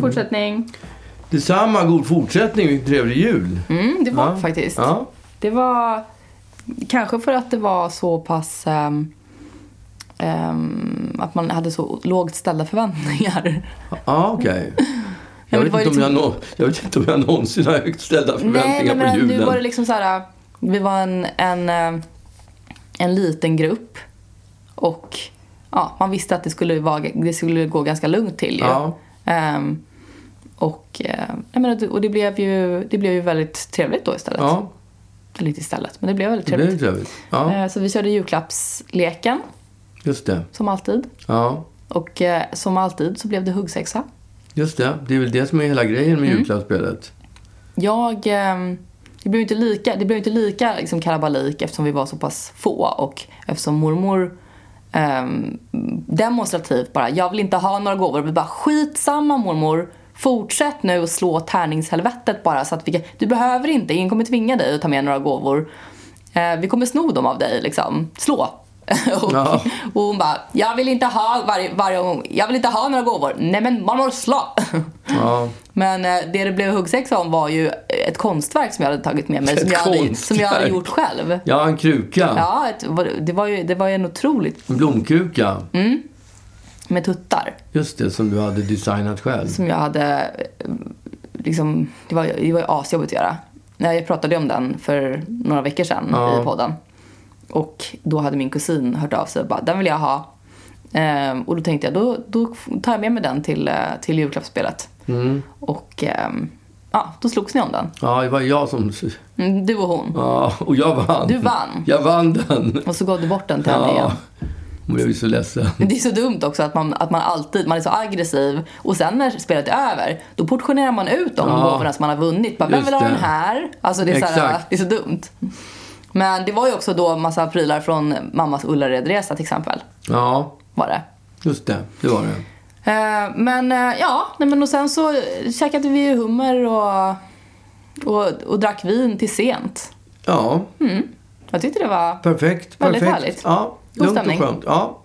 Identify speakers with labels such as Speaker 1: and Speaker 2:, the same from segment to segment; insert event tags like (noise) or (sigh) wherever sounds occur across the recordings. Speaker 1: fortsättning.
Speaker 2: Detsamma, god fortsättning och trevlig jul.
Speaker 1: Mm, det var
Speaker 2: Ja.
Speaker 1: det faktiskt.
Speaker 2: Ja.
Speaker 1: Det var kanske för att det var så pass... ehm, ehm, att man hade så lågt ställda förväntningar.
Speaker 2: Ja, okej.
Speaker 1: (laughs)
Speaker 2: Jag,
Speaker 1: det
Speaker 2: vet
Speaker 1: var ju
Speaker 2: inte om jag, nå- jag vet inte om jag någonsin har högt ställda
Speaker 1: Nej,
Speaker 2: förväntningar
Speaker 1: nej men
Speaker 2: på
Speaker 1: nu
Speaker 2: julen.
Speaker 1: var det liksom så här. Vi var en, en, eh, en liten grupp. Och ja, man visste att det skulle, vara, det skulle gå ganska lugnt till ju.
Speaker 2: Ja.
Speaker 1: Ehm, och eh, jag menar, och det, blev ju, det blev ju väldigt trevligt då istället.
Speaker 2: Ja,
Speaker 1: Eller inte istället, men det blev väldigt
Speaker 2: det blev
Speaker 1: trevligt.
Speaker 2: trevligt. Ja,
Speaker 1: Eh, Så vi körde julklappsleken,
Speaker 2: just det.
Speaker 1: som alltid.
Speaker 2: Ja,
Speaker 1: Och eh, som alltid så blev det huggsexa.
Speaker 2: just det. Det är väl det som är hela grejen
Speaker 1: Mm.
Speaker 2: med julklappsspelet.
Speaker 1: Jag... ehm, Det blev inte lika, det blev inte lika liksom kalabalik eftersom vi var så pass få och eftersom mormor ehm, demonstrativt bara, jag vill inte ha några gåvor. Vi bara, skitsamma mormor. Fortsätt nu och slå tärningshelvetet bara så att vi kan, Du behöver inte, ingen kommer tvinga dig att ta med några gåvor. Eh, vi kommer sno dem av dig liksom. Slå. (laughs) och,
Speaker 2: Ja.
Speaker 1: och hon bara, jag vill inte ha varje, varje gång, jag vill inte ha några gåvor. Nej men mormor slå. (laughs)
Speaker 2: Ja,
Speaker 1: Men eh, det det blev huggsexa om var ju eh, ett konstverk som jag hade tagit med mig.
Speaker 2: Ett
Speaker 1: Som jag, hade, som
Speaker 2: konstverk?
Speaker 1: jag hade gjort själv.
Speaker 2: ja en kruka.
Speaker 1: Ja, ett, det, var ju, det var ju en otroligt
Speaker 2: En blomkruka.
Speaker 1: Mm. med tuttar.
Speaker 2: Just det, som du hade designat själv.
Speaker 1: Som jag hade... eh, Liksom, det, var, det var ju asjobbigt att göra. Nej, Jag pratade ju om den för några veckor sedan
Speaker 2: Ja.
Speaker 1: i podden. Och då hade min kusin hört av sig och bara, den vill jag ha. Ehm, och då tänkte jag, då, då tar jag med mig den till, eh, till julklappsspelet.
Speaker 2: Mm.
Speaker 1: Och ehm, ja, då slogs ni om den.
Speaker 2: Ja, det var jag som...
Speaker 1: Mm, Du och hon.
Speaker 2: Ja, och jag vann.
Speaker 1: Du vann.
Speaker 2: Jag vann den.
Speaker 1: Och så gav du bort den till henne igen.
Speaker 2: Hon blev ju så ledsen.
Speaker 1: Men det är så dumt också att man, att man alltid man är så aggressiv och sen när spelet är över då portionerar man ut de
Speaker 2: Ja.
Speaker 1: gåvorna som man har vunnit. Bara, Vem
Speaker 2: Just
Speaker 1: vill ha
Speaker 2: det.
Speaker 1: den här? Alltså det är, så här,
Speaker 2: Exakt.
Speaker 1: det är så dumt. Men det var ju också då massa prylar från mammas Ullaredresa till exempel.
Speaker 2: Ja,
Speaker 1: Var det.
Speaker 2: just det. Det var det.
Speaker 1: Eh, Men eh, ja, nej, men och sen så käkade vi ju hummer och, och, och drack vin till sent. Mm.
Speaker 2: Ja,
Speaker 1: Jag tyckte det var...
Speaker 2: perfekt.
Speaker 1: Väldigt
Speaker 2: perfekt.
Speaker 1: härligt.
Speaker 2: Ja,
Speaker 1: God
Speaker 2: lugnt och
Speaker 1: stämning.
Speaker 2: skönt. Ja.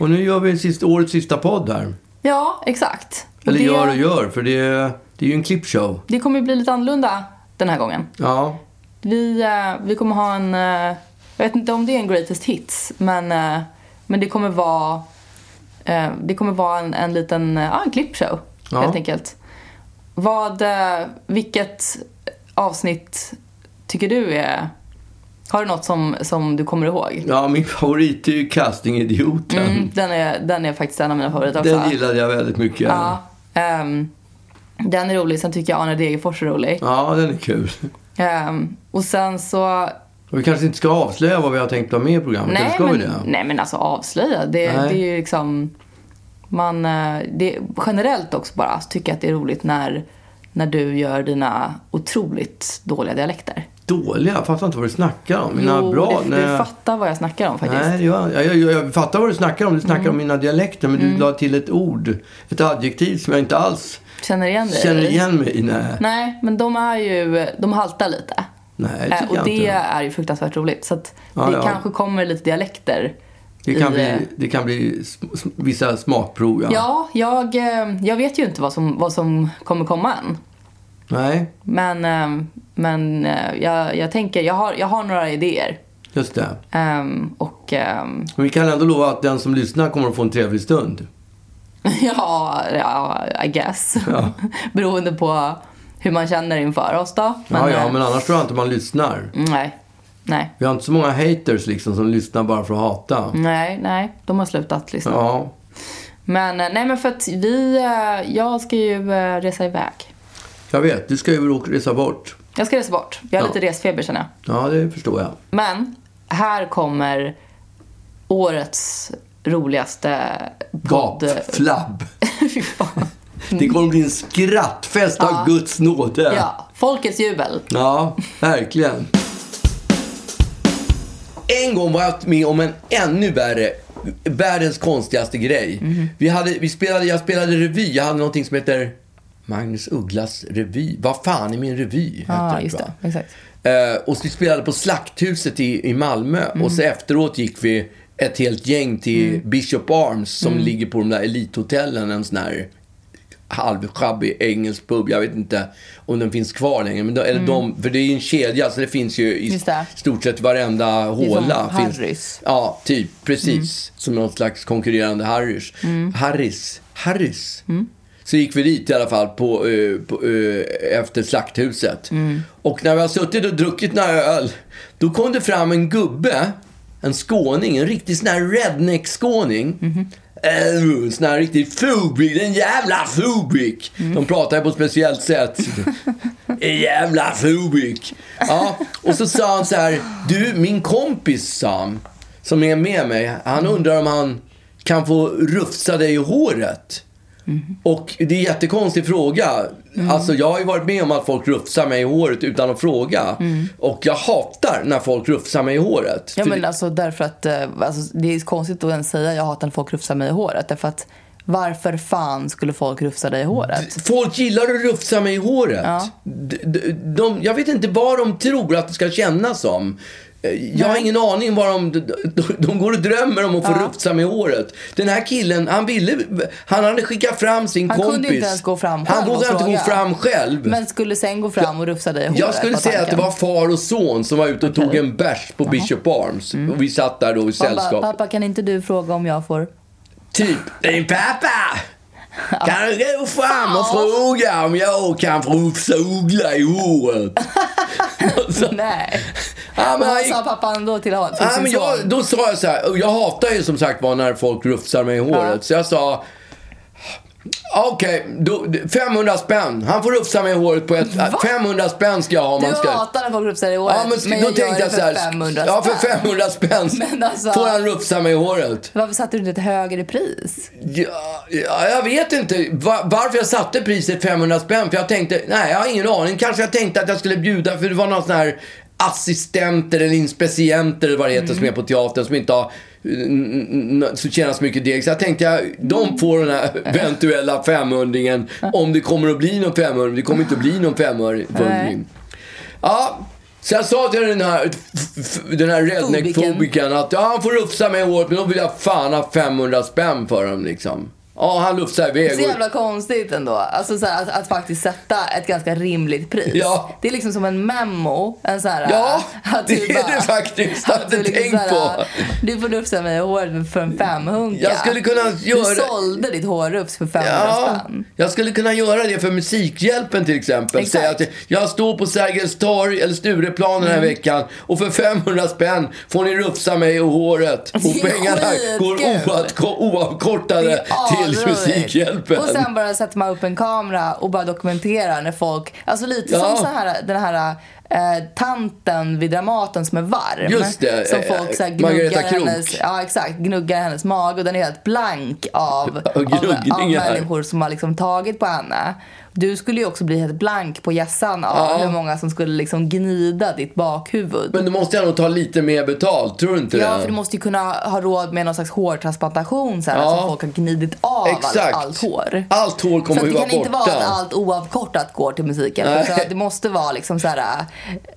Speaker 2: Och nu gör vi sist, årets sista podd här.
Speaker 1: Ja, exakt. Och
Speaker 2: Eller
Speaker 1: det,
Speaker 2: gör och gör, för det är, det är ju en klippshow.
Speaker 1: det kommer ju bli lite annorlunda den här gången.
Speaker 2: Ja,
Speaker 1: Vi, eh, vi kommer ha en, eh, jag vet inte om det är en greatest hits, men, eh, men det kommer vara, eh, det kommer vara en, en liten, eh, ja en klippshow
Speaker 2: Ja.
Speaker 1: helt enkelt. Vad, eh, vilket avsnitt tycker du är, har du något som, som du kommer ihåg?
Speaker 2: ja min (laughs) favorit är ju castingidioten.
Speaker 1: Mm, den, är, den är faktiskt en av mina favoriter också.
Speaker 2: Den gillade jag väldigt mycket.
Speaker 1: ja, ehm, den är rolig, sen tycker jag Arne Degerfors är rolig.
Speaker 2: ja den är kul.
Speaker 1: Ehm, och sen så
Speaker 2: Och vi kanske inte ska avslöja vad vi har tänkt ta med i programmet. eller
Speaker 1: Nej,
Speaker 2: ska vi
Speaker 1: men,
Speaker 2: det?
Speaker 1: nej men alltså avslöja. Det,
Speaker 2: Nej.
Speaker 1: det är ju liksom... Man, eh, det, generellt också bara så tycker jag att det är roligt när, när du gör dina otroligt dåliga dialekter.
Speaker 2: Dåliga? Jag fattar inte vad du snackar om. Mina
Speaker 1: jo,
Speaker 2: bra?
Speaker 1: det, du fattar vad jag snackar om faktiskt.
Speaker 2: Nej, det gör jag, jag, jag, jag fattar vad du snackar om. Du snackar om mina dialekter, men du la till ett ord, ett adjektiv som jag inte alls
Speaker 1: Känner igen dig?
Speaker 2: känner
Speaker 1: i.
Speaker 2: igen mig i. Nej,
Speaker 1: Nej, men de är ju... De haltar lite.
Speaker 2: nej det
Speaker 1: Eh,
Speaker 2: tycker
Speaker 1: och
Speaker 2: jag
Speaker 1: det
Speaker 2: inte.
Speaker 1: är ju fruktansvärt roligt. Så att
Speaker 2: Ja,
Speaker 1: det
Speaker 2: ja.
Speaker 1: kanske kommer lite dialekter.
Speaker 2: Det kan,
Speaker 1: i, eh,
Speaker 2: bli, det kan bli sm- sm- vissa smakprov, ja.
Speaker 1: Ja, jag, eh, jag vet ju inte vad som, vad som kommer komma än.
Speaker 2: Nej,
Speaker 1: Men, eh, men eh, jag, jag tänker, jag har, jag har några idéer.
Speaker 2: just det.
Speaker 1: Ehm, och ehm, (laughs)
Speaker 2: Men vi kan ändå lova att den som lyssnar kommer att få en trevlig stund.
Speaker 1: ja, ja, I guess.
Speaker 2: Ja.
Speaker 1: (laughs) Beroende på hur man känner inför oss då.
Speaker 2: ja, ja,
Speaker 1: eh,
Speaker 2: men annars tror jag inte man lyssnar.
Speaker 1: Nej, nej,
Speaker 2: Vi har inte så många haters liksom som lyssnar bara för att hata.
Speaker 1: nej, nej. De har slutat lyssna.
Speaker 2: Ja,
Speaker 1: Men eh, nej, men för att vi, eh, jag ska ju eh, resa iväg.
Speaker 2: jag vet. Du ska ju åka- resa bort.
Speaker 1: Jag ska resa bort. Jag har
Speaker 2: Ja.
Speaker 1: lite resfeber känner jag.
Speaker 2: Ja, det förstår jag.
Speaker 1: Men här kommer årets roligaste
Speaker 2: Gap,
Speaker 1: podd. (laughs)
Speaker 2: flabb.
Speaker 1: Fy fan.
Speaker 2: Det kommer bli en skrattfest av
Speaker 1: Ja.
Speaker 2: Guds nåde.
Speaker 1: Ja, folkets jubel.
Speaker 2: Ja, verkligen. En gång var jag med om en ännu värre, världens konstigaste grej.
Speaker 1: Mhm.
Speaker 2: Vi hade, vi spelade, jag spelade revy, jag hade någonting som heter Magnus Ugglas revy. Vad fan är min revy?
Speaker 1: Ja,
Speaker 2: heter
Speaker 1: just
Speaker 2: va?
Speaker 1: det. Exakt.
Speaker 2: Eh, och så vi spelade på Slakthuset i, i Malmö. Och
Speaker 1: Mm.
Speaker 2: så efteråt gick vi
Speaker 1: Mm.
Speaker 2: ett helt gäng till Bishop Arms som ligger på de där elithotellen. En sån här halvsjabbig engelsk pub. Jag vet inte om den finns kvar längre. Men då, eller de, för det är ju en kedja, så det finns ju i
Speaker 1: Mm. Just det.
Speaker 2: stort sett varenda håla.
Speaker 1: som
Speaker 2: finns-
Speaker 1: Harrys. Mm.
Speaker 2: Ja, typ. Precis. Som någon slags konkurrerande Harrys. Harrys. Harrys.
Speaker 1: Mm.
Speaker 2: Så gick vi dit i alla fall på, eh, på, eh, efter Slakthuset.
Speaker 1: Mm.
Speaker 2: Och när vi har suttit och druckit några öl, då kom det fram en gubbe, en skåning, en riktig sån här redneck-skåning.
Speaker 1: Mhm.
Speaker 2: Eh, en sån här riktig fubrik, en jävla fubrik.
Speaker 1: Mm.
Speaker 2: De pratar på ett speciellt
Speaker 1: (laughs)
Speaker 2: sätt. En jävla fubrik. Ja, och så sa han så här, du min kompis Sam, som är med mig, han undrar om han kan få rufsa dig i håret. Och det är en jättekonstig fråga. Alltså jag har ju varit med om att folk rufsar mig i håret utan att fråga. Och jag hatar när folk rufsar mig i håret.
Speaker 1: Ja,
Speaker 2: För
Speaker 1: men
Speaker 2: det-
Speaker 1: alltså därför att eh, alltså, det är konstigt att ens säga jag hatar när folk rufsar mig i håret. Därför att varför fan skulle folk rufsa dig i håret?
Speaker 2: Folk gillar att rufsa mig i håret.
Speaker 1: Ja.
Speaker 2: D- d- De, jag vet inte vad de tror att det ska kännas som. Eh, Jag har
Speaker 1: Nej.
Speaker 2: ingen aning vad de, de, de går och drömmer om att få rufsa mig i håret. Den här killen, han ville, han hade skickat fram sin
Speaker 1: Han kunde
Speaker 2: kompis.
Speaker 1: inte ens gå fram själv
Speaker 2: Han
Speaker 1: och
Speaker 2: vågade inte gå
Speaker 1: fråga.
Speaker 2: fram själv.
Speaker 1: Men skulle sen gå fram och rufsa dig i håret?
Speaker 2: Jag skulle
Speaker 1: var
Speaker 2: säga att det
Speaker 1: tanken. Mm.
Speaker 2: var far och son som var ute och
Speaker 1: Okej.
Speaker 2: tog en bärs på Bishop Arms.
Speaker 1: Mm.
Speaker 2: Och vi satt där då i
Speaker 1: Man bara,
Speaker 2: sällskap.
Speaker 1: pappa kan inte du fråga om jag får?
Speaker 2: Typ, din pappa! Kan du gå fram och fråga om jag kan få uppsugla i håret? Och så-
Speaker 1: (laughs) Nej.
Speaker 2: Ja, men
Speaker 1: Vad
Speaker 2: han gick-
Speaker 1: sa pappan då till honom? Till
Speaker 2: Ja,
Speaker 1: sin
Speaker 2: men jag,
Speaker 1: son?
Speaker 2: då sa jag så här, och jag hatar ju som sagt var när folk rufsar mig i håret.
Speaker 1: Ja.
Speaker 2: Så jag sa, okej, då- 500 spänn. Han får rufsa mig i håret på ett... 500 spänn ska jag ha om
Speaker 1: Du
Speaker 2: han ska...
Speaker 1: hatar när folk rufsar dig i håret.
Speaker 2: Ja, men,
Speaker 1: men
Speaker 2: då
Speaker 1: jag gör
Speaker 2: tänkte
Speaker 1: det
Speaker 2: jag så
Speaker 1: för
Speaker 2: här,
Speaker 1: 500
Speaker 2: Ja, för
Speaker 1: spänn.
Speaker 2: 500 spänn
Speaker 1: (laughs) Men alltså-
Speaker 2: får han rufsa mig i håret.
Speaker 1: Varför satte du inte ett högre pris?
Speaker 2: Ja, ja, jag vet inte va- varför jag satte priset 500 spänn. För jag tänkte, nej jag har ingen aning. Kanske jag tänkte att jag skulle bjuda, för det var någon sån här assistenter eller inspicienter eller vad det heter som är på teatern som inte har n- n- n- så tjänar så mycket deg. Så jag tänkte, jag, de får den här eventuella femhundringen om det kommer att bli någon femhundring. Det kommer inte att bli någon
Speaker 1: Nej.
Speaker 2: femhundring. Ja, så jag sa till den här, f- f- den här redneck-fobikern att ja, han får rufsa mig i håret, men då vill jag fan ha 500 spänn för dem liksom. Ja, han lufsar
Speaker 1: Så
Speaker 2: iväg. Och,
Speaker 1: jävla konstigt ändå. Alltså så här, att, att faktiskt sätta ett ganska rimligt pris.
Speaker 2: Ja.
Speaker 1: Det är liksom som en memo. En så här,
Speaker 2: ja,
Speaker 1: (laughs)
Speaker 2: (laughs)
Speaker 1: att
Speaker 2: det
Speaker 1: du typ bara-
Speaker 2: är det faktiskt. Jag
Speaker 1: att
Speaker 2: har inte
Speaker 1: du liksom
Speaker 2: tänkt
Speaker 1: så
Speaker 2: på.
Speaker 1: här, Du får rufsa mig i håret för en femhunka.
Speaker 2: Jag skulle kunna
Speaker 1: Du
Speaker 2: göra...
Speaker 1: sålde ditt hårrufs för 500
Speaker 2: Ja,
Speaker 1: spänn.
Speaker 2: jag skulle kunna göra det för Musikhjälpen till exempel.
Speaker 1: Exakt. Mm.
Speaker 2: Säga att jag står på Sergels torg eller Stureplan den här veckan och för 500 spänn får ni rufsa mig i håret. Och
Speaker 1: Det är
Speaker 2: pengarna går
Speaker 1: skitkul.
Speaker 2: oavko-
Speaker 1: Det
Speaker 2: oavkortade
Speaker 1: är
Speaker 2: till
Speaker 1: asroligt.
Speaker 2: Musikhjälpen.
Speaker 1: Och sen bara sätter man upp en kamera och bara dokumenterar när folk... Alltså lite
Speaker 2: Ja.
Speaker 1: som så här, den här eh, tanten vid Dramaten som är varm.
Speaker 2: Just det,
Speaker 1: Som
Speaker 2: eh,
Speaker 1: folk så här,
Speaker 2: Margareta
Speaker 1: gnuggar,
Speaker 2: Krook.
Speaker 1: hennes, ja, exakt, gnuggar hennes mag och den är helt blank
Speaker 2: (laughs)
Speaker 1: av,
Speaker 2: Och
Speaker 1: av, av
Speaker 2: gnuggningar.
Speaker 1: människor som har liksom tagit på henne. Du skulle ju också bli helt blank på hjässan av
Speaker 2: Ja.
Speaker 1: hur många som skulle liksom gnida ditt bakhuvud.
Speaker 2: Men då måste jag nog ta lite mer betalt, tror du inte
Speaker 1: Ja,
Speaker 2: det?
Speaker 1: för du måste ju kunna ha råd med någon slags hårtransplantation sen,
Speaker 2: Ja.
Speaker 1: som folk har gnidit av allt,
Speaker 2: Exakt.
Speaker 1: allt hår.
Speaker 2: Allt hår
Speaker 1: Så
Speaker 2: kommer
Speaker 1: att
Speaker 2: ju
Speaker 1: det
Speaker 2: vara
Speaker 1: kan inte
Speaker 2: borta.
Speaker 1: vara att allt oavkortat går till musiken.
Speaker 2: Nej.
Speaker 1: Så att det måste vara liksom så här...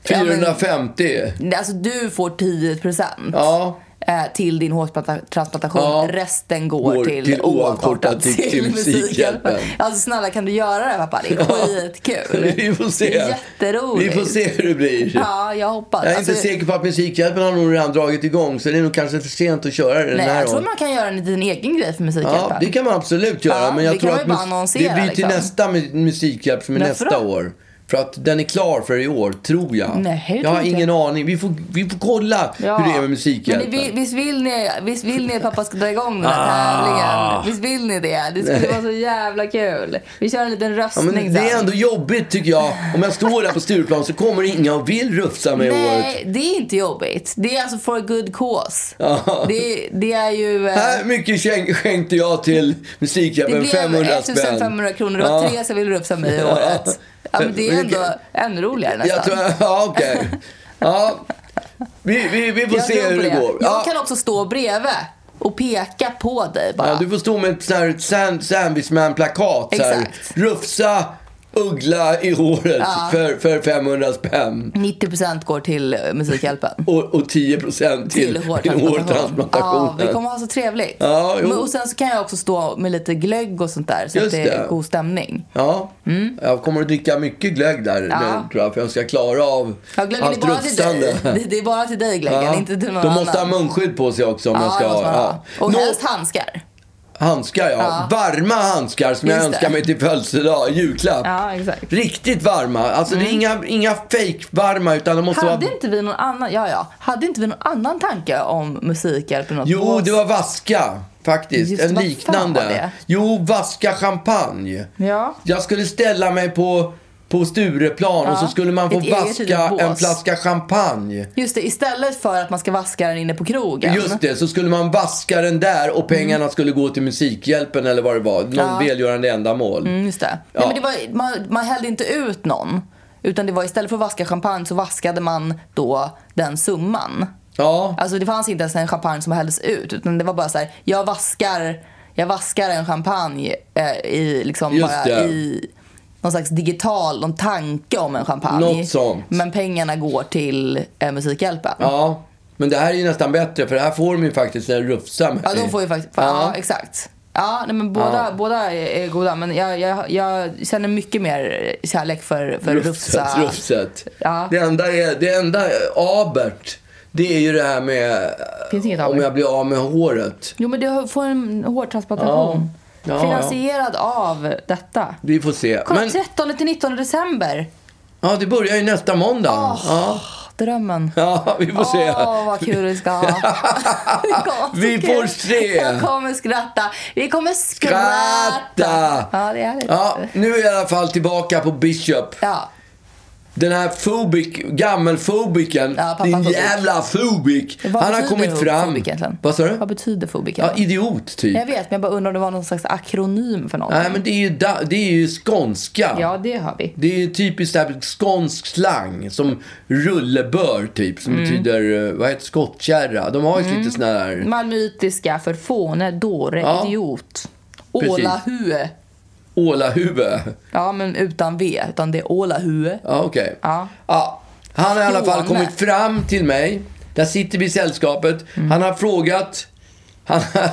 Speaker 1: ja, men-
Speaker 2: 450.
Speaker 1: Alltså du får 10 procent eh,
Speaker 2: Ja.
Speaker 1: till din hårtransplantation.
Speaker 2: Ja.
Speaker 1: Resten går,
Speaker 2: Går
Speaker 1: till,
Speaker 2: till oavkortat
Speaker 1: oavkortat
Speaker 2: till- till Musikhjälpen.
Speaker 1: Alltså snälla kan du göra det pappa? Det är skitkul.
Speaker 2: (laughs) Vi får se.
Speaker 1: Mm. Det är jätteroligt.
Speaker 2: Vi får se hur det blir.
Speaker 1: Ja, jag hoppas.
Speaker 2: Jag är
Speaker 1: Alltså,
Speaker 2: inte säker på att Musikhjälpen har nog redan dragit igång så det är nog kanske för sent att köra den
Speaker 1: Nej,
Speaker 2: här
Speaker 1: jag tror
Speaker 2: gången.
Speaker 1: man kan göra en liten egen grej för Musikhjälpen.
Speaker 2: Ja, det kan man absolut göra.
Speaker 1: Ja,
Speaker 2: men jag
Speaker 1: det
Speaker 2: tror
Speaker 1: kan
Speaker 2: att
Speaker 1: man ju bara
Speaker 2: mus-
Speaker 1: annonsera,
Speaker 2: det blir till
Speaker 1: liksom.
Speaker 2: nästa mu- musikhjälp som är
Speaker 1: Varför
Speaker 2: nästa
Speaker 1: då?
Speaker 2: år. För att den är klar för i år, tror jag.
Speaker 1: Nej, det
Speaker 2: jag har
Speaker 1: tror inte
Speaker 2: ingen aning. Vi får, vi får kolla
Speaker 1: Ja.
Speaker 2: hur det är med musikhjälpen.
Speaker 1: Men det, vi- visst, vill ni, visst vill ni att pappa ska dra igång den här
Speaker 2: Ah.
Speaker 1: tävlingen? Visst vill ni det? Det skulle vara så jävla kul. Vi kör en liten
Speaker 2: Ja,
Speaker 1: röstning
Speaker 2: men det är
Speaker 1: sen.
Speaker 2: ändå jobbigt tycker jag. Om jag står där på Stureplan så kommer inga och vill rufsa mig i håret.
Speaker 1: Nej, det är inte jobbigt. Det är alltså for a good cause.
Speaker 2: Ja.
Speaker 1: Det, det är ju... eh,
Speaker 2: Här mycket skänk- skänkte jag till
Speaker 1: Det
Speaker 2: Musikhjälpen,
Speaker 1: blev
Speaker 2: 500 spänn.
Speaker 1: 1500 kronor. Det var
Speaker 2: Ja.
Speaker 1: tre som ville rufsa mig i
Speaker 2: Ja.
Speaker 1: året. Ja, men det är
Speaker 2: Men det
Speaker 1: ändå
Speaker 2: kan-
Speaker 1: ännu roligare nästan.
Speaker 2: Jag tror, ja, okej. Ja, vi, vi, vi får
Speaker 1: Jag
Speaker 2: se
Speaker 1: tror
Speaker 2: hur
Speaker 1: på
Speaker 2: det, går. Ja.
Speaker 1: Jag kan också stå bredvid och peka på dig bara.
Speaker 2: Ja, du får stå med ett sånt här sand, sandwichman-plakat. så här.
Speaker 1: Exakt.
Speaker 2: Rufsa uggla i håret
Speaker 1: Ja.
Speaker 2: för, för 500 spänn.
Speaker 1: 90% går till eh, Musikhjälpen.
Speaker 2: Och, och 10 procent till, till hårtransplantationen.
Speaker 1: Ja, vi kommer ha så trevligt.
Speaker 2: Ja, jo.
Speaker 1: Men, och sen så kan jag också stå med lite glögg och sånt där så
Speaker 2: Just
Speaker 1: att det är
Speaker 2: det.
Speaker 1: god stämning.
Speaker 2: Ja, jag kommer att dricka mycket glögg där
Speaker 1: Mm. Ja.
Speaker 2: nu, tror jag, för jag ska klara av
Speaker 1: Ja, glöggen är bara till (laughs) dig. Det, det är bara till dig glöggen,
Speaker 2: Ja.
Speaker 1: inte till någon
Speaker 2: De
Speaker 1: annan.
Speaker 2: måste ha munskydd på sig också om
Speaker 1: Ja,
Speaker 2: jag ska
Speaker 1: det måste man ha.
Speaker 2: ja.
Speaker 1: Och
Speaker 2: Nå-
Speaker 1: helst handskar.
Speaker 2: Handskar ja.
Speaker 1: Ja.
Speaker 2: Varma handskar som jag
Speaker 1: Just
Speaker 2: önskar
Speaker 1: det.
Speaker 2: mig till födelsedag, i julklapp.
Speaker 1: Ja, exakt.
Speaker 2: Riktigt varma. Alltså det är inga, inga fake-varma utan de måste
Speaker 1: Hade
Speaker 2: vara...
Speaker 1: inte vi någon annan, ja ja, hade inte vi någon annan tanke om musikhjälp eller något? på
Speaker 2: Jo,
Speaker 1: oss?
Speaker 2: det var vaska faktiskt.
Speaker 1: Just det,
Speaker 2: en
Speaker 1: vad fan
Speaker 2: liknande.
Speaker 1: var det?
Speaker 2: Jo, vaska champagne.
Speaker 1: Ja.
Speaker 2: Jag skulle ställa mig på, på Stureplan och
Speaker 1: Ja.
Speaker 2: så skulle man få
Speaker 1: Ett eget
Speaker 2: vaska
Speaker 1: litet bås.
Speaker 2: en flaska champagne.
Speaker 1: Just det, istället för att man ska vaska den inne på krogen.
Speaker 2: Just det, så skulle man vaska den där och pengarna skulle gå till Musikhjälpen eller vad det var. Någon
Speaker 1: Ja.
Speaker 2: välgörande ändamål.
Speaker 1: Mm, just det.
Speaker 2: Ja.
Speaker 1: Nej, men det var, man, man hällde inte ut någon. Utan det var istället för att vaska champagne så vaskade man då den summan.
Speaker 2: Ja,
Speaker 1: Alltså det fanns inte ens en champagne som hälldes ut. Utan det var bara så här, jag vaskar, jag vaskar en champagne eh, i liksom
Speaker 2: Just
Speaker 1: bara
Speaker 2: det.
Speaker 1: i någon slags digital, någon tanke om en champagne.
Speaker 2: Något sånt.
Speaker 1: Men pengarna går till eh, Musikhjälpen.
Speaker 2: ja. Men det här är ju nästan bättre för det här får de ju faktiskt en rufsa med.
Speaker 1: Ja, de får ju faktiskt... Ja, exakt. Ja, nej, men båda, båda är är goda. Men jag, jag, jag känner mycket mer kärlek för, för
Speaker 2: Rufset,
Speaker 1: Rufsa.
Speaker 2: rufset.
Speaker 1: Ja.
Speaker 2: Det enda, är, det enda abert, det är ju det här med
Speaker 1: Finns inget
Speaker 2: om
Speaker 1: abert.
Speaker 2: jag blir av med håret.
Speaker 1: Jo, men du får en hårtransplantation.
Speaker 2: Ja. Ja,
Speaker 1: Finansierad av detta.
Speaker 2: Vi får se.
Speaker 1: Kolla,
Speaker 2: Men,
Speaker 1: 13 till 19 december.
Speaker 2: ja, det börjar ju nästa måndag. Ja.
Speaker 1: Drömmen.
Speaker 2: ja, vi får se.
Speaker 1: Åh, vad kul vi ska
Speaker 2: (laughs)
Speaker 1: ha. Det kommer vara så
Speaker 2: Vi
Speaker 1: kul.
Speaker 2: får se.
Speaker 1: Jag kommer skratta. Vi kommer skratta.
Speaker 2: Skratta.
Speaker 1: Ja, det är härligt.
Speaker 2: Ja, nu är jag i alla fall tillbaka på Bishop.
Speaker 1: ja.
Speaker 2: Den här fobik, gammelfobiken,
Speaker 1: Ja, pappa
Speaker 2: din
Speaker 1: fobik.
Speaker 2: jävla fobik.
Speaker 1: Vad
Speaker 2: Han har
Speaker 1: betyder
Speaker 2: kommit fram.
Speaker 1: fobik egentligen?
Speaker 2: Vad sa du?
Speaker 1: Vad betyder fobik?
Speaker 2: Ja, idiot typ.
Speaker 1: Jag vet, men jag bara undrar om det var någon slags akronym för någonting.
Speaker 2: Nej, Mm. men det är ju, da- det är ju skånska.
Speaker 1: Ja, det har vi.
Speaker 2: Det är ju typiskt där skånsk slang som rullebör typ som
Speaker 1: Mm.
Speaker 2: betyder, eh, vad heter det? skottkärra. De har ju lite sådana där.
Speaker 1: Malmöitiska för fåne, dåre,
Speaker 2: Ja.
Speaker 1: idiot.
Speaker 2: Precis.
Speaker 1: Ålahue.
Speaker 2: Ålahuvud.
Speaker 1: Ja, men utan V, utan det är ålahue.
Speaker 2: Ja, okej.
Speaker 1: Ja.
Speaker 2: Ja, han har i alla fall
Speaker 1: Skåne.
Speaker 2: kommit fram till mig. Där sitter vi i sällskapet.
Speaker 1: Mm.
Speaker 2: Han har frågat... Han har,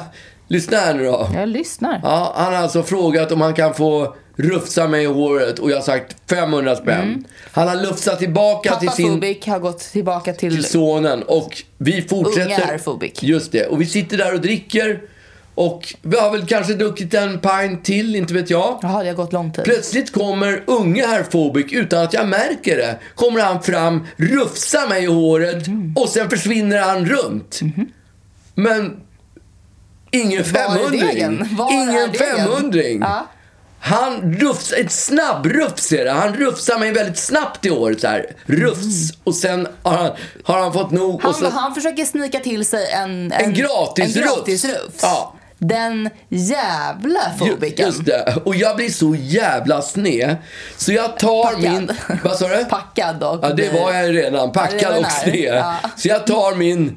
Speaker 2: lyssna här nu då.
Speaker 1: Jag lyssnar.
Speaker 2: Ja, han har alltså frågat om han kan få rufsa mig i håret och jag har sagt 500 spänn. Han har lufsat tillbaka
Speaker 1: Mm. Pappa
Speaker 2: till sin
Speaker 1: Fobik har gått tillbaka till...
Speaker 2: till sonen och vi fortsätter.
Speaker 1: Unga är fobik.
Speaker 2: Just det. Och vi sitter där och dricker och vi har väl kanske druckit en pint till, inte vet jag.
Speaker 1: Jaha, det har gått lång tid.
Speaker 2: Plötsligt kommer unge herr Fobik, utan att jag märker det, kommer han fram, rufsar mig i håret
Speaker 1: Mm.
Speaker 2: och sen försvinner han runt. Men ingen
Speaker 1: Mm-hmm. Var är
Speaker 2: femhundring.
Speaker 1: degen? Var är
Speaker 2: Ingen
Speaker 1: degen?
Speaker 2: femhundring.
Speaker 1: Ja.
Speaker 2: Han rufsar, ett snabbrufs är det. Han rufsar mig väldigt snabbt i håret så här. Rufs. Och sen har han, har han fått nog.
Speaker 1: Mm. Han,
Speaker 2: och så,
Speaker 1: han försöker snika till sig en... En,
Speaker 2: gratis
Speaker 1: en
Speaker 2: rufs.
Speaker 1: gratis rufs.
Speaker 2: Ja.
Speaker 1: Den jävla
Speaker 2: Ju-
Speaker 1: fobiken.
Speaker 2: Just det. Och jag blir så jävla sned. Så jag tar
Speaker 1: Packad.
Speaker 2: min... Vad sa du?
Speaker 1: (laughs) Packad och...
Speaker 2: Ja, det var jag redan.
Speaker 1: Ja,
Speaker 2: Packad
Speaker 1: det var
Speaker 2: och
Speaker 1: där.
Speaker 2: sned.
Speaker 1: Ja. Mm.
Speaker 2: Så jag tar min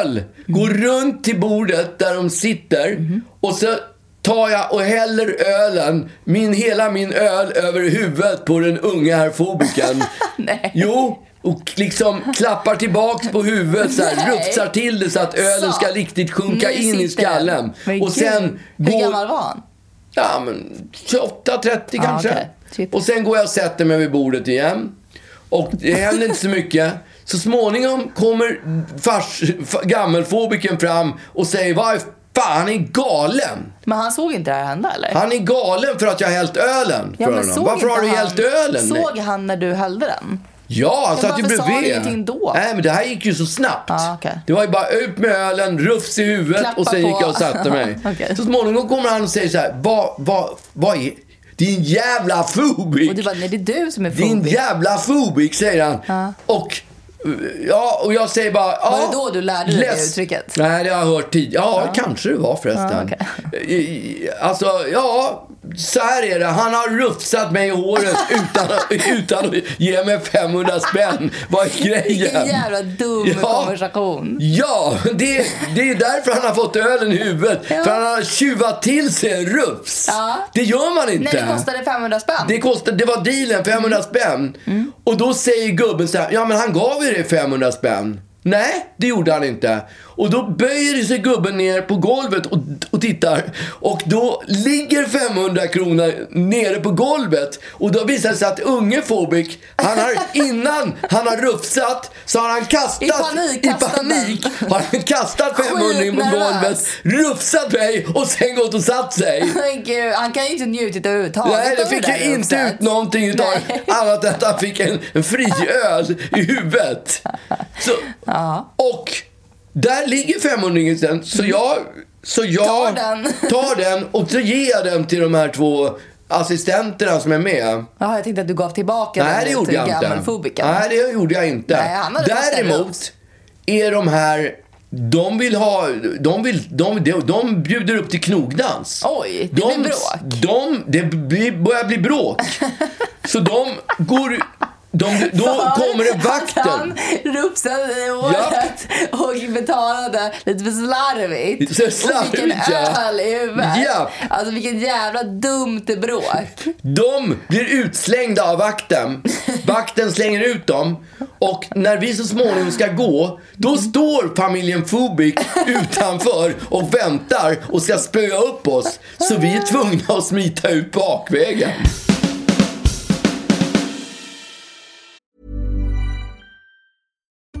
Speaker 2: öl, går runt till bordet där de sitter
Speaker 1: Mm-hmm.
Speaker 2: och så tar jag och häller ölen, min, hela min öl, över huvudet på den unga herr Fobiken.
Speaker 1: (laughs) Nej.
Speaker 2: Jo, och liksom klappar tillbaks på huvudet så här,
Speaker 1: Nej.
Speaker 2: rufsar till det så att ölen
Speaker 1: Så.
Speaker 2: ska riktigt sjunka
Speaker 1: Nu
Speaker 2: in i
Speaker 1: sitter den.
Speaker 2: skallen.
Speaker 1: Men
Speaker 2: Och sen
Speaker 1: gud, Hur
Speaker 2: går...
Speaker 1: gammal var han?
Speaker 2: Ja, men 28, 30 kanske.
Speaker 1: okej. Shit.
Speaker 2: Och sen går jag och sätter mig vid bordet igen. Och det händer inte så mycket. Så småningom kommer fars, f- gammelfobiken fram och säger vad fan, han är galen.
Speaker 1: Men han såg inte det här hända eller?
Speaker 2: Han är galen för att jag har hällt ölen
Speaker 1: Ja,
Speaker 2: för
Speaker 1: men
Speaker 2: honom.
Speaker 1: såg
Speaker 2: Varför
Speaker 1: inte
Speaker 2: har du
Speaker 1: han-
Speaker 2: hällt ölen?
Speaker 1: Såg han när du hällde den?
Speaker 2: Ja, han satt ju
Speaker 1: varför sa han
Speaker 2: bredvid.
Speaker 1: ingenting då?
Speaker 2: Nej, men det här gick ju så snabbt.
Speaker 1: Ah, okej.
Speaker 2: Det var ju bara ut med ölen, rufs i huvudet
Speaker 1: Klappa
Speaker 2: och sen
Speaker 1: på.
Speaker 2: gick jag och satte mig.
Speaker 1: (laughs) Okej.
Speaker 2: Så småningom kommer han och säger så här, vad, vad, vad är din jävla fobik?
Speaker 1: Och du bara, nej det är du som är
Speaker 2: Din
Speaker 1: fobik.
Speaker 2: jävla fobik, säger han.
Speaker 1: Ja.
Speaker 2: Och, ja, och jag säger bara... Ja,
Speaker 1: det då du lärde dig det uttrycket?
Speaker 2: Nej, det har jag hört tidigare. Ja, kanske det var förresten.
Speaker 1: Ja,
Speaker 2: I- i- Alltså, ja, så här är det, han har rufsat mig i
Speaker 1: (laughs)
Speaker 2: håret utan, att- utan att ge mig 500 spänn. Vad är
Speaker 3: Vilken
Speaker 2: grejen?
Speaker 3: jävla dum
Speaker 2: Ja.
Speaker 3: konversation.
Speaker 2: Ja, det, det är därför han har fått ölen i huvudet.
Speaker 3: Ja.
Speaker 2: För han har tjuvat till sig en rufs.
Speaker 3: Ja.
Speaker 2: Det gör man inte.
Speaker 3: Nej, det kostade 500 spänn.
Speaker 1: (laughs)
Speaker 2: Det kostade, det var dealen, 500 spänn. Och då säger gubben så här, ja men han gav ju dig 500 spänn. Nej, det gjorde han inte. Och då böjer sig gubben ner på golvet och, och tittar. Och då ligger 500 kronor nere på golvet. Och då visar det sig att unge Fobik, han
Speaker 3: (laughs)
Speaker 2: har innan han har rufsat så har han kastat
Speaker 3: I panik
Speaker 2: i
Speaker 3: kastat
Speaker 2: panik har han kastat 500 på
Speaker 3: Skitnervös.
Speaker 2: golvet, rufsat mig och sen gått och satt sig.
Speaker 3: Men gud, han kan ju inte njutit överhuvudtaget
Speaker 2: Nej, det
Speaker 3: av
Speaker 2: fick
Speaker 3: där
Speaker 2: ju inte
Speaker 3: rufset.
Speaker 2: ut någonting utav
Speaker 3: Nej.
Speaker 2: (laughs) annat än att han fick en, en friöl i huvudet. Så,
Speaker 3: Ja.
Speaker 2: och där ligger 500 sen, så jag, så jag
Speaker 3: Tar den.
Speaker 2: tar den och så ger jag den till de här två assistenterna som är med.
Speaker 3: Jaha, jag tänkte att du gav tillbaka
Speaker 2: Nej, det
Speaker 3: den
Speaker 2: gjorde
Speaker 3: till
Speaker 2: jag inte.
Speaker 3: gammelfobiken.
Speaker 2: Nej, det gjorde jag inte.
Speaker 3: Nej, han hade fått en
Speaker 2: Däremot
Speaker 3: rufs.
Speaker 2: är de här de vill ha, de, vill, de, de, de bjuder upp till knogdans.
Speaker 3: Oj, det
Speaker 2: de,
Speaker 3: blir bråk.
Speaker 2: De, det blir, börjar bli
Speaker 3: (laughs)
Speaker 2: bråk. Så de går, de, då kommer
Speaker 3: (laughs)
Speaker 2: det vakten.
Speaker 3: Han rufsade dig i håret och betalade lite för slarvigt.
Speaker 2: Så slarvigt,
Speaker 3: och fick en
Speaker 2: ja.
Speaker 3: öl i huvudet.
Speaker 2: Japp.
Speaker 3: Alltså vilket jävla dumt
Speaker 2: (laughs)
Speaker 3: bråk.
Speaker 2: De blir utslängda av vakten. Vakten slänger ut dem. Och när vi så småningom ska gå, då står familjen Fubik utanför och väntar och ska spöa upp oss. Så vi är tvungna att smita ut bakvägen.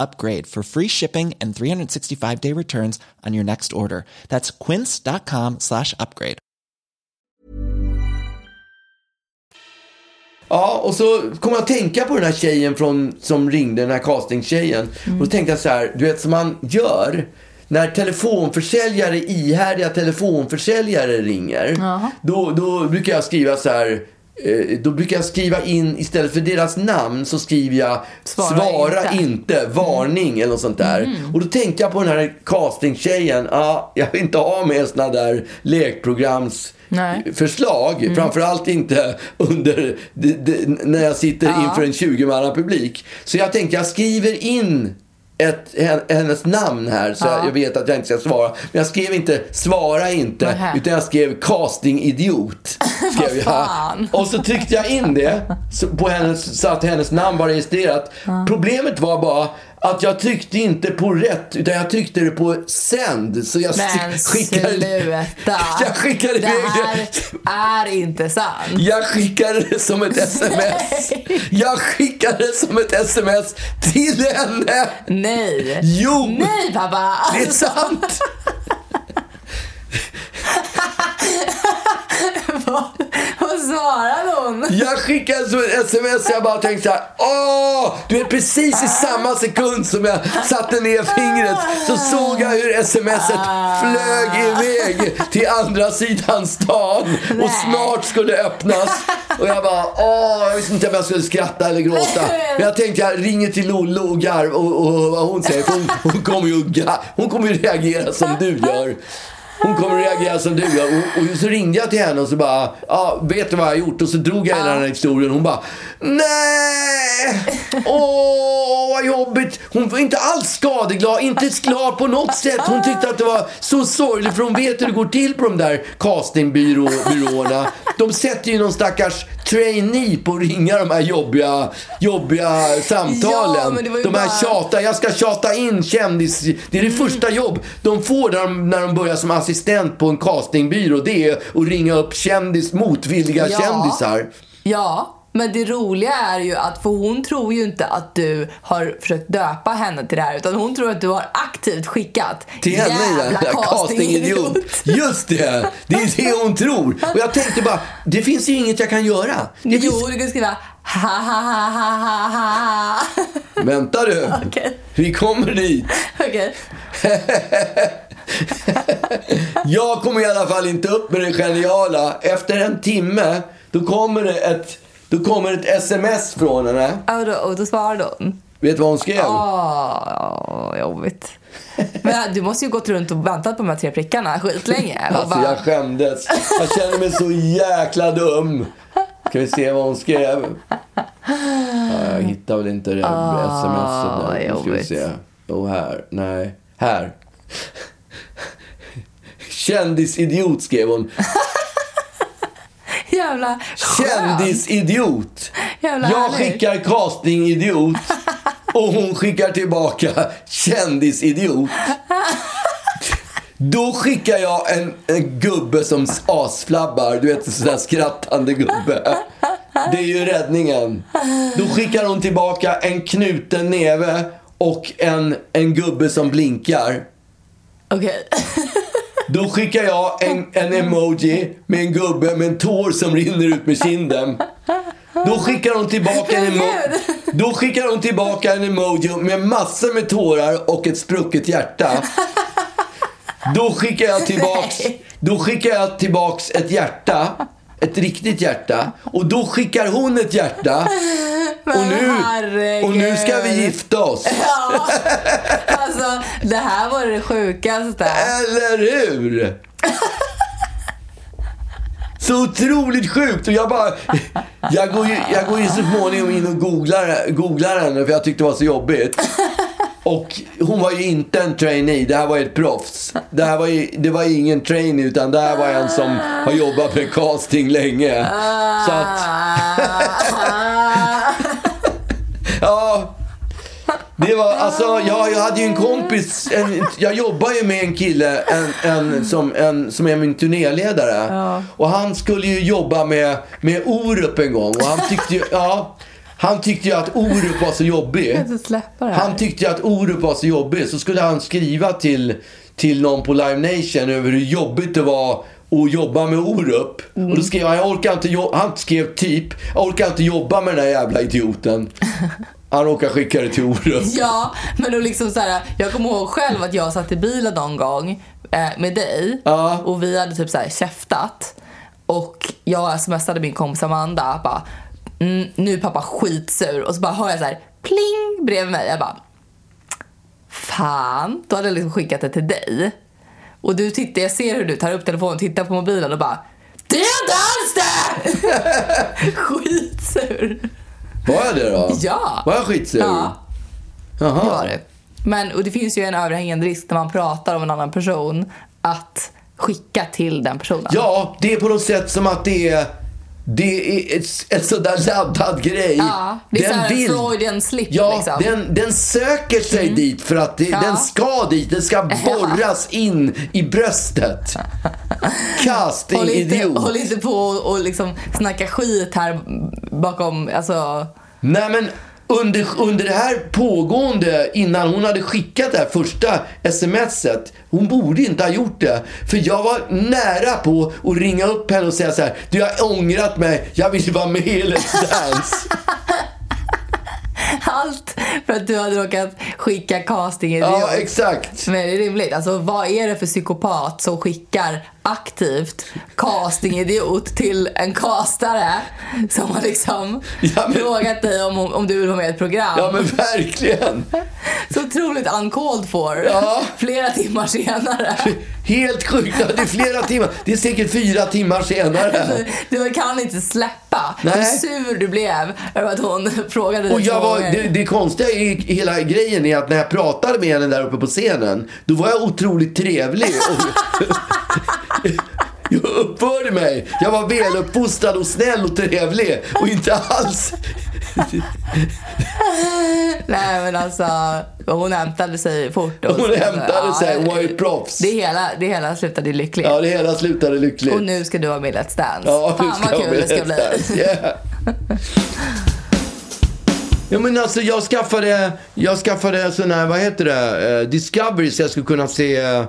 Speaker 4: upgrade for free shipping and 365 day returns on your next order. That's quince.com slash upgrade.
Speaker 2: Ja, och så kom jag att tänka på den här tjejen från, som ringde, den här castingtjejen.
Speaker 3: Mm.
Speaker 2: Och då tänkte jag så här, du vet som man gör när telefonförsäljare, ihärdiga telefonförsäljare ringer. Då, då brukar jag skriva så här, eh, då brukar jag skriva in, istället för deras namn så skriver jag
Speaker 3: Svara inte." Mm.
Speaker 2: inte, varning eller något sånt där. Och då tänkte jag på den här castingtjejen, ah, jag vill inte ha med såna där lekprograms
Speaker 3: Nej.
Speaker 2: förslag.
Speaker 3: Mm.
Speaker 2: Framförallt inte under, d, d, när jag sitter inför en 20 publik Så jag tänkte jag skriver in ett, hen- hennes namn här så jag vet att jag inte ska svara. Men jag skrev inte svara inte
Speaker 3: Nähä.
Speaker 2: utan jag skrev
Speaker 3: (laughs)
Speaker 2: castingidiot. Skrev jag.
Speaker 3: fan.
Speaker 2: Och så tryckte jag in det så, på hennes, så att hennes namn var registrerat. Problemet var bara att jag tryckte inte på rätt utan jag tryckte det på sänd. Så jag
Speaker 3: Men
Speaker 2: skickade,
Speaker 3: sluta.
Speaker 2: (laughs) jag skickade
Speaker 3: det
Speaker 2: iväg
Speaker 3: här
Speaker 2: det.
Speaker 3: är
Speaker 2: (laughs)
Speaker 3: inte sant.
Speaker 2: Jag skickade det som ett sms. Jag skickade det som ett sms till henne.
Speaker 3: Nej.
Speaker 2: Jo,
Speaker 3: Nej pappa.
Speaker 2: det är sant.
Speaker 3: (laughs) Vad svarade hon?
Speaker 2: (laughs) Jag skickade som ett sms och jag bara tänkte så här. Åh! Du vet precis i samma sekund som jag satte ner fingret så såg jag hur smset flög iväg till andra sidan stan och snart skulle öppnas. Och jag bara åh, jag visste inte om jag skulle skratta eller gråta. Men jag tänkte jag ringer till Lollo och garv och, och vad hon säger. För hon, hon kommer ju att ga- hon kommer ju reagera som du gör. Hon kommer att reagera som du gör. Och, och så ringde jag till henne och så bara, ja, vet du vad jag har gjort? Och så drog jag hela den här historien. Hon bara, nej! Åh, vad jobbigt! Hon var inte alls skadeglad, inte glad på något sätt. Hon tyckte att det var så sorgligt, för hon vet hur det går till på de där castingbyråerna. De sätter ju någon stackars trainee på att ringa de här jobbiga, jobbiga samtalen.
Speaker 1: Ja, men det var ju
Speaker 2: de här
Speaker 1: bara-
Speaker 2: tjata, jag ska tjata in kändis. Det är det första jobb de får när de, när de börjar som assistent på en castingbyrå. Det är att ringa upp kändis, motvilliga
Speaker 1: Ja.
Speaker 2: kändisar.
Speaker 1: Ja, men det roliga är ju att för hon tror ju inte att du har försökt döpa henne till det här utan hon tror att du har aktivt skickat
Speaker 2: Till henne
Speaker 1: jävla
Speaker 2: jävla castingidiot. (laughs) Just det, det är det hon tror. Och jag tänkte bara, det finns ju inget jag kan göra. Det finns...
Speaker 1: Jo, du kan skriva ha ha ha ha ha ha. (laughs)
Speaker 2: Vänta du,
Speaker 1: Okej.
Speaker 2: vi kommer dit.
Speaker 1: Okej.
Speaker 2: Jag kommer i alla fall inte upp med det geniala. Efter en timme, då kommer det ett, då kommer ett sms från henne.
Speaker 1: Ja, Och då, och då svarade hon.
Speaker 2: Vet du vad hon skrev?
Speaker 1: Åh, jobbigt. Men du måste ju gått runt och väntat på de här tre prickarna skitlänge.
Speaker 2: (laughs)
Speaker 1: Och
Speaker 2: Alltså jag
Speaker 1: bara,
Speaker 2: skämdes. Jag känner mig så jäkla dum. Ska vi se vad hon skrev? Ja, jag hittar väl inte det smset nu. Nu ska
Speaker 1: vad
Speaker 2: vi
Speaker 1: Ah, jobbigt.
Speaker 2: se. Oh, här. Nej. Här. Kändisidiot skrev hon.
Speaker 1: jävla skönt.
Speaker 2: Kändisidiot.
Speaker 1: Jävla
Speaker 2: jag
Speaker 1: härligt.
Speaker 2: skickar castingidiot och hon skickar tillbaka kändisidiot. Då skickar jag en, en gubbe som asflabbar, du vet en sån där skrattande gubbe. Det är ju räddningen. Då skickar hon tillbaka en knuten neve och en, en gubbe som blinkar.
Speaker 1: Okej. (laughs)
Speaker 2: Då skickar jag en, en emoji med en gubbe med en tår som rinner ut med kinden. Då skickar hon tillbaka en emoji. Då skickar hon tillbaka en emoji med massor med tårar och ett sprucket hjärta. Då skickar jag tillbaks, då skickar jag tillbaks ett hjärta. Ett riktigt hjärta. Och då skickar hon ett hjärta. Och nu, och nu ska vi gifta oss.
Speaker 1: Ja, alltså det här var det sjukaste.
Speaker 2: Eller hur? Så otroligt sjukt! Och jag bara... Jag går ju, jag går ju så småningom in och googlar, googlar henne för jag tyckte det var så jobbigt. Och hon var ju inte en trainee, det här var ju ett proffs. Det här var ju, det var ju ingen trainee utan det här var en som har jobbat med casting länge. Så att,
Speaker 1: Ah. (laughs)
Speaker 2: ja. Det var, alltså, jag, jag hade ju en kompis, en, jag jobbar ju med en kille en, en, som, en, som är min turnéledare. Och han skulle ju jobba med, med Orup en gång och han tyckte ju, ja, han tyckte ju att Orup var så jobbig.
Speaker 1: inte släppa det här.
Speaker 2: Han tyckte ju att Orup var så jobbig så skulle han skriva till, till någon på Live Nation över hur jobbigt det var att jobba med Orup. Och då skrev han, jag orkar inte jo-" han skrev typ, jag orkar inte jobba med den här jävla idioten. Han råkar skicka det till Orup.
Speaker 1: Ja, men då liksom så här, jag kommer ihåg själv att jag satt i bilen någon gång eh, med dig
Speaker 2: Ja.
Speaker 1: och vi hade typ så här käftat och jag smsade min kompis Amanda bara mm, nu är pappa skitsur och så bara hör jag så här pling bredvid mig. Jag bara fan, då hade jag liksom skickat det till dig. Och du tittar, jag ser hur du tar upp telefonen, tittar på mobilen och bara det är inte alls det! (laughs) Skitsur.
Speaker 2: Var jag det då?
Speaker 1: Ja.
Speaker 2: Var jag skitsur?
Speaker 1: Ja.
Speaker 2: Jaha.
Speaker 1: Det var det. Men, och det finns ju en överhängande risk när man pratar om en annan person att skicka till den personen.
Speaker 2: Ja, det är på något sätt som att det är, det är ett, ett sådär laddad grej.
Speaker 1: Ja, det är så här
Speaker 2: vill-
Speaker 1: Freudian slip
Speaker 2: Ja,
Speaker 1: liksom. Mm.
Speaker 2: den, den söker sig dit för att det, den ska dit. Den
Speaker 1: (laughs)
Speaker 2: ska borras in i bröstet. Casting
Speaker 1: Håll inte,
Speaker 2: idiot.
Speaker 1: håll inte på och, och liksom snacka skit här bakom, alltså.
Speaker 2: Nej men under, under det här pågående, innan hon hade skickat det här första smset. Hon borde inte ha gjort det. För jag var nära på att ringa upp henne och säga så här. Du jag har ångrat mig, jag vill vara med i Let's Dance.
Speaker 1: Allt för att du hade råkat skicka casting idiot.
Speaker 2: ja, exakt.
Speaker 1: Men är det rimligt? Alltså vad är det för psykopat som skickar aktivt castingidiot till en castare som har liksom
Speaker 2: Ja, men-
Speaker 1: frågat dig om, om du vill vara med i ett program?
Speaker 2: Ja men verkligen.
Speaker 1: Så otroligt uncalled for.
Speaker 2: Ja.
Speaker 1: (laughs) Flera timmar senare.
Speaker 2: Helt sjukt. Ja, Det är flera timmar. Det är säkert fyra timmar senare.
Speaker 1: Du kan inte släppa hur
Speaker 2: Nej.
Speaker 1: sur du blev över att hon (laughs) frågade dig
Speaker 2: Och jag
Speaker 1: två
Speaker 2: var, (laughs)
Speaker 1: gånger.
Speaker 2: det, det konstiga i i hela grejen är att när jag pratade med henne där uppe på scenen, då var (laughs) jag otroligt trevlig. Och jag uppförde du mig? Jag var väluppfostrad och snäll och trevlig och inte alls...
Speaker 1: Nej men alltså, hon hämtade sig fort. Och
Speaker 2: Hon hämtade
Speaker 1: Ja,
Speaker 2: sig, hon var ju proffs.
Speaker 1: Det hela, det hela slutade lyckligt.
Speaker 2: Ja, det hela slutade lyckligt.
Speaker 1: Och nu ska du vara med i Let's Dance.
Speaker 2: Ja,
Speaker 1: Fan
Speaker 2: nu ska
Speaker 1: vad
Speaker 2: jag
Speaker 1: kul det ska
Speaker 2: berätta. (laughs)
Speaker 1: bli.
Speaker 2: Yeah. Ja men alltså jag skaffade, jag skaffade sån här, vad heter det, Eh, Discovery så jag skulle kunna se, eh,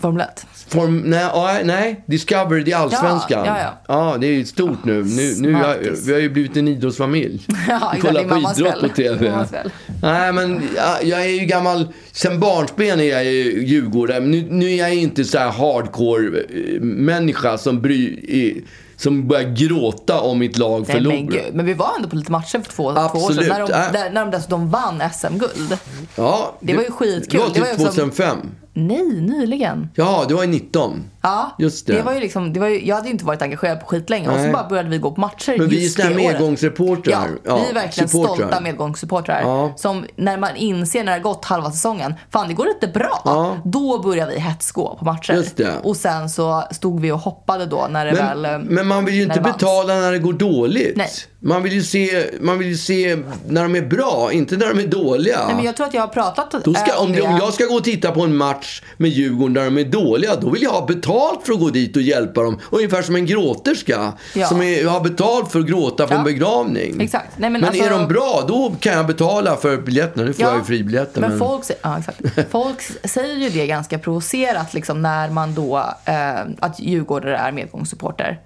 Speaker 1: Formel 1.
Speaker 2: form, nej, ja, nej, Discovery det är allsvenskan.
Speaker 1: Ja, ja, Ah,
Speaker 2: ja. det är ju stort nu. nu, nu har-
Speaker 1: smartis.
Speaker 2: vi har ju blivit en idrottsfamilj.
Speaker 1: (laughs) Ja,
Speaker 2: Vi
Speaker 1: exakt,
Speaker 2: kollar
Speaker 1: det är
Speaker 2: på
Speaker 1: mammas
Speaker 2: idrott
Speaker 1: fel.
Speaker 2: på TV.
Speaker 1: Mammas fel.
Speaker 2: Nej men jag, jag är ju gammal, sen barnsben är jag ju djurgårdare. Men Nu, nu är jag inte så här hardcore eh, människa som bryr, eh, som börjar gråta om mitt lag
Speaker 1: Nej, men,
Speaker 2: förlorar.
Speaker 1: gud. men vi var ändå på lite matcher för två, två år
Speaker 2: Absolut.
Speaker 1: sedan. När de,
Speaker 2: Äh.
Speaker 1: där, när de dessutom vann SM-guld.
Speaker 2: Ja,
Speaker 1: Det var ju skitkul.
Speaker 2: Det var typ
Speaker 1: Det var ju också-
Speaker 2: 2005.
Speaker 1: Nej, nyligen.
Speaker 2: Ja, det var ju 19.
Speaker 1: Ja,
Speaker 2: Just det.
Speaker 1: var ju liksom, det var ju, jag hade ju inte varit engagerad på skitlänge och
Speaker 2: Nej.
Speaker 1: så bara började vi gå på matcher
Speaker 2: Men vi är
Speaker 1: just
Speaker 2: såna här
Speaker 1: det året.
Speaker 2: medgångssupportrar.
Speaker 1: Ja,
Speaker 2: Ja,
Speaker 1: vi är verkligen
Speaker 2: supportrar.
Speaker 1: stolta medgångssupportrar.
Speaker 2: Ja.
Speaker 1: Som när man inser när det har gått halva säsongen, fan det går inte bra.
Speaker 2: Ja.
Speaker 1: Då börjar vi hetsgå på matcher.
Speaker 2: Just det.
Speaker 1: Och sen så stod vi och hoppade då när det
Speaker 2: Men,
Speaker 1: väl... eh,
Speaker 2: men man vill ju
Speaker 1: när
Speaker 2: inte
Speaker 1: det vanns.
Speaker 2: betala när det går dåligt.
Speaker 1: Nej.
Speaker 2: Man, vill ju se, man vill ju se när de är bra, inte när de är dåliga.
Speaker 1: Nej, men jag tror att jag har pratat
Speaker 2: Då ska,
Speaker 1: eh,
Speaker 2: om, det, om jag ska gå och titta på en match med Djurgården där de är dåliga, då vill jag ha betalt för att gå dit och hjälpa dem. Ungefär som en gråterska
Speaker 1: Ja.
Speaker 2: som är, har betalt för att gråta på
Speaker 1: Ja.
Speaker 2: en begravning.
Speaker 1: Exakt. Nej, men alltså-
Speaker 2: är de bra, då kan jag betala för biljetterna. Nu får jag ju fribiljetter.
Speaker 1: Men, Folk, sä- ja, exakt. folk s- säger ju det ganska provocerat liksom, när man då, eh, att djurgårdare är medgångssupporter.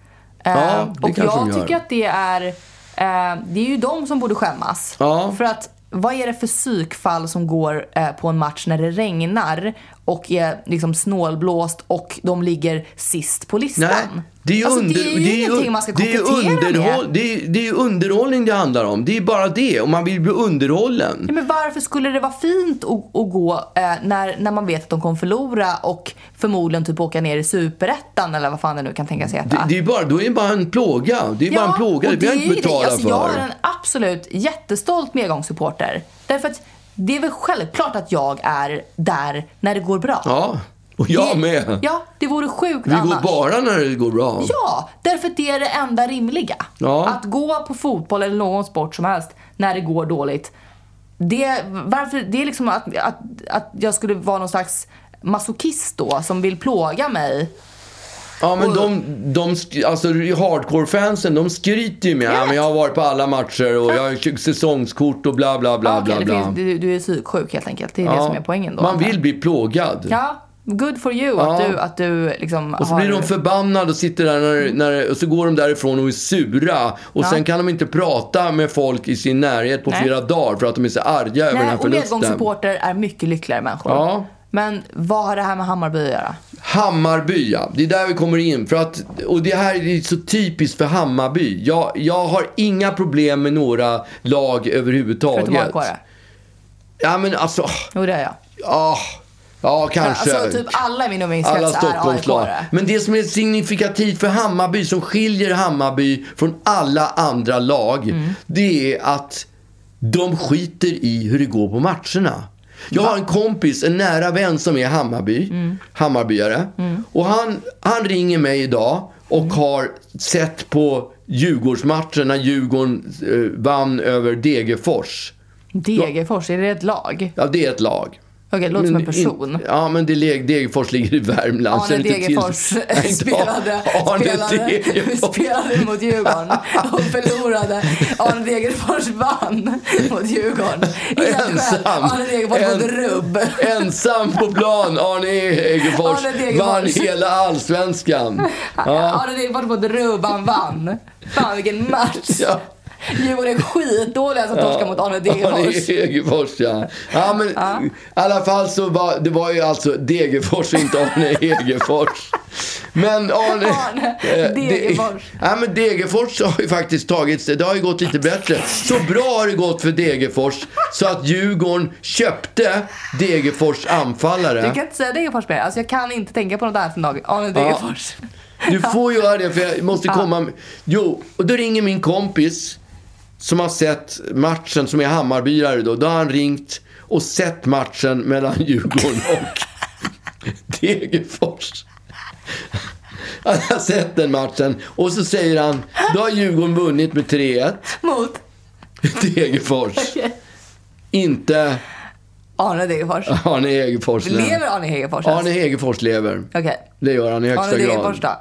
Speaker 1: Eh,
Speaker 2: Ja, det
Speaker 1: och
Speaker 2: kanske de
Speaker 1: jag
Speaker 2: gör.
Speaker 1: tycker att det är, eh, det är ju de som borde skämmas.
Speaker 2: Ja.
Speaker 1: För att vad är det för psykfall som går eh, på en match när det regnar och är liksom snålblåst och de ligger sist på listan?
Speaker 2: Nej, det är ju,
Speaker 1: alltså,
Speaker 2: under,
Speaker 1: det är ju ingenting man ska
Speaker 2: det är ju
Speaker 1: kokettera
Speaker 2: underhåll,
Speaker 1: med.
Speaker 2: det är, det är ju underhållning det handlar om. Det är bara det. Och man vill bli underhållen.
Speaker 1: Ja, men varför skulle det vara fint att, att gå eh, när, när man vet att de kommer förlora och förmodligen typ åka ner i superettan eller vad fan det nu kan tänkas heta?
Speaker 2: Det, det är bara, då är det bara en plåga. Det är bara en plåga. Det
Speaker 1: och
Speaker 2: vill jag inte
Speaker 1: är ju det.
Speaker 2: betala
Speaker 1: alltså,
Speaker 2: för.
Speaker 1: Jag är en absolut jättestolt medgångssupporter. Därför att det är väl självklart att jag är där när det går bra.
Speaker 2: Ja, och jag
Speaker 1: det,
Speaker 2: med.
Speaker 1: Ja, det vore sjukt
Speaker 2: Vi går
Speaker 1: annars.
Speaker 2: bara när det går bra.
Speaker 1: Ja, därför att det är det enda rimliga.
Speaker 2: Ja.
Speaker 1: Att gå på fotboll eller någon sport som helst när det går dåligt. Det, varför, det är liksom att, att, att jag skulle vara någon slags masochist då som vill plåga mig.
Speaker 2: Ja, men de, de sk- alltså hardcore-fansen, de skryter ju med ja, men jag har varit på alla matcher och jag har kö- säsongskort och bla, bla, bla,
Speaker 1: Ja, okej,
Speaker 2: bla,
Speaker 1: det
Speaker 2: bla.
Speaker 1: finns- du, du är psyksjuk helt enkelt. Det är det
Speaker 2: Ja.
Speaker 1: som är poängen då.
Speaker 2: Man vill bli plågad.
Speaker 1: Ja, good for you
Speaker 2: Ja.
Speaker 1: att du, att du Mm. liksom
Speaker 2: Och så
Speaker 1: har...
Speaker 2: blir de förbannade och sitter där när, när, och så går de därifrån och är sura. Och sen kan de inte prata med folk i sin närhet på
Speaker 1: Nej.
Speaker 2: flera dagar för att de är så arga över den
Speaker 1: Nej,
Speaker 2: här
Speaker 1: och
Speaker 2: förlusten.
Speaker 1: medgångssupporter är mycket lyckligare människor.
Speaker 2: Ja.
Speaker 1: Men vad har det här med Hammarby att göra?
Speaker 2: Hammarby, ja. Det är där vi kommer in. För att, och det här är så typiskt för Hammarby. Jag, jag har inga problem med några lag
Speaker 1: Förutom
Speaker 2: överhuvudtaget.
Speaker 1: AIK då?
Speaker 2: Ja, men alltså...
Speaker 1: Jo, det har jag.
Speaker 2: Ja, ja kanske.
Speaker 1: Alltså typ alla i min
Speaker 2: Alla
Speaker 1: umgängeskrets är
Speaker 2: Stockholmslag.
Speaker 1: AIK-are.
Speaker 2: Men det som är signifikativt för Hammarby, som skiljer Hammarby från alla andra lag, det är att de skiter i hur det går på matcherna. Jag har en kompis, en nära vän som är Hammarby, Hammarbyare. Och han, han ringer mig idag och har sett på Djurgårdsmatchen när Djurgården eh, vann över Degerfors.
Speaker 1: Degerfors, är det ett lag?
Speaker 2: Ja, det är ett lag.
Speaker 1: Okej, det låter som en person.
Speaker 2: In, ja, men det leg, Degerfors ligger i Värmland. så Alltså, det
Speaker 1: Arne
Speaker 2: är inte till-
Speaker 1: Degerfors
Speaker 2: (laughs) Nej, inte
Speaker 1: spelade,
Speaker 2: Arne
Speaker 1: spelade,
Speaker 2: Degerfors.
Speaker 1: spelade mot Djurgården och förlorade. Arne Degerfors vann mot Djurgården. Helt själv.
Speaker 2: Ensam.
Speaker 1: Arne Degerfors
Speaker 2: En-
Speaker 1: mot rubb.
Speaker 2: Ensam på plan, Arne Degerfors
Speaker 1: Arne Degerfors.
Speaker 2: vann hela allsvenskan. Ja.
Speaker 1: Arne Degerfors mot rubb, han vann. Fan vilken match.
Speaker 2: Ja.
Speaker 1: Djurgården är skitdåliga som torskar mot Arne
Speaker 2: Arne
Speaker 1: Degerfors.
Speaker 2: Degerfors, ja. ja men, I alla fall så var det var ju alltså Degerfors och inte Arne Degerfors. Men Arne...
Speaker 1: (laughs) Arne
Speaker 2: eh, det-
Speaker 1: Degerfors.
Speaker 2: Ja, men Degerfors har ju faktiskt tagits, det har ju gått lite bättre. Så bra har det gått för Degerfors så att Djurgården köpte Degerfors anfallare.
Speaker 1: Du kan inte säga Degerfors mer. Alltså jag kan inte tänka på något annat än dag. Arne Degerfors.
Speaker 2: Du får göra det för jag måste komma. med- Jo, och då ringer min kompis som har sett matchen, som är Hammarbyare då. Då har han ringt och sett matchen (laughs) mellan Djurgården och Degerfors. att jag har sett den matchen. Och så säger han, då har Djurgården vunnit med 3-1
Speaker 1: Mot?
Speaker 2: till Egefors. Inte
Speaker 1: Arne Degerfors.
Speaker 2: Arne Egefors. nej.
Speaker 1: Lever Arne alltså? Hegerfors ens?
Speaker 2: Arne Egefors lever.
Speaker 1: Okej.
Speaker 2: Det gör han i högsta
Speaker 1: Arne Degerfors
Speaker 2: grad.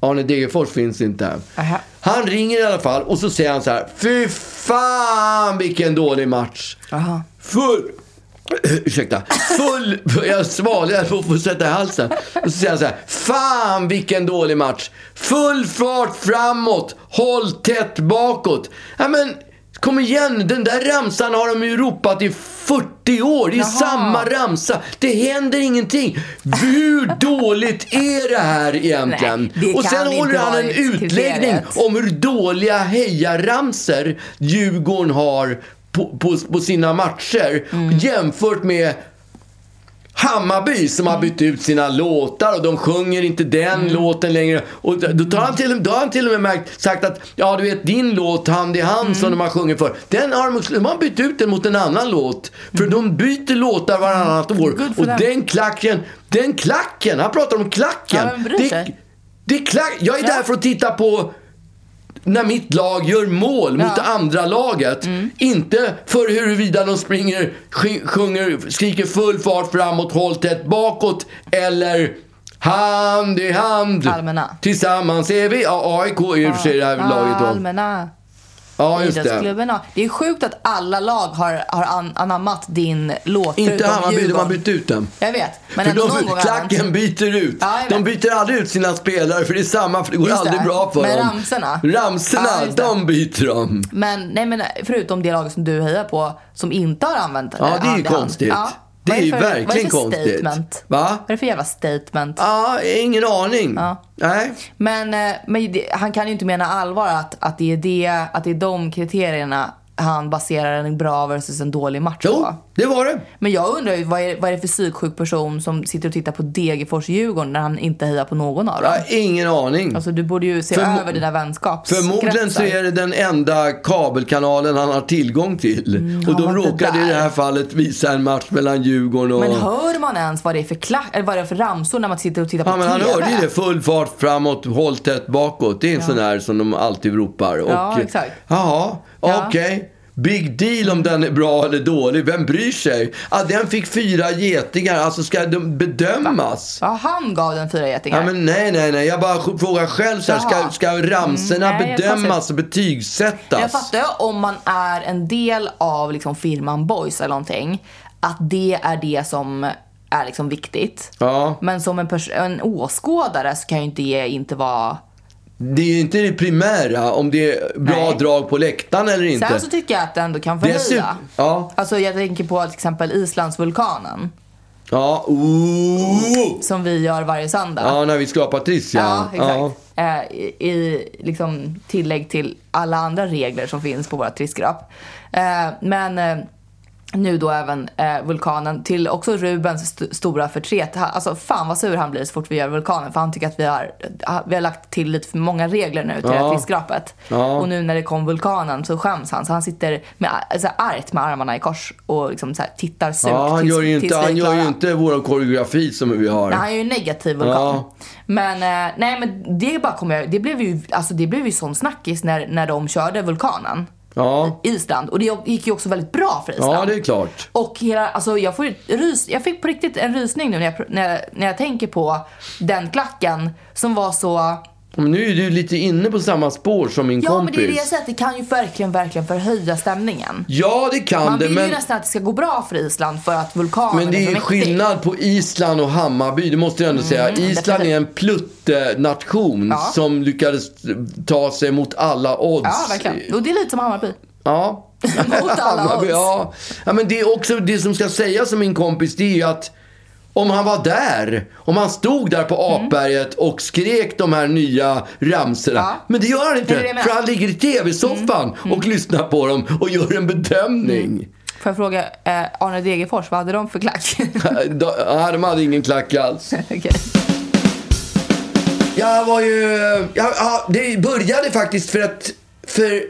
Speaker 1: då?
Speaker 2: Arne Degerfors finns inte.
Speaker 1: Aha.
Speaker 2: Han ringer i alla fall och så säger han så här. Fy fan vilken dålig match.
Speaker 1: Aha.
Speaker 2: Full... (clears throat) Ursäkta. Full... (laughs) Jag svalde, jag får- får sätta i halsen. Och så säger han så här. Fan vilken dålig match. Full fart framåt. Håll tätt bakåt. Ja men, kom igen. Den där ramsan har de ju ropat i 40 år. Det är samma ramsa. Det händer ingenting. Hur dåligt är det här egentligen?
Speaker 1: Nej, det
Speaker 2: och sen
Speaker 1: kan inte
Speaker 2: håller han
Speaker 1: vara
Speaker 2: en utläggning
Speaker 1: kriteriet.
Speaker 2: om hur dåliga hejaramser Djurgården har på, på, på sina matcher
Speaker 1: Mm.
Speaker 2: jämfört med Hammarby som
Speaker 1: Mm.
Speaker 2: har bytt ut sina låtar och de sjunger inte den låten längre. Och d- då, tar han till, då har han till och med märkt, sagt att ja du vet din låt Hand i hand som
Speaker 1: Mm.
Speaker 2: de har sjungit för. Den har de, de har bytt ut den mot en annan låt. För
Speaker 1: Mm.
Speaker 2: de byter låtar varannat år.
Speaker 1: Good for
Speaker 2: Och
Speaker 1: them.
Speaker 2: den klacken, den klacken, han pratar om klacken.
Speaker 1: Ja, men bryr
Speaker 2: det,
Speaker 1: sig.
Speaker 2: det är klack, jag är där för att titta på när mitt lag gör mål mot det andra laget.
Speaker 1: Mm.
Speaker 2: Inte för huruvida de springer, sk- sjunger, skriker full fart framåt, håll tätt bakåt eller hand i hand.
Speaker 1: Allmänna.
Speaker 2: Tillsammans är vi. Ja, AIK är ju i och för sig det här laget då.
Speaker 1: Allmänna
Speaker 2: Ja, just det.
Speaker 1: idrottsklubben. har- Det är sjukt att alla lag har, har an, anammat din låt.
Speaker 2: Inte
Speaker 1: förutom
Speaker 2: Hammarby, de har
Speaker 1: Djurgården.
Speaker 2: bytt ut dem.
Speaker 1: Jag vet, men
Speaker 2: för
Speaker 1: ändå
Speaker 2: de,
Speaker 1: någon gång har
Speaker 2: klacken
Speaker 1: han-
Speaker 2: byter ut.
Speaker 1: Ja, jag
Speaker 2: de
Speaker 1: vet.
Speaker 2: byter aldrig ut sina spelare för det är samma, för det går
Speaker 1: Just det.
Speaker 2: aldrig bra för
Speaker 1: Men
Speaker 2: dem.
Speaker 1: ramsorna?
Speaker 2: Ramsorna,
Speaker 1: Ja, just det.
Speaker 2: de byter de.
Speaker 1: Men, nej, men förutom det laget som du hejar på som inte har använt
Speaker 2: Ja, det är ju
Speaker 1: hand i hand.
Speaker 2: konstigt.
Speaker 1: Ja.
Speaker 2: Det
Speaker 1: Vad
Speaker 2: är ju
Speaker 1: för- vad är
Speaker 2: verkligen
Speaker 1: det för
Speaker 2: konstigt.
Speaker 1: Statement?
Speaker 2: Va?
Speaker 1: Vad är det för jävla statement?
Speaker 2: Ja, ingen aning. Nej.
Speaker 1: Men, eh, men det- han kan ju inte mena allvar att, att, det är det, att det är de kriterierna han baserar en bra versus en dålig match
Speaker 2: Jo,
Speaker 1: på.
Speaker 2: det var det.
Speaker 1: Men jag undrar ju vad är, vad är det för psyksjuk person som sitter och tittar på Degerfors-Djurgården när han inte hejar på någon av
Speaker 2: Jag
Speaker 1: dem?
Speaker 2: har ingen aning.
Speaker 1: Alltså du borde ju se
Speaker 2: Förmo-
Speaker 1: över dina vänskapskretsar.
Speaker 2: Förmodligen så är det den enda kabelkanalen han har tillgång till. och de
Speaker 1: men det
Speaker 2: råkade i
Speaker 1: där.
Speaker 2: det här fallet visa en match mellan Djurgården och...
Speaker 1: Men hör man ens vad det är för klack, eller vad det är för ramsor när man sitter och tittar på
Speaker 2: Ja, men han
Speaker 1: TV?
Speaker 2: hörde ju det. Full fart framåt, håll tätt bakåt. Det är en sån där som de alltid ropar. Och,
Speaker 1: Ja, exakt.
Speaker 2: Jaha, okej. Big deal om den är bra eller dålig. Vem bryr sig? Ah, den fick fyra getingar. Alltså, ska de bedömas?
Speaker 1: Ja, han gav den fyra getingar.
Speaker 2: Ja, men nej, nej, nej. Jag bara sj- frågar själv så här. Ska,
Speaker 1: Jaha.
Speaker 2: ska ramsorna
Speaker 1: Mm, nej, jag
Speaker 2: bedömas
Speaker 1: fattar.
Speaker 2: och betygsättas?
Speaker 1: Jag fattar ju om man är en del av liksom firman Boys eller någonting. Att det är det som är liksom viktigt.
Speaker 2: Ja.
Speaker 1: Men som en, pers- en åskådare så kan ju inte det inte vara...
Speaker 2: Det är ju inte det primära om det är bra
Speaker 1: Nej.
Speaker 2: drag på läktaren eller inte.
Speaker 1: Sen så tycker jag att det ändå kan förhöja.
Speaker 2: Dessutom- ja.
Speaker 1: Alltså jag tänker på till exempel Islandsvulkanen.
Speaker 2: Ja, ooh.
Speaker 1: Som vi gör varje söndag.
Speaker 2: ja, när vi skrapar tiss
Speaker 1: Ja,
Speaker 2: ja.
Speaker 1: exakt. Eh, I, i liksom tillägg till alla andra regler som finns på våra trisskrap. Eh, men eh, nu då även eh, vulkanen till också Rubens st- stora förtret. Han- Alltså fan vad sur han blir så fort vi gör vulkanen för han tycker att vi har, ha- vi har lagt till lite för många regler nu till det här trisskrapet.
Speaker 2: Ja.
Speaker 1: Och nu när det kom vulkanen så skäms han så han sitter med, alltså, argt med armarna i kors och liksom så här, tittar surt
Speaker 2: Ja, han
Speaker 1: tills-
Speaker 2: gör ju inte,
Speaker 1: tills vi är
Speaker 2: han gör ju
Speaker 1: klara.
Speaker 2: inte vår koreografi som vi har.
Speaker 1: Nej, han är ju en negativ vulkan.
Speaker 2: Ja.
Speaker 1: Men, eh, nej, men det bara kommer jag, det blev ju, alltså det blev ju sån snackis när, när de körde vulkanen.
Speaker 2: Ja.
Speaker 1: Island. Och det gick ju också väldigt bra för Island.
Speaker 2: ja, det är klart.
Speaker 1: Och hela, alltså jag, får ju rys, jag fick på riktigt en rysning nu när jag, pr- när, jag, när jag tänker på den klacken som var så...
Speaker 2: Men nu är du lite inne på samma spår som min
Speaker 1: Ja men
Speaker 2: kompis.
Speaker 1: det är det jag säger, att det kan ju verkligen, verkligen förhöja stämningen.
Speaker 2: Ja, det kan
Speaker 1: Man
Speaker 2: det,
Speaker 1: vill ju
Speaker 2: men...
Speaker 1: nästan att det ska gå bra för Island för att vulkanen
Speaker 2: Men det är
Speaker 1: för
Speaker 2: ju
Speaker 1: mäktig. Mm,
Speaker 2: skillnad på Island och Hammarby, det måste jag ändå säga. Island
Speaker 1: definitivt.
Speaker 2: är en pluttenation
Speaker 1: Ja.
Speaker 2: som lyckades ta sig mot alla odds.
Speaker 1: Ja, verkligen. Och det är lite som Hammarby.
Speaker 2: Ja.
Speaker 1: (laughs) Mot alla
Speaker 2: (laughs)
Speaker 1: odds.
Speaker 2: ja. ja, men det är också det som ska sägas som min kompis, det är ju att om han var där, om han stod där på
Speaker 1: Mm.
Speaker 2: Apberget och skrek de här nya ramsorna.
Speaker 1: Ja.
Speaker 2: Men det gör han inte,
Speaker 1: Det är det Mm. jag menar.
Speaker 2: för han ligger i tv-soffan och lyssnar på dem och gör en bedömning.
Speaker 1: Får jag fråga, eh, Arne Degerfors, vad hade de
Speaker 2: (laughs)
Speaker 1: för klack? Mm.
Speaker 2: De- ja, de hade ingen klack alls.
Speaker 1: Okej.
Speaker 2: Jag var ju... Ja, ja, det började faktiskt för att för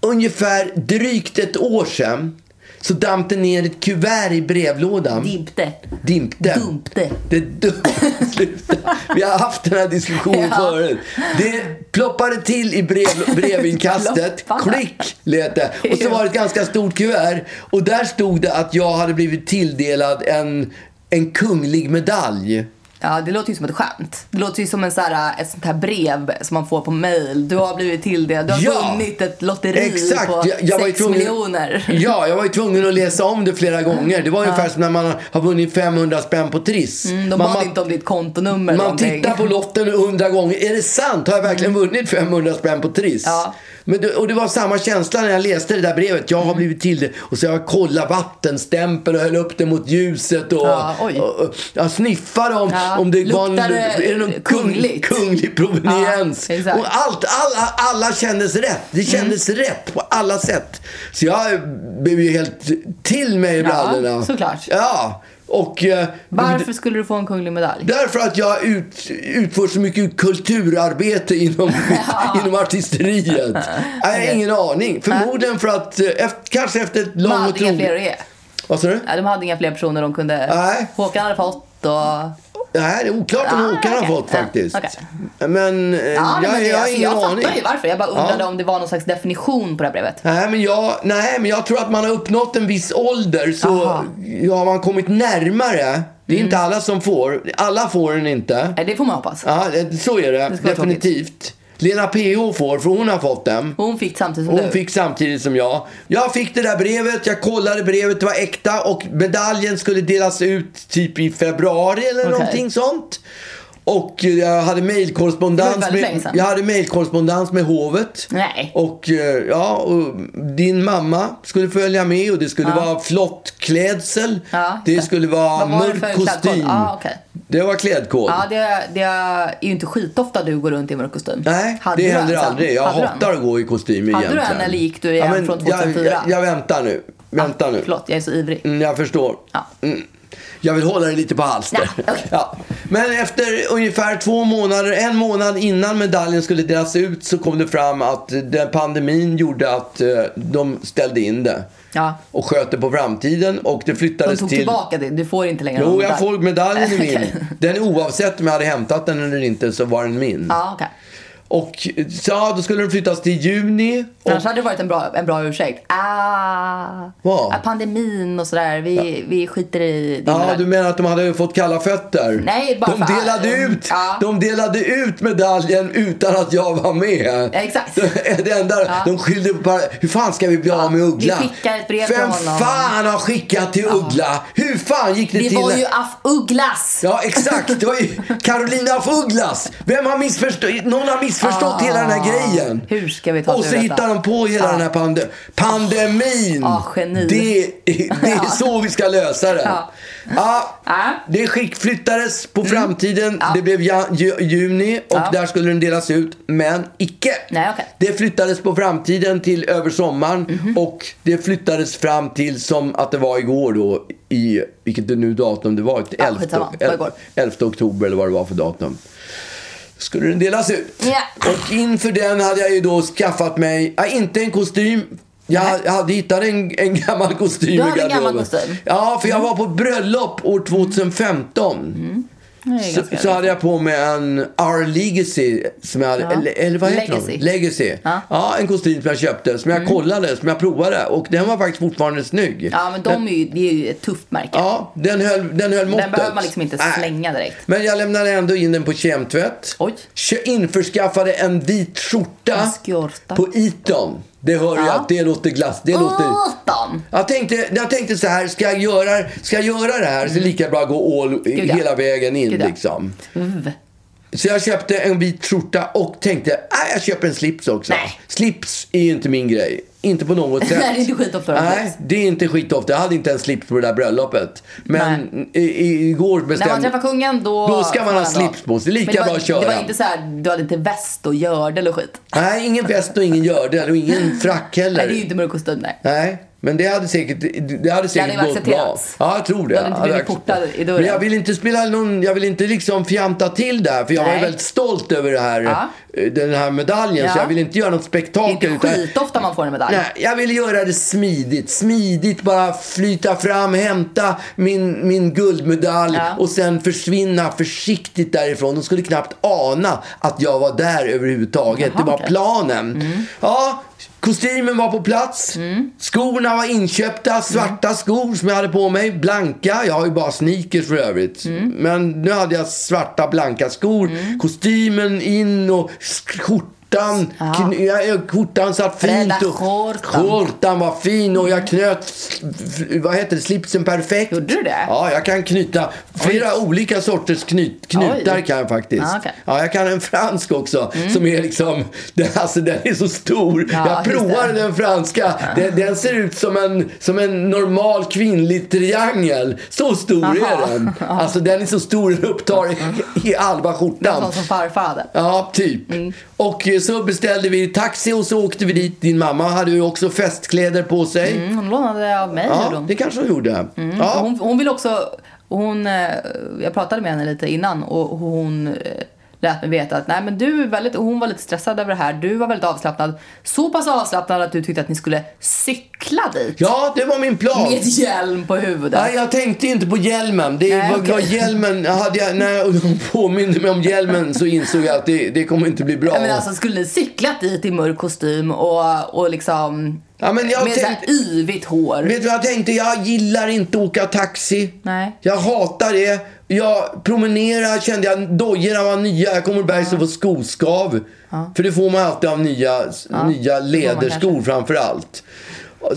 Speaker 2: ungefär drygt ett år sedan så damp det ner ett kuvert i brevlådan.
Speaker 1: Dimpte.
Speaker 2: Dimpte.
Speaker 1: Dumpte.
Speaker 2: Det dum... (laughs) Sluta. Vi har haft den här diskussionen
Speaker 1: (laughs) Ja.
Speaker 2: förut. Det ploppade till i brev,
Speaker 1: (laughs)
Speaker 2: brevinkastet.
Speaker 1: Ploppade.
Speaker 2: Klick lät det. Och så var det ett ganska stort kuvert. Och där stod det att jag hade blivit tilldelad en, en kunglig medalj.
Speaker 1: Ja, det låter ju som ett skämt. Det låter ju som en så här, eh, ett sånt här brev som man får på mail. Du har blivit till det. Du har
Speaker 2: Ja.
Speaker 1: vunnit ett lotteri
Speaker 2: Exakt.
Speaker 1: på
Speaker 2: Jag- jag var ju
Speaker 1: 6
Speaker 2: tvungen-
Speaker 1: miljoner. Mm,
Speaker 2: Ja, jag var ju tvungen att läsa om det flera gånger. Det var ungefär som när man har vunnit 500 spänn på Triss.
Speaker 1: De
Speaker 2: man,
Speaker 1: Mm, bad
Speaker 2: man-
Speaker 1: inte om ditt kontonummer
Speaker 2: Man
Speaker 1: eller någonting.
Speaker 2: tittar på lotten hundra gånger. Är det sant? Har jag verkligen vunnit 500 spänn på Triss?
Speaker 1: Ja.
Speaker 2: Men det, och det var samma känsla när jag läste det där brevet. Jag har blivit till det. Och så jag kollade vattenstämpel och höll upp det mot ljuset. Och,
Speaker 1: Ja, oj.
Speaker 2: och, och, jag sniffade om,
Speaker 1: Ja,
Speaker 2: om det var en,
Speaker 1: luktar det
Speaker 2: är det någon kunglig,
Speaker 1: kungligt?
Speaker 2: kunglig proveniens.
Speaker 1: Ja, exakt. Mm.
Speaker 2: och allt, alla, alla kändes rätt. Det kändes rätt på alla sätt. Så jag blev ju helt till mig i
Speaker 1: Ja,
Speaker 2: brallorna.
Speaker 1: såklart.
Speaker 2: Ja, och... eh,
Speaker 1: Varför skulle du få en kunglig medalj?
Speaker 2: Därför att jag ut, utför så mycket kulturarbete
Speaker 1: (laughs)
Speaker 2: inom, inom artisteriet. Nej, Jag har ingen aning. Förmodligen för att, eh, efter, kanske efter ett
Speaker 1: De
Speaker 2: långt och
Speaker 1: hade inga fler
Speaker 2: troget...
Speaker 1: att ge.
Speaker 2: Vad sa du?
Speaker 1: Ja, de hade inga fler personer de kunde...
Speaker 2: Nej.
Speaker 1: Håkan hade fått och...
Speaker 2: Nej, det är oklart om
Speaker 1: Ah,
Speaker 2: Håkan har
Speaker 1: okej.
Speaker 2: fått
Speaker 1: Ja,
Speaker 2: faktiskt.
Speaker 1: okej.
Speaker 2: Men eh,
Speaker 1: Ja,
Speaker 2: jag,
Speaker 1: men det,
Speaker 2: jag har
Speaker 1: alltså,
Speaker 2: ingen
Speaker 1: jag
Speaker 2: aning.
Speaker 1: fattar ju varför. Jag bara undrade
Speaker 2: Ja.
Speaker 1: om det var någon slags definition på det här brevet.
Speaker 2: Nej men, jag, nej, men jag tror att man har uppnått en viss ålder så
Speaker 1: Aha. Mm.
Speaker 2: har man kommit närmare. Det är inte alla som får. Alla får den inte.
Speaker 1: Nej, det får man hoppas.
Speaker 2: Ja, det- så är det.
Speaker 1: ska vara tråkigt.
Speaker 2: Definitivt. Lena PH får, för hon har fått den.
Speaker 1: Hon fick samtidigt som
Speaker 2: Hon
Speaker 1: du.
Speaker 2: fick samtidigt som jag. Jag fick det där brevet, jag kollade brevet, det var äkta och medaljen skulle delas ut typ i februari eller
Speaker 1: Okej.
Speaker 2: någonting sånt. Och eh, jag hade
Speaker 1: Det var
Speaker 2: mailkorrespondens
Speaker 1: väldigt länge
Speaker 2: med,
Speaker 1: sedan.
Speaker 2: jag hade mailkorrespondens med hovet.
Speaker 1: Nej.
Speaker 2: Och eh, ja, och din mamma skulle följa med och det skulle vara flott klädsel.
Speaker 1: Ja,
Speaker 2: det
Speaker 1: just det.
Speaker 2: skulle vara
Speaker 1: Vad var det
Speaker 2: mörk
Speaker 1: för klädkod?
Speaker 2: kostym.
Speaker 1: Ah, okej.
Speaker 2: Det var klädkod.
Speaker 1: Ja, det, det är ju inte skitofta du går runt i mörk kostym.
Speaker 2: Nej,
Speaker 1: Hade
Speaker 2: det
Speaker 1: du
Speaker 2: händer
Speaker 1: en sen?
Speaker 2: aldrig. Jag
Speaker 1: Hade du en?
Speaker 2: hatar att gå i kostym
Speaker 1: Hade du
Speaker 2: egentligen.
Speaker 1: en eller gick du igen
Speaker 2: men
Speaker 1: från 2004?
Speaker 2: Jag, jag, jag väntar nu. Vänta nu.
Speaker 1: Förlåt, jag är så ivrig.
Speaker 2: Mm, jag förstår.
Speaker 1: Ja.
Speaker 2: Mm. Jag vill hålla det lite på halster.
Speaker 1: Ja, okej.
Speaker 2: (laughs) Ja. Men efter ungefär två månader, en månad innan medaljen skulle delas ut så kom det fram att den pandemin gjorde att eh, de ställde in det.
Speaker 1: Ja.
Speaker 2: Och sköt det på framtiden och det
Speaker 1: De
Speaker 2: flyttades
Speaker 1: tog
Speaker 2: till...
Speaker 1: tillbaka det. Du får inte längre
Speaker 2: Jo,
Speaker 1: någon
Speaker 2: jag
Speaker 1: medalj.
Speaker 2: får medaljen i min.
Speaker 1: (laughs) Okej.
Speaker 2: Den oavsett om jag hade hämtat den eller inte så var den min.
Speaker 1: Ja, okej.
Speaker 2: Och så, ja, då skulle den flyttas till juni. Och,
Speaker 1: Annars hade det varit en bra, en bra ursäkt. Ah,
Speaker 2: Vad?
Speaker 1: ah, pandemin och sådär. Vi, vi skiter i din
Speaker 2: ja,
Speaker 1: medalj.
Speaker 2: du menar att de hade fått kalla fötter?
Speaker 1: Nej, bara
Speaker 2: de
Speaker 1: för-
Speaker 2: delade ut
Speaker 1: Ja.
Speaker 2: De delade ut medaljen utan att jag var med.
Speaker 1: Ja, exakt.
Speaker 2: (laughs) Det, det enda, De skyllde på bara, hur fan ska vi bli av med Uggla?
Speaker 1: vi skickar ett brev till
Speaker 2: Vem
Speaker 1: honom.
Speaker 2: fan har skickat till Uggla? Hur fan gick det,
Speaker 1: Det
Speaker 2: till?
Speaker 1: var ju af Ugglas!
Speaker 2: Ja, exakt. Det var ju Carolina af Ugglas. Vem har missförstått? Någon har missförstått
Speaker 1: Ah.
Speaker 2: hela den här grejen.
Speaker 1: Hur ska vi ta
Speaker 2: Och
Speaker 1: oss
Speaker 2: så
Speaker 1: ur detta?
Speaker 2: hittar de på hela den här pande pandemin.
Speaker 1: Ah, geni.
Speaker 2: det, är- det är (laughs) så vi ska lösa det.
Speaker 1: Ja.
Speaker 2: Ja,
Speaker 1: Ja. Mm.
Speaker 2: det skickflyttades på framtiden. Det blev ja, ju, juni och
Speaker 1: Ja.
Speaker 2: där skulle den delas ut, men icke.
Speaker 1: Nej, okej. Mhm.
Speaker 2: Det flyttades på framtiden till över sommaren och det flyttades fram till som att det var igår då i, vilket det nu datum det var,
Speaker 1: Ja,
Speaker 2: 11,
Speaker 1: skitsamma. Det var igår.
Speaker 2: 11 oktober eller vad det var för datum. Skulle den delas ut.
Speaker 1: Ja.
Speaker 2: Och inför den hade jag ju då skaffat mig, ja, inte en kostym. Jag, jag hade hittat en, en gammal kostym
Speaker 1: Du
Speaker 2: i
Speaker 1: hade en gammal
Speaker 2: garderoben.
Speaker 1: kostym? Mm.
Speaker 2: Ja, för jag var på ett bröllop år 2015.
Speaker 1: Det är
Speaker 2: Så,
Speaker 1: ganska
Speaker 2: så hade jag på mig en Our Legacy, som jag hade, eller, eller vad heter
Speaker 1: Legacy. Mm.
Speaker 2: den? Legacy. Ja. en kostym som jag köpte, som jag kollade, som jag provade. Och den var faktiskt fortfarande snygg.
Speaker 1: Ja, men de är ju, det är ju ett tufft märke.
Speaker 2: Ja, den höll, den höll måttet.
Speaker 1: Den behöver man liksom inte
Speaker 2: Nej.
Speaker 1: slänga direkt.
Speaker 2: Men jag lämnade ändå in den på kemtvätt.
Speaker 1: Oj.
Speaker 2: Kö- Införskaffade en vit skjorta
Speaker 1: En skjorta.
Speaker 2: på typ. Eton. Det hör jag
Speaker 1: Ja.
Speaker 2: att det låter glass. Det låter...
Speaker 1: Utan!
Speaker 2: Jag tänkte, jag tänkte så här, ska jag göra, ska jag göra det här så är det lika bra att gå all,
Speaker 1: Mm. Gud, ja.
Speaker 2: hela vägen in
Speaker 1: Gud, ja.
Speaker 2: liksom. Så jag köpte en vit skjorta och tänkte, nej jag köper en slips också.
Speaker 1: Nej.
Speaker 2: Slips är ju inte min grej. Inte på
Speaker 1: (laughs)
Speaker 2: något sätt.
Speaker 1: Nej, det är inte skitofta att ha
Speaker 2: Nej,
Speaker 1: slips.
Speaker 2: det är inte skitofta. Jag hade inte en slips på det där bröllopet. Men i, i, igår
Speaker 1: När man
Speaker 2: bestämde...
Speaker 1: träffar kungen då...
Speaker 2: Då ska man ha slips på sig. Det är lika
Speaker 1: Men det var-
Speaker 2: bra att köra.
Speaker 1: Det var inte så här, du hade inte väst och gördel och skit.
Speaker 2: Nej, ingen väst och ingen gördel och ingen frack heller.
Speaker 1: Nej, det är ju inte mörk kostym, nej.
Speaker 2: Nej. Men det hade säkert, det hade säkert
Speaker 1: hade ju
Speaker 2: gått bra.
Speaker 1: accepterats.
Speaker 2: Ja, jag tror det.
Speaker 1: Du hade inte blivit
Speaker 2: Ja, det hade-
Speaker 1: portad i dörren.
Speaker 2: Men jag vill inte spela någon, jag vill inte liksom fjanta till det här. För jag var
Speaker 1: Nej.
Speaker 2: ju väldigt stolt över det här,
Speaker 1: Ja.
Speaker 2: eh, den här medaljen. Så
Speaker 1: Ja.
Speaker 2: jag vill inte göra något
Speaker 1: Det är
Speaker 2: spektakel.
Speaker 1: inte
Speaker 2: utan-
Speaker 1: skitofta man får en medalj.
Speaker 2: Nej, jag vill göra det smidigt. Smidigt bara flyta fram, hämta min, min guldmedalj
Speaker 1: Ja.
Speaker 2: och sen försvinna försiktigt därifrån. De skulle knappt ana att jag var där överhuvudtaget. det var
Speaker 1: okej. Mm.
Speaker 2: planen. Ja, kostymen var på plats. Skorna var inköpta. Svarta
Speaker 1: Mm.
Speaker 2: skor som jag hade på mig. Blanka. Jag har ju bara sneakers för övrigt.
Speaker 1: Mm.
Speaker 2: Men nu hade jag svarta blanka skor. Kostymen in och skjortan. Kn- jag- jag- Skjortan satt
Speaker 1: Breda
Speaker 2: fint. och-
Speaker 1: skjortan.
Speaker 2: Skjortan var fin och jag knöt, f- f- vad heter det, slipsen perfekt.
Speaker 1: Gjorde du det?
Speaker 2: Ja, jag kan knyta flera olika sorters knut, knutar
Speaker 1: Oj.
Speaker 2: kan jag faktiskt.
Speaker 1: Ah, okej. Mm.
Speaker 2: Ja, jag kan en fransk också som är liksom, den, alltså den är så stor.
Speaker 1: Ja,
Speaker 2: jag
Speaker 1: just
Speaker 2: provar
Speaker 1: det.
Speaker 2: den franska. Den, den ser ut som en, som en normal kvinnlig triangel. Så stor
Speaker 1: Aha. Mm.
Speaker 2: är
Speaker 1: (laughs)
Speaker 2: den. Alltså den är så stor den upptar i, i halva skjortan.
Speaker 1: Sån som farfar hade.
Speaker 2: Ja, typ.
Speaker 1: Mm.
Speaker 2: Och eh, så beställde vi taxi och så åkte vi dit. Din mamma hade ju också festkläder på sig.
Speaker 1: Mm, Hon lånade av mig gjorde
Speaker 2: Ja,
Speaker 1: hon.
Speaker 2: det kanske hon gjorde. Ja.
Speaker 1: Och Hon, hon vill också, hon, eh, jag pratade med henne lite innan och hon eh, lät mig veta att nej men du är väldigt, och hon var lite stressad över det här, du var väldigt avslappnad. Så pass avslappnad att du tyckte att ni skulle cykla dit.
Speaker 2: ja, det var min plan.
Speaker 1: Med hjälm på huvudet.
Speaker 2: Nej, jag tänkte inte på hjälmen. Det
Speaker 1: Nej,
Speaker 2: var,
Speaker 1: okej.
Speaker 2: var hjälmen. Hade jag, (laughs) när hon påminde mig om hjälmen så insåg jag att det, det kommer inte bli bra.
Speaker 1: Ja, men alltså skulle ni cyklat dit i mörk kostym och, och liksom
Speaker 2: Ja, men jag
Speaker 1: med så här
Speaker 2: tänkte-
Speaker 1: yvigt hår.
Speaker 2: Vet du vad jag tänkte? Jag gillar inte att åka taxi.
Speaker 1: Nej.
Speaker 2: Jag hatar det. Jag promenerar kände jag, dojorna var nya. Jag kommer bergs och få skoskav. För det får man alltid av nya, nya läderskor framför allt.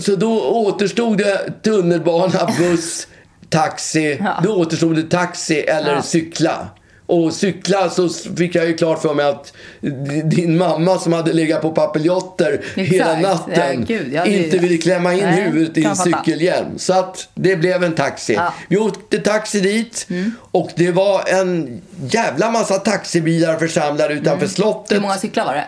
Speaker 2: Så då återstod det tunnelbana, buss, taxi. Då återstod det taxi eller cykla. Och cykla så fick jag ju klart för mig att d- din mamma som hade legat på papiljotter hela
Speaker 1: Exakt.
Speaker 2: natten
Speaker 1: Ja, gud, jag hade ju-
Speaker 2: inte ville klämma in
Speaker 1: Nej,
Speaker 2: huvudet i
Speaker 1: kan
Speaker 2: en
Speaker 1: jag fatta.
Speaker 2: cykelhjälm. Så att det blev en taxi.
Speaker 1: Ja. Mm.
Speaker 2: Vi åkte taxi dit och det var en jävla massa taxibilar församlade utanför slottet.
Speaker 1: Mm. Hur många cyklar var det?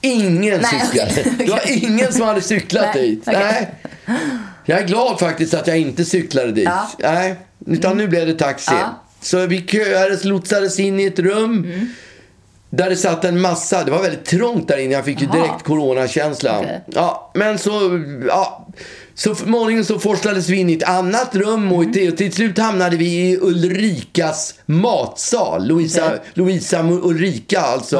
Speaker 2: Ingen
Speaker 1: Nej,
Speaker 2: cyklade.
Speaker 1: okej, (laughs)
Speaker 2: Det var
Speaker 1: okej.
Speaker 2: ingen som hade cyklat
Speaker 1: Nej,
Speaker 2: dit.
Speaker 1: okej.
Speaker 2: Nej. Jag är glad faktiskt att jag inte cyklade dit.
Speaker 1: Ja. Mm.
Speaker 2: Nej, utan nu blev det taxi.
Speaker 1: Ja. Mm.
Speaker 2: Så vi köades, lotsades in i ett rum. Där det satt en massa, det var väldigt trångt där inne. Jag fick ju
Speaker 1: Jaha.
Speaker 2: direkt coronakänsla.
Speaker 1: Okej.
Speaker 2: Ja, men så, ja. Så morgonen så forslades vi in i ett annat rum och till, till slut hamnade vi i Ulrikas matsal. Louisa, Louisa Mu- Ulrika alltså.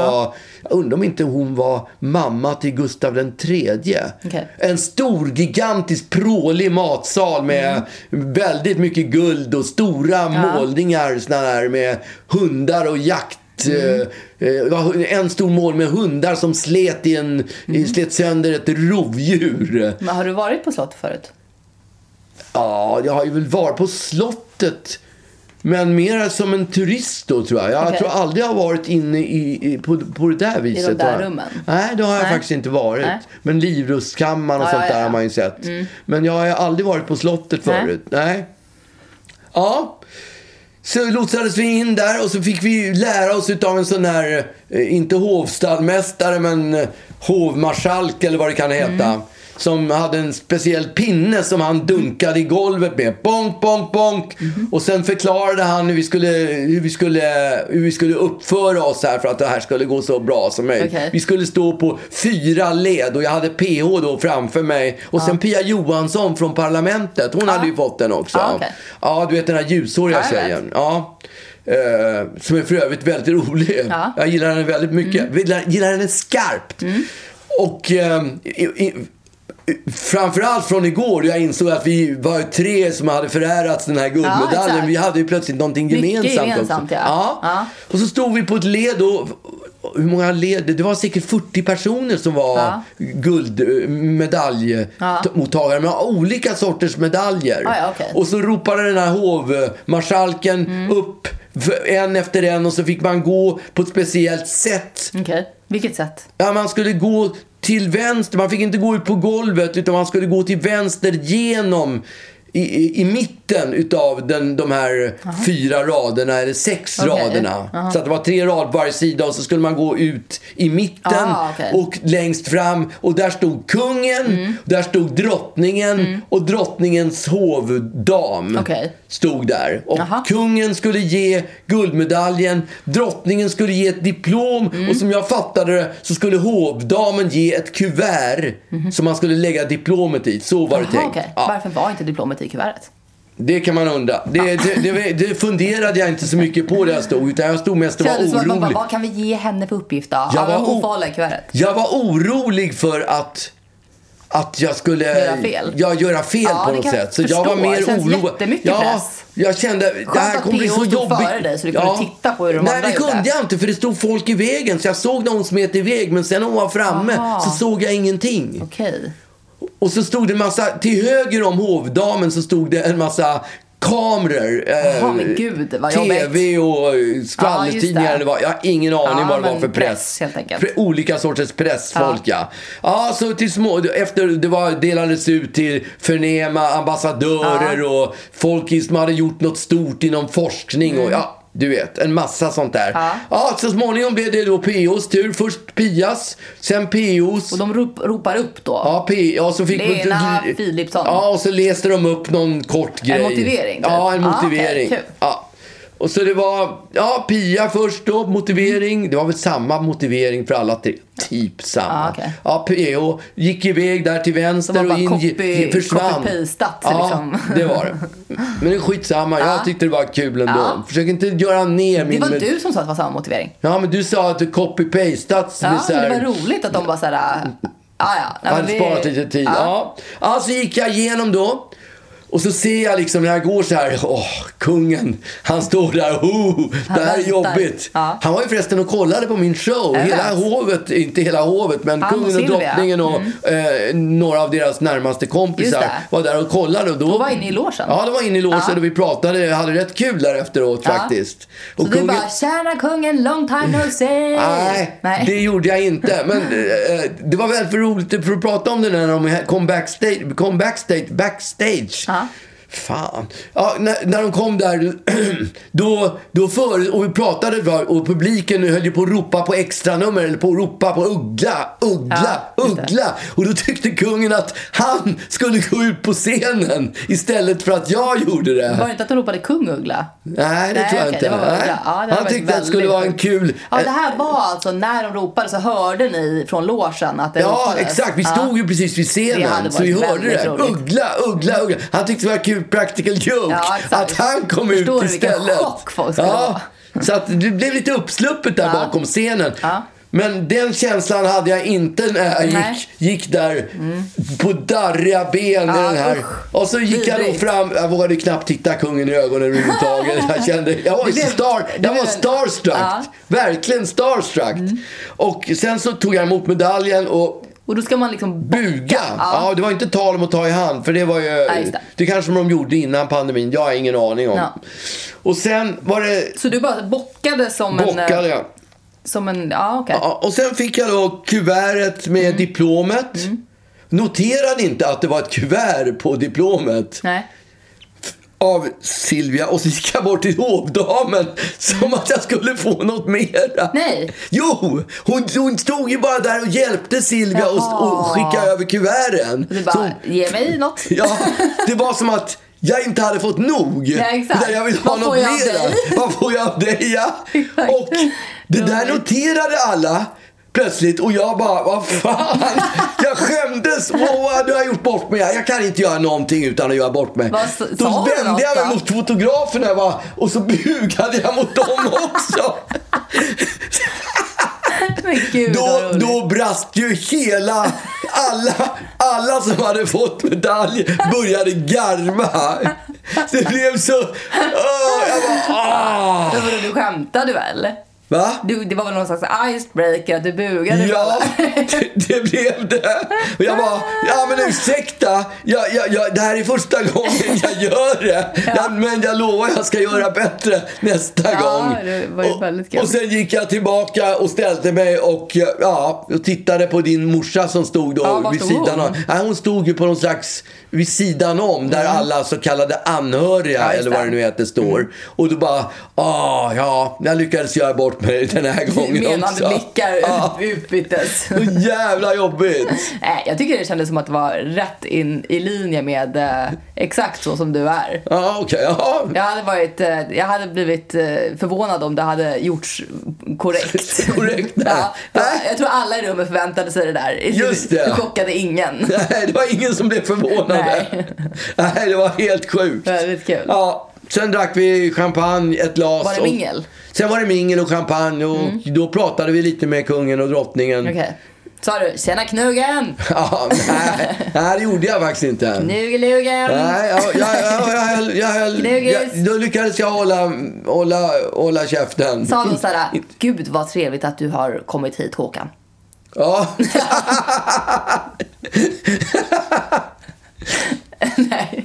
Speaker 2: Jag undrar om inte hon var mamma till Gustav den tredje.
Speaker 1: Okej.
Speaker 2: En stor, gigantisk, prålig matsal med väldigt mycket guld och stora målningar såna där, med hundar och jakt.
Speaker 1: Mm.
Speaker 2: eh, eh, det var En stor mål med hundar som slet, i en,
Speaker 1: Mm.
Speaker 2: slet sönder ett rovdjur.
Speaker 1: Men har du varit på slottet förut?
Speaker 2: Ja, jag har ju väl varit på slottet. Men mer som en turist då tror jag. Jag
Speaker 1: Okej.
Speaker 2: tror aldrig jag har varit inne i, i, på, på det där viset.
Speaker 1: där
Speaker 2: har jag.
Speaker 1: rummen?
Speaker 2: Nej, det har jag
Speaker 1: Nej.
Speaker 2: faktiskt inte varit.
Speaker 1: Nej.
Speaker 2: Men Livrustkammaren och
Speaker 1: Ja,
Speaker 2: sånt
Speaker 1: ja, ja,
Speaker 2: där har
Speaker 1: ja.
Speaker 2: man ju sett. Men jag har ju aldrig varit på slottet
Speaker 1: Nej.
Speaker 2: förut. Nej. Ja. Så lotsades vi in där och så fick vi lära oss utav en sån här, eh, inte hovstadmästare men eh, hovmarskalk eller vad det kan heta.
Speaker 1: Mm.
Speaker 2: Som hade en speciell pinne som han dunkade i golvet med. Bonk, bonk, bonk.
Speaker 1: Mm-hmm.
Speaker 2: Och sen förklarade han hur vi, skulle, hur, vi skulle, hur vi skulle uppföra oss här för att det här skulle gå så bra som möjligt.
Speaker 1: Okej.
Speaker 2: Vi skulle stå på fyra led och jag hade PH då framför mig. Och sen Pia Johansson från Parlamentet, hon hade ju fått den också.
Speaker 1: Ja, okej.
Speaker 2: Ja, du vet den här ljushåriga
Speaker 1: Ja, jag vet.
Speaker 2: tjejen. Ja. Eh, som är för övrigt väldigt rolig.
Speaker 1: Ja. Mm.
Speaker 2: Jag gillar henne väldigt mycket. Gillar, gillar henne skarpt. Och eh, i, i, Framförallt från igår då jag insåg att vi var tre som hade förärats den här guldmedaljen.
Speaker 1: exakt.
Speaker 2: vi hade ju plötsligt någonting
Speaker 1: Mycket
Speaker 2: gemensamt,
Speaker 1: gemensamt,
Speaker 2: också.
Speaker 1: ja. Ja.
Speaker 2: Och så stod vi på ett led och hur många led? Det var säkert 40 personer som var
Speaker 1: Ja.
Speaker 2: guldmedaljmottagare med olika sorters medaljer.
Speaker 1: Ja, ja, okej.
Speaker 2: Och så ropade den här hovmarskalken upp för- en efter en och så fick man gå på ett speciellt sätt.
Speaker 1: Okej. Vilket sätt?
Speaker 2: Ja, man skulle gå till vänster, man fick inte gå ut på golvet utan man skulle gå till vänster genom i, i, i mitten utav den, de här fyra raderna eller sex
Speaker 1: Okej.
Speaker 2: raderna. Så att det var tre rader på varje sida och så skulle man gå ut i mitten
Speaker 1: Ah, okej. Mm.
Speaker 2: och längst fram och där stod kungen, där stod drottningen och drottningens hovdam
Speaker 1: Okej.
Speaker 2: stod där. Och
Speaker 1: Jaha.
Speaker 2: kungen skulle ge guldmedaljen, drottningen skulle ge ett diplom
Speaker 1: Mm.
Speaker 2: och som jag fattade det så skulle hovdamen ge ett kuvert som man skulle lägga diplomet i. Så var det
Speaker 1: Mhm. Jaha,
Speaker 2: tänkt.
Speaker 1: okej.
Speaker 2: Ja.
Speaker 1: Varför var inte diplomet i kuvertet?
Speaker 2: Det kan man undra. Det, det, det, det funderade jag inte så mycket på där jag stod utan jag stod mest och var
Speaker 1: Kändes som att man bara,
Speaker 2: orolig.
Speaker 1: vad kan vi ge henne för uppgift då?
Speaker 2: Jag
Speaker 1: Ja, men
Speaker 2: var
Speaker 1: hon
Speaker 2: o-
Speaker 1: får hålla i kuvertet.
Speaker 2: Jag var orolig för att att jag skulle
Speaker 1: Göra fel.
Speaker 2: Ja, göra fel
Speaker 1: Ja,
Speaker 2: på
Speaker 1: det
Speaker 2: något
Speaker 1: kan jag
Speaker 2: sätt. Så jag
Speaker 1: förstå.
Speaker 2: var mer
Speaker 1: Det känns
Speaker 2: orolig.
Speaker 1: jättemycket
Speaker 2: ja,
Speaker 1: press.
Speaker 2: Jag kände det här
Speaker 1: att
Speaker 2: kommer bli
Speaker 1: PO
Speaker 2: så
Speaker 1: stod
Speaker 2: jobbigt.
Speaker 1: före dig, så du kunde titta på hur de
Speaker 2: Nej,
Speaker 1: andra
Speaker 2: det
Speaker 1: gjorde.
Speaker 2: kunde jag inte för det stod folk i vägen. Så jag såg när hon smet iväg men sen när hon var framme
Speaker 1: Aha.
Speaker 2: så såg jag ingenting.
Speaker 1: Okej.
Speaker 2: Och så stod det en massa, till höger om hovdamen så stod det en massa kameror. eh,
Speaker 1: Jaha, men gud, vad
Speaker 2: TV och eh,
Speaker 1: Ja, just
Speaker 2: skvallertidningar
Speaker 1: det.
Speaker 2: eller vad. Jag har ingen aning
Speaker 1: Ja,
Speaker 2: vad det var
Speaker 1: men
Speaker 2: för press.
Speaker 1: press, helt enkelt.
Speaker 2: Pre- olika sorters pressfolk ja. Ja, så till små, efter det var, delades ut till förnäma ambassadörer och folk i- som hade gjort något stort inom forskning
Speaker 1: Mm.
Speaker 2: och ja. Du vet, en massa sånt där. Ja. så småningom blev det då POs tur. Först Pias, sen POs.
Speaker 1: Och de rop, ropar upp då?
Speaker 2: Ja, P- ja, så fick
Speaker 1: Lena Philipsson.
Speaker 2: Ja, och så läste de upp någon kort grej.
Speaker 1: motivering, typ.
Speaker 2: Ja, en
Speaker 1: Ah, okej,
Speaker 2: motivering.
Speaker 1: kul.
Speaker 2: ja. Och så det var ja, Pia först då, motivering. Det var väl samma motivering för alla tre. Typ samma.
Speaker 1: Ah, okej.
Speaker 2: Ja, PO gick iväg där till
Speaker 1: Det
Speaker 2: vänster
Speaker 1: var
Speaker 2: och in
Speaker 1: bara
Speaker 2: ge-
Speaker 1: copy-
Speaker 2: försvann.
Speaker 1: copy-pastat,
Speaker 2: ja,
Speaker 1: liksom.
Speaker 2: det var det. Men det är skitsamma. Jag tyckte det var kul ändå.
Speaker 1: Ja.
Speaker 2: Försök inte göra ner
Speaker 1: Ah. Det
Speaker 2: min...
Speaker 1: var
Speaker 2: men-
Speaker 1: du som sa att det var samma motivering.
Speaker 2: Ja, men du sa att du copy-pastat.
Speaker 1: Ja,
Speaker 2: så
Speaker 1: men Ah, det
Speaker 2: här-
Speaker 1: var roligt att de bara såhär, ah, ja. Nej,
Speaker 2: jag
Speaker 1: men
Speaker 2: hade sparat lite tid. Ja. Ja, så gick jag igenom då. Och så ser jag liksom när jag går så här, åh, kungen, han står där, oh, det här är
Speaker 1: väntar.
Speaker 2: jobbigt.
Speaker 1: Ja.
Speaker 2: Han var ju förresten och kollade på min show.
Speaker 1: Jag
Speaker 2: Hela
Speaker 1: vet.
Speaker 2: hovet, inte hela hovet, men
Speaker 1: Han och
Speaker 2: kungen och
Speaker 1: Silvia. Mm.
Speaker 2: drottningen och eh, några av deras närmaste
Speaker 1: Just
Speaker 2: kompisar
Speaker 1: det.
Speaker 2: var där och kollade. Och då,
Speaker 1: De var inne i logen.
Speaker 2: Ja, de var inne i logen
Speaker 1: Ja.
Speaker 2: och vi pratade, hade rätt kul där efteråt
Speaker 1: Ja.
Speaker 2: faktiskt.
Speaker 1: Så du bara, tjäna kungen, long time no see.
Speaker 2: Nej,
Speaker 1: Nej.
Speaker 2: det gjorde jag inte.
Speaker 1: (laughs)
Speaker 2: Men eh, det var väl för roligt för att prata om det när de kom backstage. Kom backstage, backstage.
Speaker 1: Ja.
Speaker 2: Fan. Ja, när, när de kom där, (clears throat) då, då för, och vi pratade var, och publiken höll ju på att ropa på extranummer eller på att ropa på Uggla, Uggla,
Speaker 1: Ja, just det.
Speaker 2: Uggla. Och då tyckte kungen att han skulle gå ut på scenen istället för att jag gjorde det.
Speaker 1: Var det inte att de ropade kung Uggla?
Speaker 2: Nej, det
Speaker 1: Nej,
Speaker 2: tror jag
Speaker 1: okej,
Speaker 2: inte.
Speaker 1: det var bara
Speaker 2: Nej.
Speaker 1: Uggla. Ja, det hade
Speaker 2: han
Speaker 1: varit
Speaker 2: tyckte att det skulle
Speaker 1: väldigt-
Speaker 2: vara en kul...
Speaker 1: Ja, det här var alltså när de ropade så hörde ni från logen att det
Speaker 2: Ja,
Speaker 1: ropades.
Speaker 2: exakt. Vi stod ju precis vid
Speaker 1: Det hade
Speaker 2: scenen. Så vi
Speaker 1: varit
Speaker 2: hörde
Speaker 1: väldigt
Speaker 2: det.
Speaker 1: roligt.
Speaker 2: Uggla, uggla, uggla. Han tyckte det var kul practical joke.
Speaker 1: Ja, exakt.
Speaker 2: att han kom
Speaker 1: Förstår
Speaker 2: ut
Speaker 1: du vilken
Speaker 2: istället.
Speaker 1: chock folk skulle
Speaker 2: Så att det blev lite uppsluppet där bakom scenen. Men den känslan hade jag inte när jag gick,
Speaker 1: Nej.
Speaker 2: gick där på darriga ben. i
Speaker 1: Ja,
Speaker 2: den här.
Speaker 1: usch.
Speaker 2: Och så gick jag då
Speaker 1: Vidrigt.
Speaker 2: fram. Jag vågade knappt titta kungen i ögonen
Speaker 1: (laughs)
Speaker 2: överhuvudtaget. Jag kände, jag var,
Speaker 1: Du blev-
Speaker 2: star,
Speaker 1: du
Speaker 2: jag var
Speaker 1: blev-
Speaker 2: starstruck.
Speaker 1: Ja. Mm.
Speaker 2: Verkligen starstruck. Och sen så tog jag emot medaljen och
Speaker 1: Och då ska man liksom
Speaker 2: Buga! Ja.
Speaker 1: Ja.
Speaker 2: det var inte tal om att ta i hand för det var ju...
Speaker 1: just det.
Speaker 2: det kanske de gjorde innan pandemin, jag har ingen aning om.
Speaker 1: Ja.
Speaker 2: Och sen var det...
Speaker 1: Så du bara bockade som en...
Speaker 2: Bockade
Speaker 1: eh,
Speaker 2: jag.
Speaker 1: Som en, ja okej.
Speaker 2: Ja, och sen fick jag då kuvertet med
Speaker 1: Mm.
Speaker 2: diplomet. Noterade inte att det var ett kuvert på diplomet
Speaker 1: Nej.
Speaker 2: av Silvia och så gick jag bort till hovdamen som att jag skulle få något mera.
Speaker 1: Nej.
Speaker 2: Jo! Hon, hon stod ju bara där och hjälpte Silvia och, och skickade över kuverten.
Speaker 1: Du
Speaker 2: Så
Speaker 1: bara,
Speaker 2: hon-
Speaker 1: ge mig något.
Speaker 2: (laughs) Ja, det var som att jag inte hade fått nog.
Speaker 1: Ja, exakt.
Speaker 2: Utan jag vill ha
Speaker 1: Vad
Speaker 2: något
Speaker 1: får jag av
Speaker 2: mera.
Speaker 1: dig?
Speaker 2: Vad får jag av dig? Ja.
Speaker 1: (laughs) Exakt.
Speaker 2: Och det där noterade alla plötsligt och jag bara, vad fan. Jag skämdes. Wow, du har gjort bort mig. Jag kan inte göra någonting utan att göra bort mig.
Speaker 1: Vad s-
Speaker 2: Då
Speaker 1: sa du
Speaker 2: vände
Speaker 1: något
Speaker 2: jag mig
Speaker 1: då?
Speaker 2: mot fotograferna jag bara, och så (laughs) bugade jag mot dem också.
Speaker 1: (laughs) Men gud vad
Speaker 2: Då,
Speaker 1: roligt.
Speaker 2: då brast ju hela, alla, alla som hade fått medalj började garva. Det blev så, åh, jag bara, ah.
Speaker 1: Men vadå, du skämtade väl?
Speaker 2: Va?
Speaker 1: Du, det var väl någon slags icebreaker, du bugade
Speaker 2: Ja, (laughs) det, det blev det. Och jag bara, ja men ursäkta, jag, jag, jag, det här är första gången
Speaker 1: (laughs)
Speaker 2: jag gör det. Jag, men jag lovar jag ska göra bättre nästa
Speaker 1: Ja,
Speaker 2: gång.
Speaker 1: det var ju väldigt kul.
Speaker 2: och, och sen gick jag tillbaka och ställde mig och, ja, och tittade på din morsa som stod då
Speaker 1: Ja, var
Speaker 2: vid
Speaker 1: stod hon? Mm.
Speaker 2: sidan av. Nej, hon stod ju på någon slags, vid sidan om, där alla så kallade anhöriga
Speaker 1: Ja, just
Speaker 2: eller vad det
Speaker 1: det. Mm.
Speaker 2: nu heter står. Och då bara, ah, ja, jag lyckades göra bort mig den
Speaker 1: (laughs)
Speaker 2: här gången också.
Speaker 1: Menande blickar
Speaker 2: Ja. (laughs)
Speaker 1: utbyttes.
Speaker 2: Så jävla jobbigt!
Speaker 1: Nej, jag tycker det kändes som att det var rätt in i linje med eh, exakt så som du är.
Speaker 2: Ja, okej. ja.
Speaker 1: Jag hade, varit, eh, jag hade blivit eh, förvånad om det hade gjorts
Speaker 2: (laughs)
Speaker 1: korrekt.
Speaker 2: Korrekt, nej.
Speaker 1: (laughs) ja,
Speaker 2: Nej.
Speaker 1: jag tror alla i rummet förväntade sig det där.
Speaker 2: Just det.
Speaker 1: Du chockade ingen.
Speaker 2: Nej, det var ingen som blev förvånade. Nej.
Speaker 1: Nej.
Speaker 2: det var helt sjukt.
Speaker 1: Väldigt kul.
Speaker 2: Ja, sen drack vi champagne, ett glas.
Speaker 1: Var det
Speaker 2: och-
Speaker 1: mingel? Mm.
Speaker 2: Sen var det mingel och champagne och då pratade vi lite med kungen och drottningen.
Speaker 1: Okej. Sa du “Tjena knugen!
Speaker 2: Ja, nej, nej, det gjorde jag faktiskt inte.
Speaker 1: Knugelugen!”
Speaker 2: Nej, jag, jag, jag, jag, höll, jag, höll, jag
Speaker 1: Knugis.
Speaker 2: Då lyckades jag hålla, hålla, hålla käften.
Speaker 1: Sa de såhär “Gud vad trevligt att du har kommit hit Håkan”?
Speaker 2: Ja,
Speaker 1: Nej.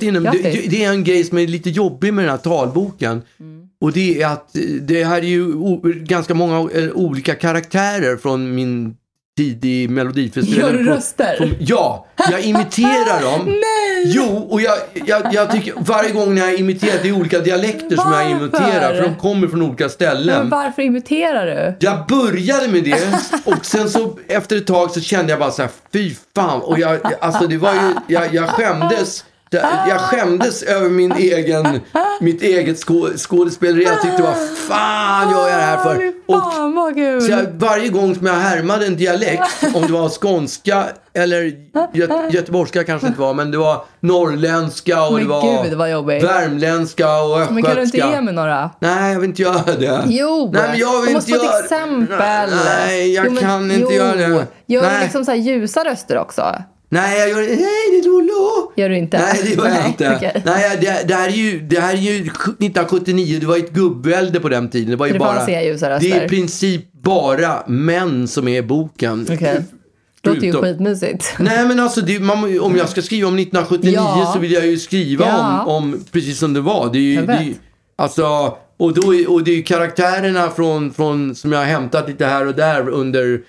Speaker 2: Inom, det,
Speaker 1: Grattis.
Speaker 2: det är en grej som är lite jobbig med den här talboken.
Speaker 1: Mm.
Speaker 2: Och det är att eh, det här är ju o, ganska många eh, olika karaktärer från min tid i Melodifestivalen.
Speaker 1: Gör du röster?
Speaker 2: Från- Ja, jag imiterar dem.
Speaker 1: (laughs) Nej!
Speaker 2: Jo, och jag, jag, jag tycker varje gång när jag imiterar, det är olika dialekter som jag
Speaker 1: Varför?
Speaker 2: imiterar. För de kommer från olika ställen.
Speaker 1: Men varför imiterar du?
Speaker 2: Jag började med
Speaker 1: (laughs)
Speaker 2: det och sen så efter ett tag så kände jag bara så här, fy fan. Och jag, alltså det var ju, jag, jag skämdes. Jag jag skämdes över min egen, mitt eget skå, skådespeleri. Jag tyckte, vad fan gör jag det här för? Och
Speaker 1: Fan vad kul!
Speaker 2: så jag, varje gång som jag härmade en dialekt, om det var skånska eller gö- göteborgska kanske inte var, men det var norrländska och
Speaker 1: Men
Speaker 2: det var
Speaker 1: gud, vad jobbigt.
Speaker 2: värmländska och östgötska.
Speaker 1: Men kan du inte ge mig några?
Speaker 2: Nej, jag vill inte göra det.
Speaker 1: Jo!
Speaker 2: Nej, men jag vill
Speaker 1: du måste
Speaker 2: inte
Speaker 1: få
Speaker 2: göra...
Speaker 1: ett exempel.
Speaker 2: Nej, jag
Speaker 1: Jo, men-
Speaker 2: kan inte
Speaker 1: jo.
Speaker 2: göra det.
Speaker 1: Gör
Speaker 2: Nej.
Speaker 1: du liksom så här ljusa röster också?
Speaker 2: Nej, jag gör Nej, det är Lolo.
Speaker 1: Gör du inte?
Speaker 2: Nej, det gör jag
Speaker 1: Nej,
Speaker 2: inte.
Speaker 1: okej.
Speaker 2: Nej, det, det, här är ju, det här är ju 1979. Det var ju ett gubbvälde på den tiden. Det var ju
Speaker 1: Det
Speaker 2: bara...
Speaker 1: fanns inga ljusa röster.
Speaker 2: Det är i princip bara män som är i boken.
Speaker 1: Okej. Det låter ju
Speaker 2: Utom-
Speaker 1: skitmysigt.
Speaker 2: Nej men alltså, det, man, om jag ska skriva om 1979
Speaker 1: Ja.
Speaker 2: så vill jag ju skriva
Speaker 1: Ja.
Speaker 2: om, om precis som det var. Det är ju,
Speaker 1: Jag
Speaker 2: det är, ju-
Speaker 1: vet.
Speaker 2: alltså, och, då, är- och det är ju karaktärerna från, från, som jag har hämtat lite här och där under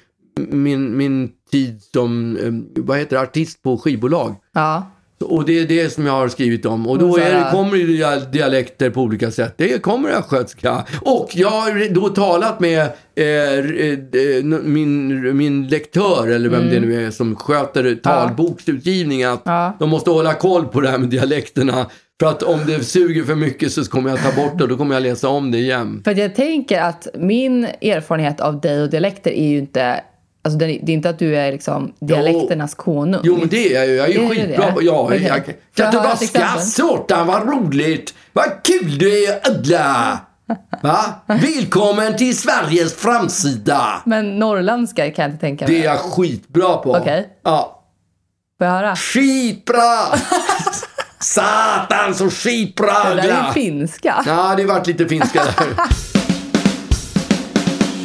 Speaker 2: min, min tid som, eh, vad heter det, artist på skivbolag.
Speaker 1: Ja.
Speaker 2: Och det är det som jag har skrivit om. Och då
Speaker 1: Och Mm, så
Speaker 2: är det,
Speaker 1: här-
Speaker 2: kommer ju dia- dialekter på olika sätt. Det kommer östgötska. Och jag har då talat med eh, eh, eh, min, min lektör, eller vem
Speaker 1: Mm.
Speaker 2: det nu är, som sköter talboksutgivningen. Att de måste hålla koll på det här med dialekterna. För att om det suger för mycket så kommer jag ta bort det och då kommer jag läsa om det igen.
Speaker 1: För att jag tänker att min erfarenhet av dig och dialekter är ju inte... Alltså det är det är inte att du är liksom dialekternas konung.
Speaker 2: Jo, men det är jag ju. Jag är ju
Speaker 1: Är det
Speaker 2: skitbra
Speaker 1: det?
Speaker 2: på... Ja,
Speaker 1: Okej.
Speaker 2: jag,
Speaker 1: Får
Speaker 2: jag
Speaker 1: jag
Speaker 2: kan
Speaker 1: höra
Speaker 2: bara
Speaker 1: ett exempel?
Speaker 2: satan vad roligt! Vad kul det är alla! Va? Välkommen till Sveriges framsida!
Speaker 1: Men norrländska kan jag inte tänka mig.
Speaker 2: Det är jag skitbra på.
Speaker 1: Okej.
Speaker 2: Ja. (laughs)
Speaker 1: Får jag höra?
Speaker 2: Skitbra!
Speaker 3: Satan så
Speaker 1: Det
Speaker 3: skitbragla!
Speaker 1: där är ju finska.
Speaker 3: Ja, det vart lite finska där.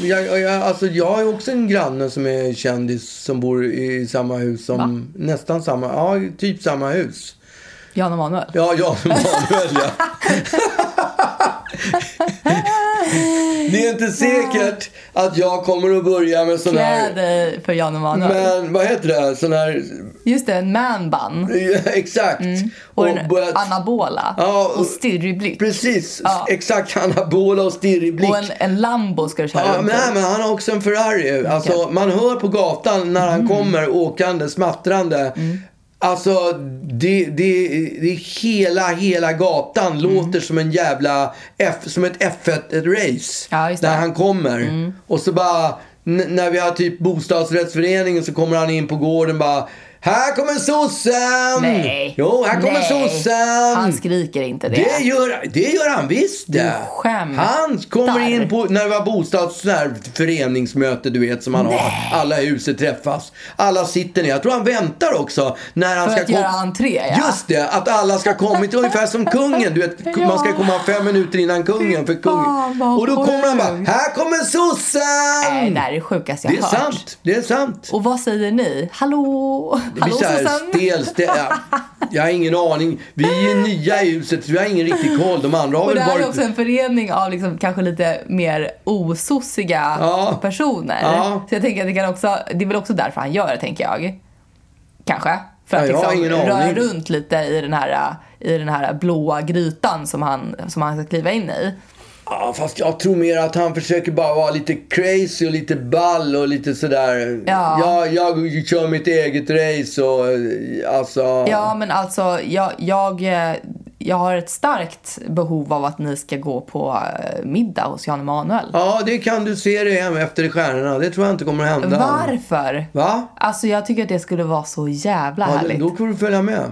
Speaker 3: Jag, jag- jag, alltså jag har ju också en granne som är kändis som bor i samma hus som... Nästan samma, ja typ samma hus.
Speaker 1: Jan Emanuel.
Speaker 3: Ja, (laughs) Jan Emanuel ja. Det är inte säkert att jag kommer att börja med sån
Speaker 1: Klä
Speaker 3: här...
Speaker 1: dig för Jan Emanuel.
Speaker 3: Men vad heter det? här? Sån här... (laughs)
Speaker 1: Just det, en manbun.
Speaker 3: Exakt.
Speaker 1: Mm. Och, en
Speaker 3: börjat-
Speaker 1: anabola.
Speaker 3: Ja,
Speaker 1: och,
Speaker 3: och-
Speaker 1: stirrig blick.
Speaker 3: Precis,
Speaker 1: Ja.
Speaker 3: exakt anabola och stirrig blick.
Speaker 1: Och en, en Lambo ska du köra
Speaker 3: Ja,
Speaker 1: runt
Speaker 3: men,
Speaker 1: i.
Speaker 3: nej, men han har också en Ferrari. Alltså, Man hör på gatan när han
Speaker 1: Mm.
Speaker 3: kommer åkande, smattrande. Alltså, det, det, det är hela, hela gatan
Speaker 1: Mm.
Speaker 3: låter som en jävla F, som ett F1-race.
Speaker 1: Ja, just det. Mm.
Speaker 3: när han kommer. Och så bara, n- när vi har typ bostadsrättsföreningen så kommer han in på gården bara här kommer sossen!
Speaker 1: Nej.
Speaker 3: Jo, här kommer
Speaker 1: Nej.
Speaker 3: sossen!
Speaker 1: Han skriker inte det.
Speaker 3: Det gör, det gör han visst det.
Speaker 1: skämtar.
Speaker 3: Han kommer in på, när det var bostads, sån här föreningsmöte du vet som man har. Alla huset träffas. Alla sitter ner. Jag tror han väntar också. När han
Speaker 1: För
Speaker 3: ska
Speaker 1: att göra
Speaker 3: kom-
Speaker 1: entré, ja.
Speaker 3: Just det, att alla ska komma. Inte ungefär som kungen. Du
Speaker 1: (laughs)
Speaker 3: vet, man ska komma fem minuter innan kungen. För
Speaker 1: fan,
Speaker 3: kungen.
Speaker 1: vad
Speaker 3: Och då kommer han
Speaker 1: sjukt.
Speaker 3: bara, här kommer
Speaker 1: Nej,
Speaker 3: sossen!
Speaker 1: det här är det sjukaste jag
Speaker 3: Det är
Speaker 1: har hört.
Speaker 3: sant. Det är sant.
Speaker 1: Och vad säger ni? Hallå?
Speaker 3: Det blir
Speaker 1: Hallå
Speaker 3: så här
Speaker 1: Susanne?
Speaker 3: stel, stel, ja. Jag har ingen aning. Vi är nya i huset så vi har ingen riktig koll. De andra har
Speaker 1: Och
Speaker 3: väl
Speaker 1: det här är
Speaker 3: varit...
Speaker 1: också en förening av liksom kanske lite mer osossiga
Speaker 3: Ja.
Speaker 1: personer.
Speaker 3: Ja.
Speaker 1: Så jag tänker att det kan också, det är väl också därför han gör det tänker jag. Kanske. För
Speaker 3: Ja,
Speaker 1: att
Speaker 3: jag har
Speaker 1: liksom
Speaker 3: ingen
Speaker 1: röra
Speaker 3: aning.
Speaker 1: runt lite i den här, i den här blåa grytan som han, som han ska kliva in i.
Speaker 3: Ja, fast jag tror mer att han försöker bara vara lite crazy och lite ball och lite sådär.
Speaker 1: Ja.
Speaker 3: Jag, jag kör mitt eget race och eh, alltså...
Speaker 1: Ja, men alltså jag, jag, eh, jag har ett starkt behov av att ni ska gå på eh, middag hos Jan Emanuel.
Speaker 3: Ja, det kan du se dig hem efter stjärnorna. Det tror jag inte kommer att hända.
Speaker 1: Varför?
Speaker 3: Va?
Speaker 1: Alltså jag tycker att det skulle vara så jävla
Speaker 3: Ja,
Speaker 1: härligt.
Speaker 3: då får du följa med.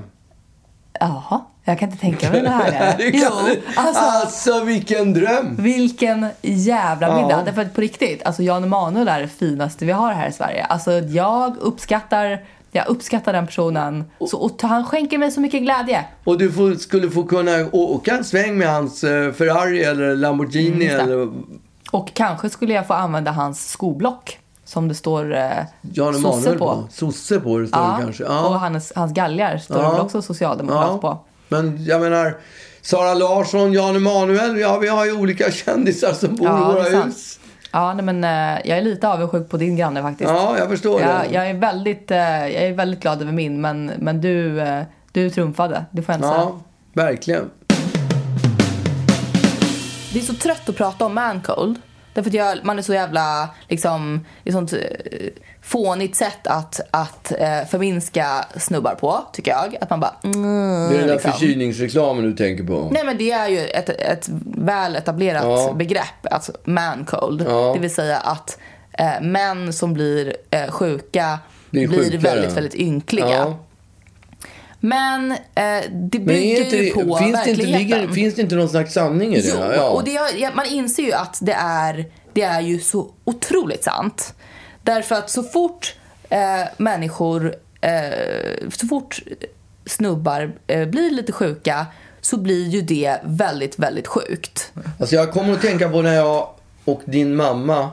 Speaker 1: Jaha, jag kan inte tänka mig det
Speaker 3: (laughs)
Speaker 1: här.
Speaker 3: Det kan
Speaker 1: Eh, jo,
Speaker 3: du-
Speaker 1: alltså,
Speaker 3: alltså vilken dröm!
Speaker 1: vilken jävla middag.
Speaker 3: Ja.
Speaker 1: Därför att på riktigt, alltså Jan Emanuel är det finaste vi har här i Sverige. Alltså jag uppskattar, jag uppskattar den personen. Så, och han skänker mig så mycket glädje.
Speaker 3: Och du får, skulle få kunna å- åka en sväng med hans eh, Ferrari eller Lamborghini
Speaker 1: Mm, det.
Speaker 3: eller...
Speaker 1: Och kanske skulle jag få använda hans skoblock som det står eh,
Speaker 3: Jan
Speaker 1: sosse
Speaker 3: Emanuel
Speaker 1: på.
Speaker 3: på. Sosse på det står det kanske. Ja.
Speaker 1: Och hans, hans galgar står det
Speaker 3: Ja.
Speaker 1: väl också socialdemokrat på.
Speaker 3: Men jag menar, Sara Larsson, Jan Emanuel, ja vi har ju olika kändisar som bor
Speaker 1: Ja,
Speaker 3: i
Speaker 1: det är
Speaker 3: våra
Speaker 1: sant.
Speaker 3: hus.
Speaker 1: Ja, nej, men eh, jag är lite avundsjuk på din granne faktiskt.
Speaker 3: Ja, jag förstår
Speaker 1: Jag,
Speaker 3: det.
Speaker 1: jag, är väldigt, eh, jag är väldigt glad över min, men, men du, eh, du trumfade. Det får jag inte säga.
Speaker 3: Ja, verkligen.
Speaker 1: Det är så trött att prata om mancold. Därför att jag, man är så jävla, liksom, det är sånt eh, fånigt sätt att, att eh, förminska snubbar på, tycker jag. Att man bara, mm,
Speaker 3: Det är den där
Speaker 1: liksom.
Speaker 3: förkylningsreklamen du tänker på.
Speaker 1: Nej men det är ju ett, ett väl etablerat
Speaker 3: Ja.
Speaker 1: begrepp, alltså man cold.
Speaker 3: Ja.
Speaker 1: Det vill säga att eh, män som blir eh, sjuka
Speaker 3: Blir
Speaker 1: blir
Speaker 3: sjukare.
Speaker 1: väldigt, väldigt ynkliga.
Speaker 3: Ja.
Speaker 1: Men eh, det
Speaker 3: Men
Speaker 1: bygger
Speaker 3: är inte,
Speaker 1: ju på
Speaker 3: det- finns, det inte,
Speaker 1: verkligheten.
Speaker 3: ligger, finns det inte någon slags sanning i det?
Speaker 1: Jo,
Speaker 3: Ja.
Speaker 1: och det, är- ja, man inser ju att det är, det är ju så otroligt sant. Därför att så fort eh, människor, eh, så fort snubbar eh, blir lite sjuka så blir ju det väldigt, väldigt sjukt.
Speaker 3: Alltså jag kommer att tänka på när jag och din mamma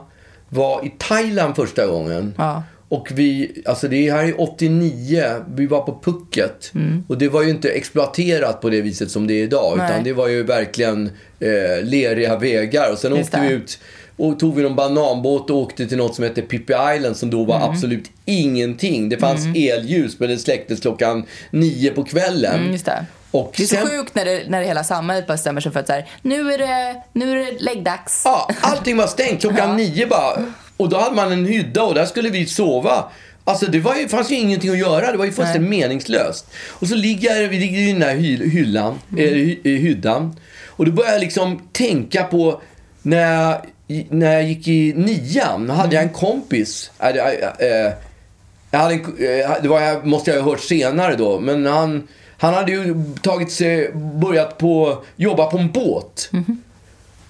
Speaker 3: var i Thailand första gången.
Speaker 1: Ja.
Speaker 3: Och vi, alltså det här är 89, vi var på Phuket. Och det var ju inte exploaterat på det viset som det är idag.
Speaker 1: Mm. Nej.
Speaker 3: Utan det var ju verkligen eh, leriga vägar. Och sen
Speaker 1: Just
Speaker 3: åkte vi
Speaker 1: det.
Speaker 3: ut och tog vi någon bananbåt och åkte till något som hette Pippi Island som då var
Speaker 1: Mm.
Speaker 3: absolut ingenting. Det fanns elljus men det släcktes klockan nio på kvällen.
Speaker 1: Mm, just det.
Speaker 3: Och
Speaker 1: Det är så
Speaker 3: sen-
Speaker 1: sjukt när, det, när det hela samhället bestämmer sig för att så här, nu är det, nu är det läggdags.
Speaker 3: Ja, allting var stängt klockan nio bara. Och då hade man en hydda och där skulle vi sova. Alltså det var ju, fanns ju ingenting att göra. Det var ju fullständigt meningslöst. Och så ligger jag- vi ligger i den där hy, hyllan, eh, hy, eh, hyddan. Och då började jag liksom tänka på när jag, när jag gick i nian. Då hade jag en kompis. Äh, det- äh, äh, jag hade, en- eh, det var, jag måste jag ha hört senare då, men han,
Speaker 1: Mhm.
Speaker 3: han hade ju tagit sig, börjat på, jobba på en båt.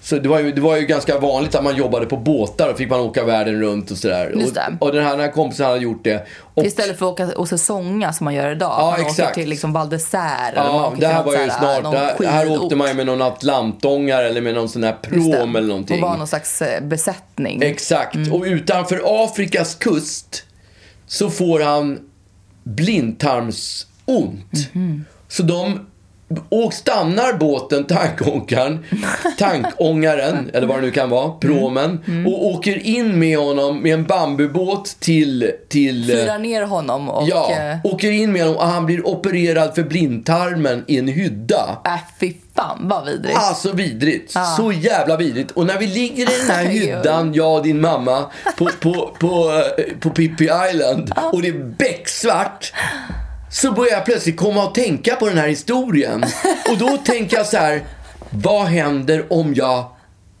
Speaker 2: Så det var, ju, det var ju ganska vanligt att man jobbade på båtar och fick man åka världen runt och sådär.
Speaker 1: Just det.
Speaker 2: Och, och den här, den här kompisen hade gjort det. Och,
Speaker 1: Istället för att åka och säsonga som man gör idag.
Speaker 2: Ja,
Speaker 1: man åker
Speaker 2: exakt.
Speaker 1: till liksom Val d'Isère. eller man
Speaker 2: Ja,
Speaker 1: åker
Speaker 2: det
Speaker 1: till
Speaker 2: här
Speaker 1: något
Speaker 2: var ju
Speaker 1: så här,
Speaker 2: snart.
Speaker 1: någon
Speaker 2: Det här, här
Speaker 1: skidort.
Speaker 2: åkte man ju med någon atlantångare eller med någon sån här
Speaker 1: Just det.
Speaker 2: pråm eller någonting.
Speaker 1: Och var någon slags eh, besättning.
Speaker 2: Exakt. Och utanför Afrikas kust så får han blindtarmsont. Så de och stannar båten, tankångaren, tankångaren eller vad det nu kan vara, pråmen, och åker in med honom med en bambubåt till... till eh,
Speaker 1: Firar ner honom och...
Speaker 2: ja,
Speaker 1: eh,
Speaker 2: åker in med honom och han blir opererad för blindtarmen i en hydda.
Speaker 1: Äh, fy fan vad vidrigt.
Speaker 2: Ah, så vidrigt. Så jävla vidrigt. Och när vi ligger i den här
Speaker 1: Herregud.
Speaker 2: hyddan, jag och din mamma, på, på, på, eh, på Pippi Island och det är becksvart. Så börjar jag plötsligt komma och tänka på den här historien. Och då tänker jag så här, vad händer om jag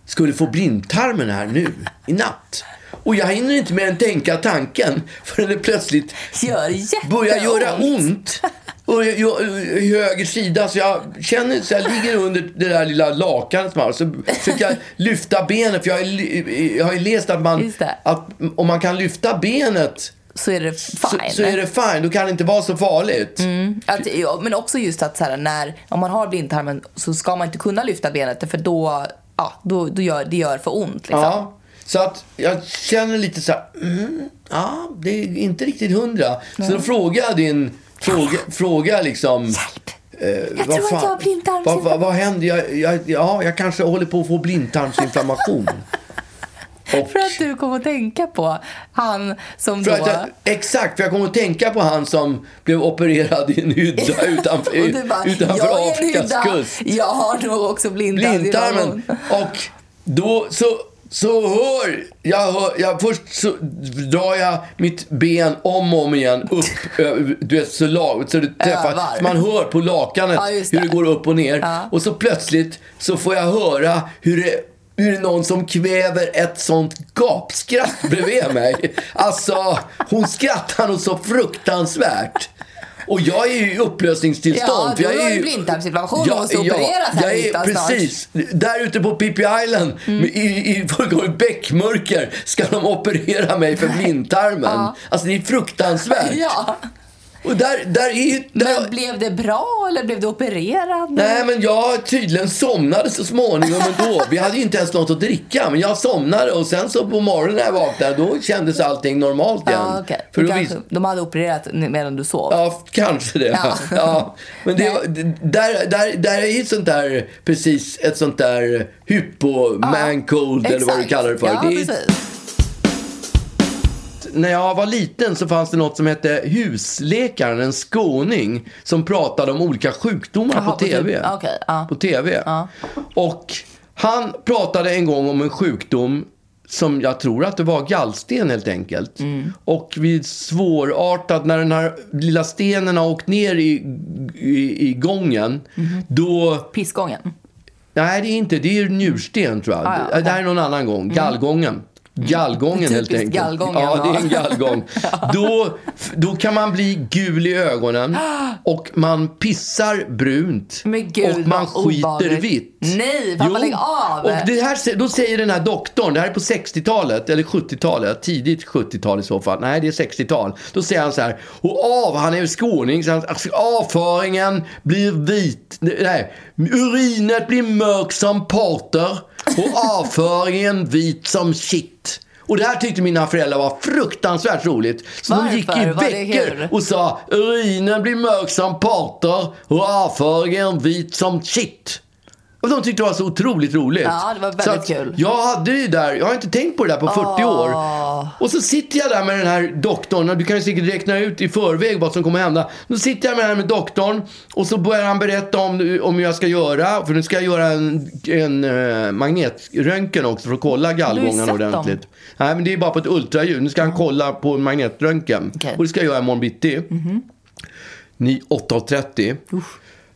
Speaker 2: skulle få blindtarmen här nu i natt? Och jag hinner inte mer än tänka tanken förrän det plötsligt
Speaker 1: Gör jätteont.
Speaker 2: börjar Alltså, göra ont. Och jag, jag, i höger sida, så jag känner så jag ligger under det där lilla lakanet som jag har. Så försöker jag lyfta benet, för jag har, ju- jag har ju läst att, man,
Speaker 1: Just det.
Speaker 2: att om man kan lyfta benet
Speaker 1: Så är det
Speaker 2: så,
Speaker 1: fine. Mm,
Speaker 2: så är det fine. Då kan det inte vara så farligt.
Speaker 1: Att, ja, men också just att så här, när, om man har blindtarmen så ska man inte kunna lyfta benet för då, ja, då, då gör det gör för ont. Liksom.
Speaker 2: Ja. Så att jag känner lite så här, mm, ja, det är inte riktigt hundra. Så då frågar jag din, fråga, fråga liksom. Hjälp! jag
Speaker 1: tror att jag har blindtarmsinflammation.
Speaker 2: Vad, vad, vad händer? Jag, jag, ja, jag kanske håller på att få blindtarmsinflammation. Och,
Speaker 1: (laughs) För att du kom att tänka på han som
Speaker 2: för
Speaker 1: då...
Speaker 2: att jag, exakt, för jag kommer att tänka på han som blev opererad i en hydda utanför,
Speaker 1: (laughs) och du bara, jag
Speaker 2: utanför
Speaker 1: är en
Speaker 2: Afrikas
Speaker 1: hydda.
Speaker 2: kust.
Speaker 1: Jag har nog också blindtarm.
Speaker 2: blindtarmen. Och då så, så hör jag, hör, jag först så drar jag mitt ben om och om igen
Speaker 1: (laughs)
Speaker 2: upp, över- du vet, så, lag, så det träffar.
Speaker 1: Övar.
Speaker 2: Så man hör på lakanet
Speaker 1: Ja, just
Speaker 2: hur det
Speaker 1: det.
Speaker 2: går upp och ner.
Speaker 1: Ja.
Speaker 2: Och så plötsligt så får jag höra hur det hur det är någon som kväver ett sånt gapskratt bredvid
Speaker 1: (laughs)
Speaker 2: mig. Alltså, hon skrattar nog så fruktansvärt. Och jag är ju i upplösningstillstånd.
Speaker 1: Ja,
Speaker 2: för jag
Speaker 1: du har
Speaker 2: är
Speaker 1: ju
Speaker 2: ju-
Speaker 1: blindtarmsinflammation och måste opereras här
Speaker 2: jag
Speaker 1: i
Speaker 2: är,
Speaker 1: hyttan snart. Mm.
Speaker 2: Precis. Där ute på Pippi Island med- i, i fullkomligt bäckmörker ska de operera mig för blindtarmen. Alltså det är fruktansvärt.
Speaker 1: Ja.
Speaker 2: Och där, där är ju... Där,
Speaker 1: Men blev det bra eller blev du opererad?
Speaker 2: Nej, men jag tydligen somnade så småningom ändå. Vi hade ju inte ens något att dricka, men jag somnade och sen så på morgonen när jag vaknade, då kändes allting normalt igen.
Speaker 1: Ja, okej.
Speaker 2: För då
Speaker 1: Kanske-
Speaker 2: visste,
Speaker 1: De hade opererat medan du sov.
Speaker 2: Ja, kanske det.
Speaker 1: Ja.
Speaker 2: (laughs) Ja. Men det, där, där, där är ju ett sånt där, precis ett sånt där hypo man cold eller vad du
Speaker 1: Exakt.
Speaker 2: kallar det för.
Speaker 1: Ja,
Speaker 2: det är,
Speaker 1: precis.
Speaker 2: när jag var liten så fanns det något som hette husläkaren, en skåning, som pratade om olika sjukdomar
Speaker 1: Jaha,
Speaker 2: på
Speaker 1: på
Speaker 2: TV.
Speaker 1: typ- okej, ja.
Speaker 2: På TV. Och han pratade en gång om en sjukdom som jag tror att det var gallsten helt enkelt.
Speaker 1: Mm.
Speaker 2: Och vid svårartat, när den här lilla stenen har åkt ner i, i, i gången,
Speaker 1: Mhm.
Speaker 2: då
Speaker 1: Pissgången.
Speaker 2: Nej, det är inte. Det är njursten, tror jag.
Speaker 1: Ah, ja, Mm.
Speaker 2: Det
Speaker 1: okej.
Speaker 2: här är någon annan gång. Gallgången.
Speaker 1: (laughs)
Speaker 2: Gallgången, helt
Speaker 1: Typiskt
Speaker 2: enkelt.
Speaker 1: gallgången,
Speaker 2: ja, det är en
Speaker 1: (laughs) ja.
Speaker 2: gallgång. då, då kan man bli gul i
Speaker 1: (gasps)
Speaker 2: ögonen och man pissar brunt
Speaker 1: Men gud,
Speaker 2: och man
Speaker 1: vad
Speaker 2: skiter
Speaker 1: obehagligt.
Speaker 2: vitt.
Speaker 1: Nej, pappa, lägg av.
Speaker 2: Och det här, sä- då säger den här doktorn, det här är på 60-talet eller 70-talet, tidigt 70-tal i så fall. Nej, det är 60-tal. Då säger han så här, och av, han är ju skåning, så han, alltså, avföringen blir vit, nej, urinet blir mörk som porter och avföringen vit som shit. Och det här tyckte mina föräldrar var fruktansvärt roligt. Så
Speaker 1: Varför?
Speaker 2: de gick i
Speaker 1: Var det kul?
Speaker 2: veckor och sa urinen blir mörk som porter och avföringen vit som shit. Och de tyckte det var så otroligt roligt.
Speaker 1: Ja, det var väldigt
Speaker 2: så att
Speaker 1: kul.
Speaker 2: Jag hade ju där, jag har inte tänkt på det där på 40 år. Och så sitter jag där med den här doktorn, och du kan ju säkert räkna ut i förväg vad som kommer hända. Då sitter jag med den här med doktorn och så börjar han berätta om, om hur jag ska göra. För nu ska jag göra en, en eh, magnetröntgen också för att kolla gallgångarna
Speaker 1: sett dem.
Speaker 2: ordentligt. Nej, men det är bara på ett ultraljud. Nu ska han kolla på en magnetröntgen.
Speaker 1: Okej. Mhm.
Speaker 2: Och det ska jag göra imorgon bitti. Ni- 8.30.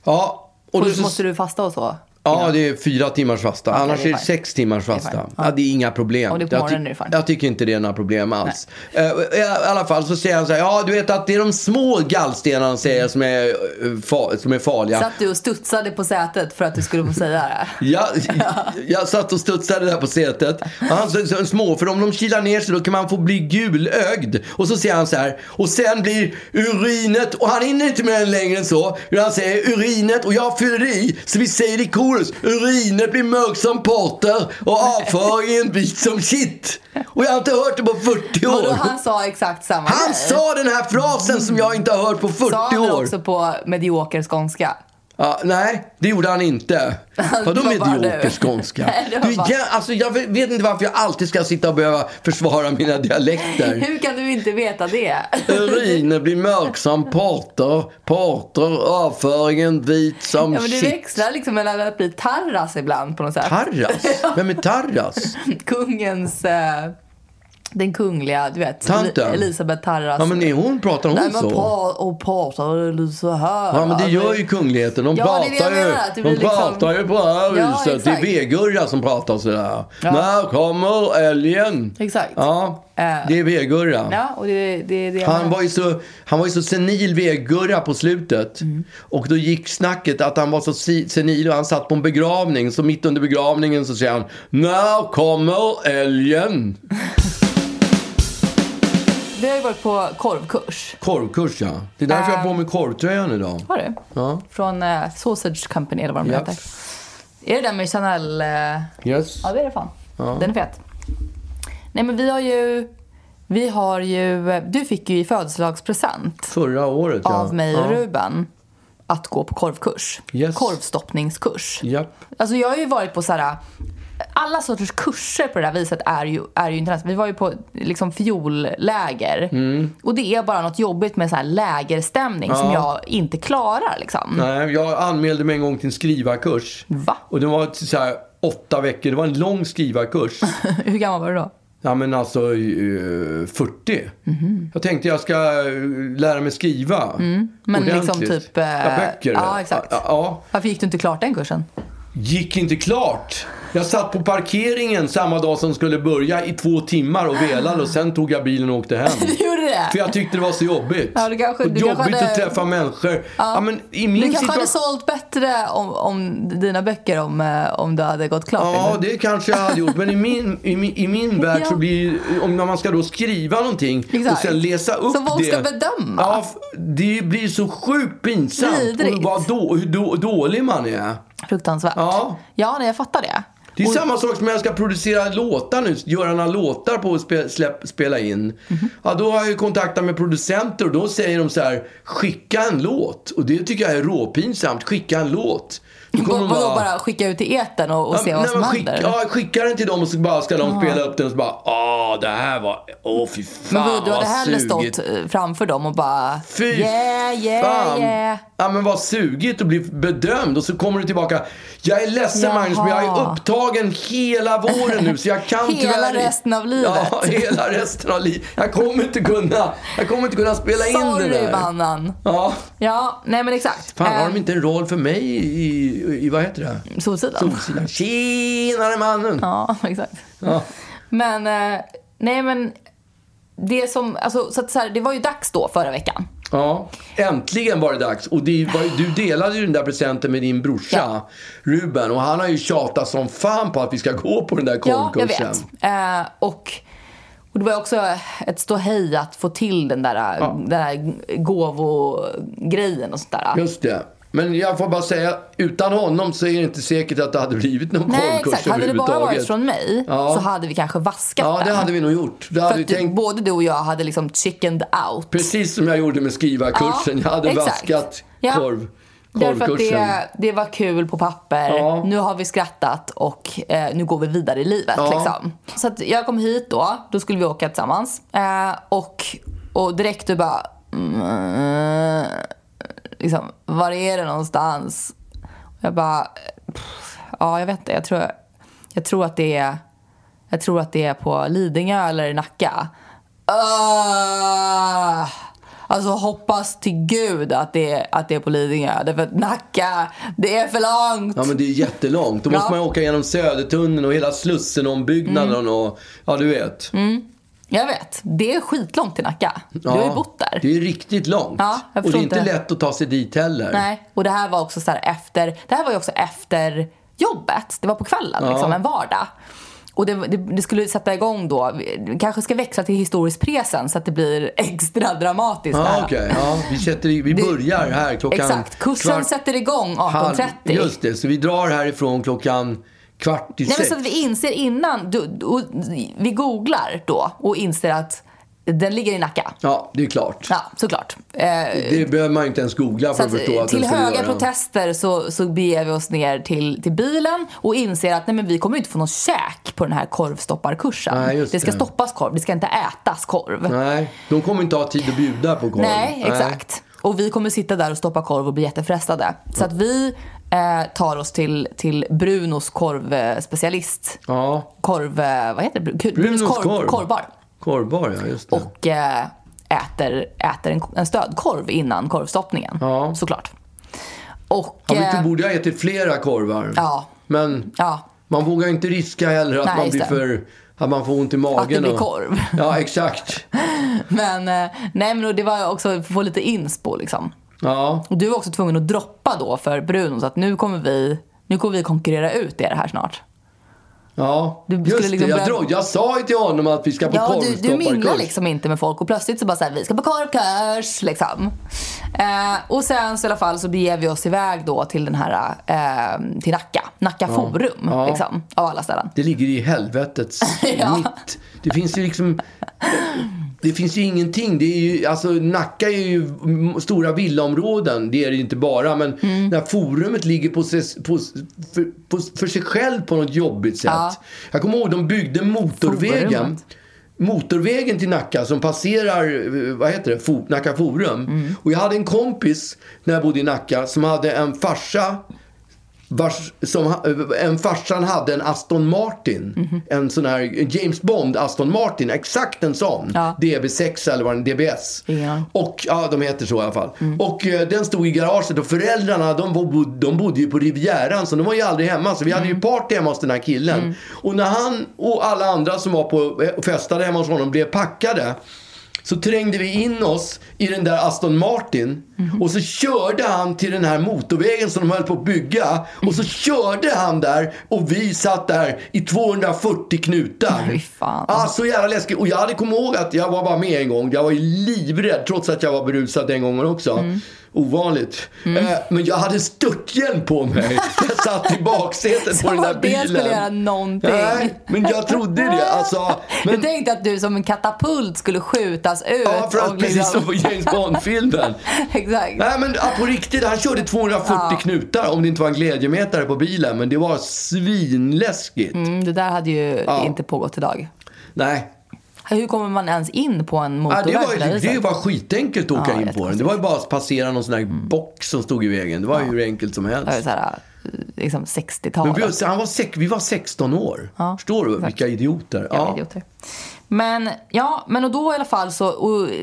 Speaker 2: Ja. Och
Speaker 1: Och
Speaker 2: då så-
Speaker 1: måste du fasta och så?
Speaker 3: Ja, det är fyra timmars fasta. Annars
Speaker 1: det
Speaker 3: är
Speaker 1: är
Speaker 3: det
Speaker 1: fine.
Speaker 3: sex timmars
Speaker 1: är
Speaker 3: fasta.
Speaker 1: fine.
Speaker 3: ja. det är inga problem.
Speaker 1: Om det är på
Speaker 3: jag, ty-
Speaker 1: morgonen är det fine.
Speaker 3: jag tycker inte det är några problem alls. Eh, I i alla fall så säger han så här, ja du vet att det är de små gallstenarna säger jag, som, är, eh, fa- som är farliga.
Speaker 1: Satt du och studsade på sätet för att du skulle få säga det?
Speaker 3: Jag,
Speaker 1: (laughs)
Speaker 3: jag satt och studsade där på sätet. Och han sa så, små, för om de kilar ner sig då kan man få bli gulögd. Och så säger han så här, och sen blir urinet, och han hinner inte med den längre än så. Utan han säger urinet och jag fyller i, så vi säger i korus, urinet blir mörkt som porter och avföringen vit som shit. Och jag har inte hört det på 40
Speaker 1: Vadå,
Speaker 3: år.
Speaker 1: han sa exakt samma
Speaker 3: Han
Speaker 1: grej.
Speaker 3: sa den här frasen som jag inte har hört på 40
Speaker 1: Sa han det
Speaker 3: år.
Speaker 1: också på medioker skånska?
Speaker 3: Ja, nej, det gjorde han inte.
Speaker 1: (laughs)
Speaker 3: Vadå
Speaker 1: det var bara
Speaker 3: medioker
Speaker 1: du. (laughs)
Speaker 3: skånska?
Speaker 1: Nej, det var
Speaker 3: du,
Speaker 1: bara-
Speaker 3: jag, alltså, jag vet inte varför jag alltid ska sitta och behöva försvara mina dialekter.
Speaker 1: Hur kan du inte veta det?
Speaker 3: Urinen blir mörk som porter, porter, avföringen vit som
Speaker 1: Ja, men du
Speaker 3: shit.
Speaker 1: växlar liksom mellan att bli Tarras ibland på något sätt. (laughs)
Speaker 3: Tarras? Vem är Tarras?
Speaker 1: Kungens... Eh, den kungliga, du vet.
Speaker 3: Tanten?
Speaker 1: Eli- Elisabeth Tarras.
Speaker 3: Ja, men är hon, pratar hon
Speaker 1: Alltså, Nej men
Speaker 3: så?
Speaker 1: pra- och pratar du så här?
Speaker 3: Ja, men det gör
Speaker 1: Alltså,
Speaker 3: ju kungligheten. De
Speaker 1: Ja, det är det jag
Speaker 3: pratar ju,
Speaker 1: menar, att det
Speaker 3: de
Speaker 1: blir liksom-
Speaker 3: pratar ju på det här
Speaker 1: Ja,
Speaker 3: viset. det är
Speaker 1: exakt.
Speaker 3: V-Gurra som pratar sådär. När kommer älgen?
Speaker 1: Exakt.
Speaker 3: Ja, det är V-Gurra.
Speaker 1: Ja, och det, det, det
Speaker 3: Han var ju så, han var ju så senil vegurra på slutet.
Speaker 1: Mm.
Speaker 3: Och då gick snacket att han var så si- senil och han satt på en begravning. Så mitt under begravningen så säger han När kommer älgen?
Speaker 1: Vi har ju varit på korvkurs.
Speaker 3: Korvkurs ja. Det är därför jag har på mig korvtröjan idag.
Speaker 1: Har du?
Speaker 3: Ja.
Speaker 1: Från eh, Sausage Company eller vad de
Speaker 3: Ja.
Speaker 1: heter. Är det den med Chanel... Eh...
Speaker 3: Yes.
Speaker 1: Ja, det är det fan. Den är fet. Nej men vi har ju... Vi har ju... eh, Du fick ju i födelsedagspresent
Speaker 3: Förra året ja.
Speaker 1: av mig och
Speaker 3: ja.
Speaker 1: Ruben att gå på korvkurs.
Speaker 3: Yes.
Speaker 1: Korvstoppningskurs.
Speaker 3: Japp.
Speaker 1: Alltså jag har ju varit på så här. Alla sorters kurser på det här viset är ju, är ju intressant. Vi var ju på liksom fiolläger.
Speaker 3: Mm.
Speaker 1: Och det är bara något jobbigt med så här lägerstämning som jag inte klarar liksom.
Speaker 3: Nej, jag anmälde mig en gång till en skrivarkurs.
Speaker 1: Va?
Speaker 3: Och det var så här åtta veckor. Det var en lång skrivarkurs.
Speaker 1: (laughs) Hur gammal var du då?
Speaker 3: Ja men alltså eh, 40.
Speaker 1: Mhm.
Speaker 3: Jag tänkte jag ska eh, lära mig skriva.
Speaker 1: Men liksom
Speaker 3: ordentligt.
Speaker 1: typ... eh,
Speaker 3: ja, böcker.
Speaker 1: Ja, exakt.
Speaker 3: Ja, ja.
Speaker 1: Varför gick du inte klart den kursen?
Speaker 3: Gick inte klart. Jag satt på parkeringen samma dag som skulle börja i två timmar och velade och sen tog jag bilen och åkte hem.
Speaker 1: (laughs) Du gjorde det?
Speaker 3: (laughs) För jag tyckte det var så jobbigt.
Speaker 1: Ja, du kanske-
Speaker 3: och
Speaker 1: du
Speaker 3: jobbigt
Speaker 1: kanske hade-
Speaker 3: att träffa människor. Ja, men i min
Speaker 1: Du kanske hade
Speaker 3: situation-
Speaker 1: sålt bättre om, om dina böcker om, eh, om du hade gått klart
Speaker 3: Ja,
Speaker 1: den.
Speaker 3: det kanske jag hade gjort. Men i min, i min, i min värld
Speaker 1: (laughs)
Speaker 3: så
Speaker 1: Ja.
Speaker 3: blir om när man ska då skriva någonting och
Speaker 1: Exakt.
Speaker 3: sen läsa upp
Speaker 1: Som folk
Speaker 3: det.
Speaker 1: ska bedöma.
Speaker 3: Ja, f- det blir så sjukt pinsamt.
Speaker 1: Vidrigt.
Speaker 3: Och vad då, hur då, dålig man är.
Speaker 1: Fruktansvärt.
Speaker 3: Ja.
Speaker 1: ja, nej jag fattar det.
Speaker 3: Det är samma sak som när jag ska producera låtar nu, göra några låtar på att spe, släpp, spela in.
Speaker 1: Mhm.
Speaker 3: Ja, då har jag ju kontaktat med producenter och då säger de så här, skicka en låt. Och det tycker jag är råpinsamt, skicka en låt.
Speaker 1: (laughs)
Speaker 3: Då kommer
Speaker 1: Vadå
Speaker 3: de
Speaker 1: bara... skicka ut i etern och, och
Speaker 3: Ja,
Speaker 1: se
Speaker 3: nej,
Speaker 1: vad som
Speaker 3: men
Speaker 1: händer?
Speaker 3: skick, ja, skicka den till dem och så bara ska de spela upp den och så bara Åh, det här var... Åh, fy fan
Speaker 1: men du, du hade
Speaker 3: vad
Speaker 1: hellre
Speaker 3: sugigt.
Speaker 1: stått eh, framför dem och bara
Speaker 3: Fy
Speaker 1: yeah, yeah,
Speaker 3: fan.
Speaker 1: yeah.
Speaker 3: Ja, men vad sugigt att bli bedömd och så kommer du tillbaka. Jag är ledsen
Speaker 1: Jaha.
Speaker 3: Magnus, men jag är upptagen hela våren nu så jag kan
Speaker 1: (laughs) Hela
Speaker 3: tyvärr inte."
Speaker 1: resten av livet.
Speaker 3: Ja, (laughs) hela resten av livet. Jag kommer inte kunna, jag kommer inte kunna spela in det
Speaker 1: Sorry
Speaker 3: där.
Speaker 1: bannan.
Speaker 3: Ja,
Speaker 1: Ja, nej men exakt.
Speaker 3: fan har
Speaker 1: Ehm,
Speaker 3: de inte en roll för mig i, i, i vad heter det?
Speaker 1: Solsidan.
Speaker 3: Solsidan. Tjenare mannen!
Speaker 1: Ja, (laughs) exakt.
Speaker 3: Ja.
Speaker 1: Men, eh, nej men. Det som, alltså så att så här, det var ju dags då förra veckan.
Speaker 3: Ja, äntligen var det dags. Och det var, ju- du delade ju den där presenten med din brorsa
Speaker 1: Ja.
Speaker 3: Ruben. Och han har ju tjatat som fan på att vi ska gå på den där
Speaker 1: Ja, jag
Speaker 3: korvkursen.
Speaker 1: vet. Eh, och, och det var också ett ståhej att få till den där, eh, den där gåvogrejen och sånt där.
Speaker 3: Just det. Men jag får bara säga, utan honom så är det inte säkert att det hade blivit någon
Speaker 1: Nej
Speaker 3: korvkurs
Speaker 1: exakt, hade det bara varit
Speaker 3: överhuvudtaget.
Speaker 1: från mig
Speaker 3: Ja.
Speaker 1: så hade vi kanske vaskat
Speaker 3: Ja, det
Speaker 1: den.
Speaker 3: hade vi nog gjort. Det
Speaker 1: För
Speaker 3: hade vi
Speaker 1: att du,
Speaker 3: tänkt,
Speaker 1: både du och jag hade liksom chickened out.
Speaker 3: precis som jag gjorde med skrivarkursen. jag hade
Speaker 1: exakt.
Speaker 3: vaskat
Speaker 1: Ja.
Speaker 3: korv,
Speaker 1: Därför att
Speaker 3: korvkursen.
Speaker 1: det, det var kul på papper,
Speaker 3: Ja.
Speaker 1: nu har vi skrattat och eh, nu går vi vidare i livet.
Speaker 3: Ja.
Speaker 1: Liksom. Så att jag kom hit då, då skulle vi åka tillsammans. Eh, och, och direkt du bara... Mm, liksom, var är det någonstans? Och jag bara... Pff, ja, jag vet inte. Jag tror, jag tror att det är... Jag tror att det är på Lidingö eller i Nacka. Ah! Alltså hoppas till gud att det är, att det är på Lidingö. Därför att Nacka, det är för långt.
Speaker 3: Ja men det är jättelångt. Då måste
Speaker 1: Ja.
Speaker 3: man åka genom Södertunneln och hela Slussenombyggnaden
Speaker 1: Mm.
Speaker 3: och ja du vet.
Speaker 1: Jag vet, det är skitlångt till Nacka. Mm. Du har ju
Speaker 3: Ja,
Speaker 1: bott där.
Speaker 3: Det är riktigt långt.
Speaker 1: Ja, jag
Speaker 3: och det
Speaker 1: förstår
Speaker 3: är inte
Speaker 1: inte.
Speaker 3: lätt att ta sig dit heller.
Speaker 1: Nej, och det här var också så här efter, det här var ju också efter jobbet. Det var på kvällen, liksom, en vardag. Och det, det, det skulle sätta igång då, vi kanske ska växla till historisk presen så att det blir extra dramatiskt.
Speaker 3: Ja,
Speaker 1: där.
Speaker 3: Ah, okej. Ja, vi, sätter, i- vi börjar här klockan
Speaker 1: Exakt, kursen
Speaker 3: kvart-
Speaker 1: sätter igång
Speaker 3: halv-
Speaker 1: 18.30.
Speaker 3: Just det, så vi drar härifrån klockan kvart i
Speaker 1: Nej, men
Speaker 3: sex.
Speaker 1: så att vi inser innan, du, du, och vi googlar då och inser att den ligger i Nacka.
Speaker 3: Ja, det är klart.
Speaker 1: Ja, såklart. Eh,
Speaker 3: Det behöver man ju inte ens googla för
Speaker 1: Så
Speaker 3: att, förstå
Speaker 1: att, eh,
Speaker 3: att
Speaker 1: till
Speaker 3: den ska
Speaker 1: höga
Speaker 3: göra.
Speaker 1: protester så, så beger vi oss ner till, till bilen och inser att nej, men vi kommer ju inte få någon käk på den här korvstopparkursen.
Speaker 3: Nej, just
Speaker 1: det ska
Speaker 3: det.
Speaker 1: stoppas korv, det ska inte ätas korv. Nej,
Speaker 3: Nej, de kommer inte ha tid att bjuda på korv.
Speaker 1: exakt. Och vi kommer sitta där och stoppa korv och bli jättefrestade. Så att vi eh, tar oss till, till Brunos korvspecialist.
Speaker 3: Ja,
Speaker 1: Korv, eh, vad heter det? Bru-
Speaker 3: Brunos korv.
Speaker 1: Korvbar.
Speaker 3: korvbar ja, just det.
Speaker 1: Och eh, äter, äter en, en stödkorv innan korvstoppningen.
Speaker 3: Ja.
Speaker 1: Såklart. Och...
Speaker 3: ja, men
Speaker 1: eh,
Speaker 3: du borde ha ätit flera korvar.
Speaker 1: Ja.
Speaker 3: Men
Speaker 1: Ja.
Speaker 3: man vågar ju inte riska heller att
Speaker 1: Nej,
Speaker 3: man
Speaker 1: just
Speaker 3: blir
Speaker 1: det.
Speaker 3: för... Att man får ont i magen.
Speaker 1: blir
Speaker 3: och-
Speaker 1: korv.
Speaker 3: Ja, exakt.
Speaker 1: Men, eh, nej, men det var också för att få lite inspo. Liksom.
Speaker 3: Ja,
Speaker 1: Och du var också tvungen att droppa då för Bruno. Så att nu kommer vi, nu kommer vi konkurrera ut er här snart.
Speaker 3: ja.
Speaker 1: Du skulle
Speaker 3: just det.
Speaker 1: liksom
Speaker 3: Jag,
Speaker 1: börja-
Speaker 3: drog, jag sa ju till honom att vi ska på
Speaker 1: Ja, du, du minglar
Speaker 3: korvstopparkurs.
Speaker 1: liksom inte med folk och plötsligt så bara såhär, vi ska på korvkurs liksom. Eh, och sen så i alla fall så beger vi oss iväg då till den här, eh, till Nacka. Nacka forum
Speaker 3: Ja.
Speaker 1: liksom, av alla ställen.
Speaker 3: Det ligger i helvetets
Speaker 1: Ja.
Speaker 3: mitt. Det finns ju liksom... Det finns ju ingenting. Det är ju, alltså, Nacka är ju m- stora villaområden. Det är det ju inte bara. Men
Speaker 2: Mm.
Speaker 1: Mm.
Speaker 3: när forumet ligger på, ses, på, för, på, för sig själv på något jobbigt sätt.
Speaker 1: Ja.
Speaker 3: Jag kommer ihåg de byggde motorvägen.
Speaker 1: Forumet.
Speaker 3: Motorvägen till Nacka som passerar eh, vad heter det? Fo, Nacka Forum. Och jag hade en kompis när jag bodde i Nacka som hade en farsa vars, som, ha- eh, en farsan hade en Aston Martin. En sån här en James Bond Aston Martin. Exakt en sån.
Speaker 1: Ja.
Speaker 3: DB6 eller vad den DBS.
Speaker 1: Ja.
Speaker 3: Och, ja, de heter så i alla fall. Och eh, den stod i garaget och föräldrarna de, bo, de bodde ju på Rivieran så de var ju aldrig hemma. Så vi hade ju party hemma hos den här killen. Och när han och alla andra som var på eh, festade hemma hos honom blev packade så trängde vi in oss i den där Aston Martin och så körde han till den här motorvägen som de höll på att bygga och så körde han där och vi satt där i 240 knutar.
Speaker 1: Nej, fan.
Speaker 3: Ah, så jävla läskigt. Och jag hade kommit ihåg att jag var bara med en gång. Jag var ju livrädd trots att jag var berusad den gången också.
Speaker 1: Mm.
Speaker 3: Ovanligt. Eh, men jag hade störthjälm på mig. Jag satt i baksätet på
Speaker 1: Som
Speaker 3: den
Speaker 1: att
Speaker 3: där
Speaker 1: Alltså, (laughs) det
Speaker 3: bilen.
Speaker 1: skulle göra någonting.
Speaker 3: Nej, men jag trodde det.
Speaker 1: (laughs)
Speaker 3: Alltså, men...
Speaker 1: Du tänkte att du som en katapult skulle skjutas ut.
Speaker 3: Ja, för
Speaker 1: och
Speaker 3: att precis som på James Bond-filmen.
Speaker 1: (laughs) Exakt.
Speaker 3: Nej men ah, på riktigt, han körde 240 knutar om det inte var en glädjemätare på bilen. Men det var svinläskigt.
Speaker 1: Mm, det där hade ju inte pågått idag.
Speaker 3: Nej.
Speaker 1: Hur kommer man ens in på en
Speaker 3: Ah, det,
Speaker 1: motorväg på det här
Speaker 3: var, det
Speaker 1: viset?
Speaker 3: var skitenkelt att åka
Speaker 1: Ja,
Speaker 3: in på den. Det var ju bara att passera någon sån här
Speaker 1: Mm.
Speaker 3: box som stod i vägen. Det var ju hur enkelt som
Speaker 1: Det var ju
Speaker 3: helst.
Speaker 1: så här, liksom
Speaker 3: Men vi,
Speaker 1: 60-talet.
Speaker 3: var- han var, sex- vi var 16 år. Förstår du? Vilka idioter.
Speaker 1: Jävla
Speaker 3: Ja.
Speaker 1: idioter. Men ja, men och då i alla fall så... Och, eh,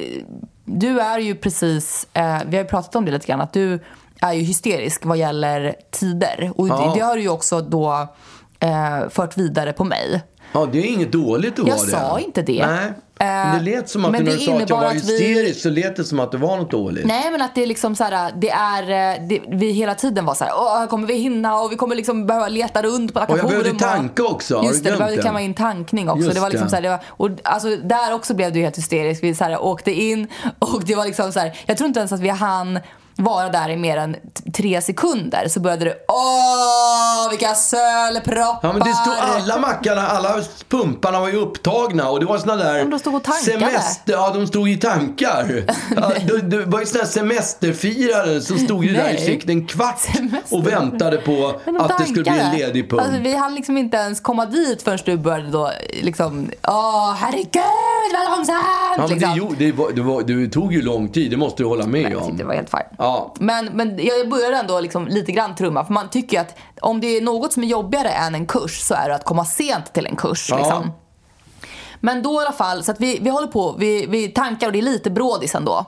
Speaker 1: du är ju precis... Eh, vi har ju pratat om det lite grann. Att du är ju hysterisk vad gäller tider. Och
Speaker 3: Ja.
Speaker 1: det, det har du ju också då eh, fört vidare på mig.
Speaker 3: ja, det är inget dåligt att
Speaker 1: Jag
Speaker 3: vara det.
Speaker 1: sa inte det. Eh,
Speaker 3: Nej. Men det lät som att
Speaker 1: men
Speaker 3: när
Speaker 1: det
Speaker 3: du sa att jag
Speaker 1: innebar
Speaker 3: var
Speaker 1: att vi-
Speaker 3: hysterisk så lät det som att det var något dåligt.
Speaker 1: Nej men att det är liksom så här, det är, eh, det, vi hela tiden var så här, Åh, kommer vi hinna och vi kommer liksom behöva leta runt på
Speaker 3: Och jag behövde
Speaker 1: Acapulco och-
Speaker 3: tanka också. Har du
Speaker 1: Just det, du
Speaker 3: glömt
Speaker 1: behövde
Speaker 3: det?
Speaker 1: klämma in tankning också.
Speaker 3: Just
Speaker 1: det var liksom
Speaker 3: det.
Speaker 1: Så här, det var, och alltså, där också blev du helt hysterisk. Vi så här, åkte in och det var liksom så här, jag tror inte ens att vi hann vara där i mer än t- tre sekunder så började det åh vilka sölproppar.
Speaker 3: Ja men det stod alla mackarna, alla pumparna var ju upptagna och det var såna där...
Speaker 1: Ja, de stod och tankade.
Speaker 3: Semester, ja de stod i tankar.
Speaker 1: (laughs)
Speaker 3: ja, det, det var ju såna här semesterfirare som stod ju där i
Speaker 1: Nej.
Speaker 3: sikt en kvart
Speaker 1: Semester.
Speaker 3: och väntade på
Speaker 1: Men de
Speaker 3: att det skulle bli en
Speaker 1: tankade.
Speaker 3: ledig pump.
Speaker 1: Alltså, vi hann liksom inte ens komma dit förrän du började då liksom, åh herregud vad långsamt!
Speaker 3: ja, men det,
Speaker 1: liksom.
Speaker 3: gjorde- det, var, det, var, det tog ju lång tid, det måste du hålla med
Speaker 1: Jag
Speaker 3: om.
Speaker 1: tyckte det var helt fine.
Speaker 3: Ja.
Speaker 1: Men, men jag började ändå liksom lite grann trumma. För man tycker ju att om det är något som är jobbigare än en kurs så är det att komma sent till en kurs.
Speaker 3: Ja.
Speaker 1: Liksom. Men då i alla fall, så att vi, vi håller på, vi, vi tankar och det är lite brådis ändå.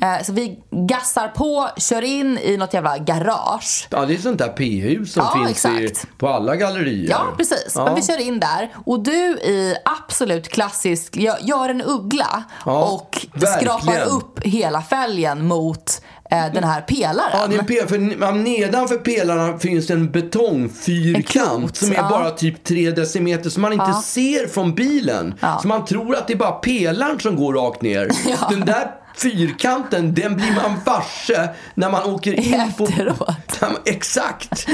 Speaker 1: Eh, så vi gassar på, kör in i något jävla garage.
Speaker 3: Ja, det är sånt där p-hus som
Speaker 1: Ja,
Speaker 3: finns i,
Speaker 1: exakt.
Speaker 3: på alla gallerier.
Speaker 1: Ja, precis.
Speaker 3: Ja.
Speaker 1: Men vi kör in där. Och du i absolut klassisk, gö- gör en uggla
Speaker 3: Ja,
Speaker 1: och
Speaker 3: verkligen.
Speaker 1: skrapar upp hela fälgen mot eh, den här pelaren.
Speaker 3: Ja, det är en pe- för, ja, nedanför pelarna finns det en
Speaker 1: En
Speaker 3: betongfyrkant
Speaker 1: klot,
Speaker 3: som är
Speaker 1: ja.
Speaker 3: bara typ tre decimeter som man inte ser från bilen. Så man tror att det är bara pelaren som går
Speaker 1: (laughs)
Speaker 3: rakt ner. Den där fyrkanten, den blir man varse när man åker in på...
Speaker 1: Efteråt.
Speaker 3: Ja, men Exakt!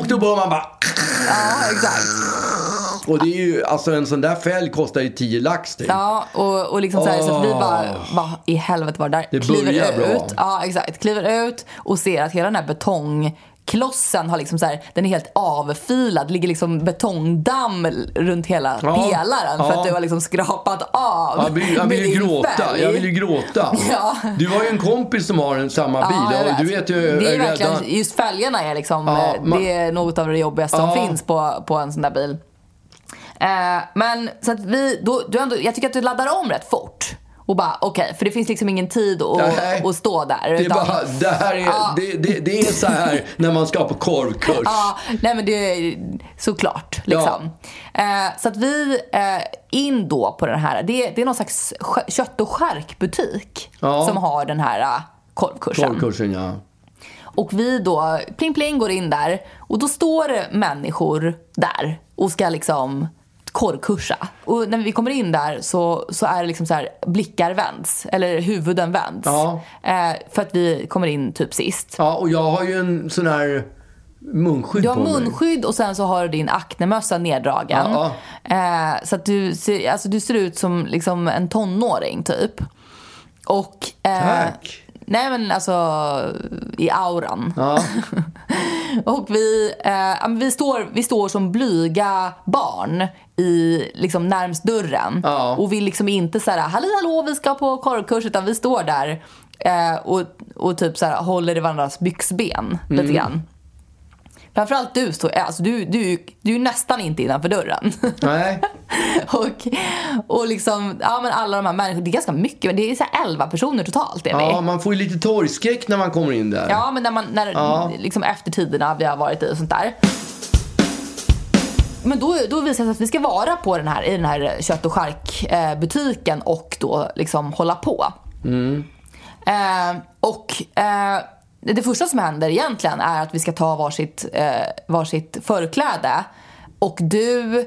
Speaker 3: Och då bör man bara...
Speaker 1: Ja, exakt.
Speaker 3: Och det är ju, alltså en sån där fälg kostar ju 10 lax typ.
Speaker 1: Ja, och, och liksom så, här, så att vi bara, vad i helvete var det där?
Speaker 3: Det börjar bra.
Speaker 1: ut, ja, exakt, kliver ut och ser att hela den här betongklossen har liksom så här, den är helt avfilad. Det ligger liksom betongdamm runt hela
Speaker 3: Ja,
Speaker 1: pelaren för
Speaker 3: ja.
Speaker 1: att du har liksom skrapat av
Speaker 3: Jag vill, jag
Speaker 1: med
Speaker 3: vill ju
Speaker 1: din
Speaker 3: gråta.
Speaker 1: fälg.
Speaker 3: Jag vill ju gråta.
Speaker 1: Ja.
Speaker 3: Du har ju en kompis som har en samma bil.
Speaker 1: jag
Speaker 3: och du vet ju,
Speaker 1: alltså, det är
Speaker 3: jag
Speaker 1: verkligen,
Speaker 3: redan-
Speaker 1: just fälgarna är liksom,
Speaker 3: Ja,
Speaker 1: eh,
Speaker 3: man-
Speaker 1: det är något av det jobbigaste
Speaker 3: Ja.
Speaker 1: som finns på, på en sån där bil. Eh, men så att vi, då, du ändå, jag tycker att du laddar om rätt fort. Och bara okej, för det finns liksom ingen tid
Speaker 3: Nej.
Speaker 1: att, att stå där.
Speaker 3: Det är
Speaker 1: utan-
Speaker 3: bara, det här är, det, det, det är så här när man ska på korvkurs.
Speaker 1: Ja, nej men det är såklart. Liksom. Eh, så att vi eh, in då på den här, det, det är någon slags skö- kött och skärkbutik
Speaker 3: Ja.
Speaker 1: som har den här eh, korvkursen.
Speaker 3: Korvkursen ja.
Speaker 1: Och vi då, pling pling, går in där och då står det människor där och ska liksom korvkursa. Och när vi kommer in där så, så är det liksom så här, blickar vänds, eller huvuden vänds.
Speaker 3: Ja.
Speaker 1: Eh, för att vi kommer in typ sist.
Speaker 3: Ja, och jag har ju en sån här munskydd
Speaker 1: Du har
Speaker 3: på mig.
Speaker 1: munskydd och sen så har du din aknemössa neddragen.
Speaker 3: Ja.
Speaker 1: Eh, så att du ser, alltså du ser ut som liksom en tonåring typ. Och... eh,
Speaker 3: Tack.
Speaker 1: Nej men alltså i auran.
Speaker 3: Ja.
Speaker 1: (laughs) Och vi, eh, ja, men vi, står, vi står som blyga barn i, liksom, närmst dörren.
Speaker 3: Ja.
Speaker 1: Och vill liksom inte så här, halli hallå vi ska på korvkurs. Utan vi står där eh, och, och typ så här, håller i varandras byxben
Speaker 3: Mm.
Speaker 1: lite grann. Framförallt du, står, alltså, du, du, du är ju nästan inte innanför dörren.
Speaker 3: Nej.
Speaker 1: (laughs) och, och liksom, ja men alla de här människorna, det är ganska mycket, men det är så här 11 personer totalt är vi.
Speaker 3: Ja, man får ju lite torgskräck när man kommer in där.
Speaker 1: Ja, men när man, när, liksom efter tiderna vi har varit i och sånt där. Men då, då visar det sig att vi ska vara på den här, i den här kött och charkbutiken och då liksom hålla på.
Speaker 3: Mm.
Speaker 1: Eh, och eh, det första som händer egentligen är att vi ska ta varsitt, eh, varsitt förkläde och du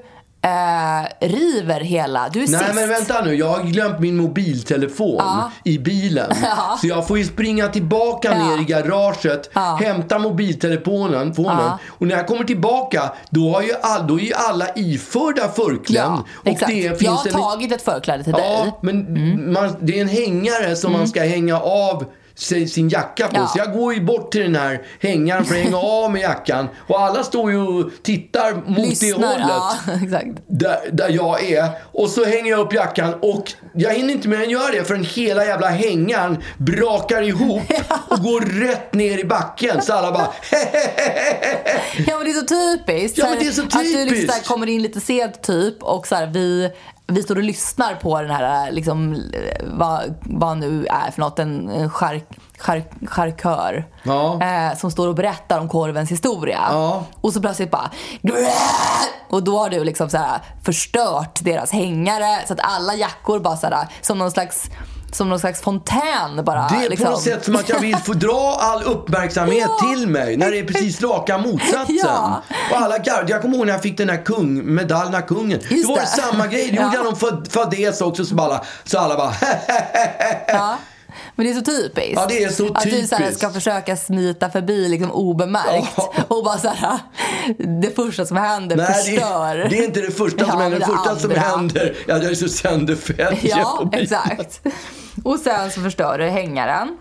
Speaker 1: eh, river hela, du är
Speaker 3: Nej
Speaker 1: sist.
Speaker 3: men vänta nu, jag har glömt min mobiltelefon i bilen.
Speaker 1: (laughs)
Speaker 3: Så jag får ju springa tillbaka ner i garaget, hämta mobiltelefonen telefonen, och när jag kommer tillbaka då, har ju all, då är ju alla iförda förkläden.
Speaker 1: ja,
Speaker 3: och
Speaker 1: exakt.
Speaker 3: det finns
Speaker 1: Jag har
Speaker 3: en-
Speaker 1: tagit ett förkläde till dig.
Speaker 3: Ja, men
Speaker 1: Mm.
Speaker 3: man, det är en hängare som man ska hänga av sig, sin jacka på.
Speaker 1: Ja.
Speaker 3: Så jag går ju bort till den här hängaren för att hänga av med jackan. Och alla står ju och tittar mot det
Speaker 1: Lyssnar,
Speaker 3: hållet
Speaker 1: ja, (laughs) exakt.
Speaker 3: där, där jag är. Och så hänger jag upp jackan och jag hinner inte mer än göra det förrän hela jävla hängan
Speaker 1: (laughs)
Speaker 3: brakar ihop och går rätt ner i backen. Så alla bara
Speaker 1: Ja men det är så typiskt.
Speaker 3: Ja,
Speaker 1: Så här,
Speaker 3: men det är så
Speaker 1: Att du liksom så här
Speaker 3: typiskt.
Speaker 1: kommer in lite sent typ och så här, vi, vi står och lyssnar på den här liksom, eh, vad, vad nu är för något, en en chark, chark, charkör.
Speaker 3: Ja.
Speaker 1: Eh, som står och berättar om korvens historia.
Speaker 3: Ja.
Speaker 1: Och så plötsligt bara Och då har du liksom så här, förstört deras hängare så att alla jackor bara så här, som någon slags som någon slags fontän bara.
Speaker 3: Det är
Speaker 1: liksom.
Speaker 3: på något sätt som
Speaker 1: (laughs)
Speaker 3: att jag vill få dra all uppmärksamhet
Speaker 1: Ja.
Speaker 3: till mig när det är precis raka motsatsen.
Speaker 1: Ja.
Speaker 3: Och alla gard, jag kommer ihåg när jag fick den här kung, medaljen av kungen.
Speaker 1: Just
Speaker 3: då var det,
Speaker 1: det.
Speaker 3: samma grej. Det
Speaker 1: Ja.
Speaker 3: gjorde jag någon fa- fadäs också så alla, så alla bara
Speaker 1: Ja. Men det är så typiskt.
Speaker 3: Ja, det är så
Speaker 1: att du så här
Speaker 3: typiskt.
Speaker 1: ska försöka smita förbi liksom obemärkt.
Speaker 3: Ja.
Speaker 1: Och bara så här, det första som händer
Speaker 3: Nej, det,
Speaker 1: förstör.
Speaker 3: är- det är inte det första
Speaker 1: Ja,
Speaker 3: som händer.
Speaker 1: men
Speaker 3: Det första som
Speaker 1: andra.
Speaker 3: händer är att jag är så sönder fälgen på
Speaker 1: (laughs) Ja,
Speaker 3: bilen.
Speaker 1: exakt. Och sen så förstör du hängaren.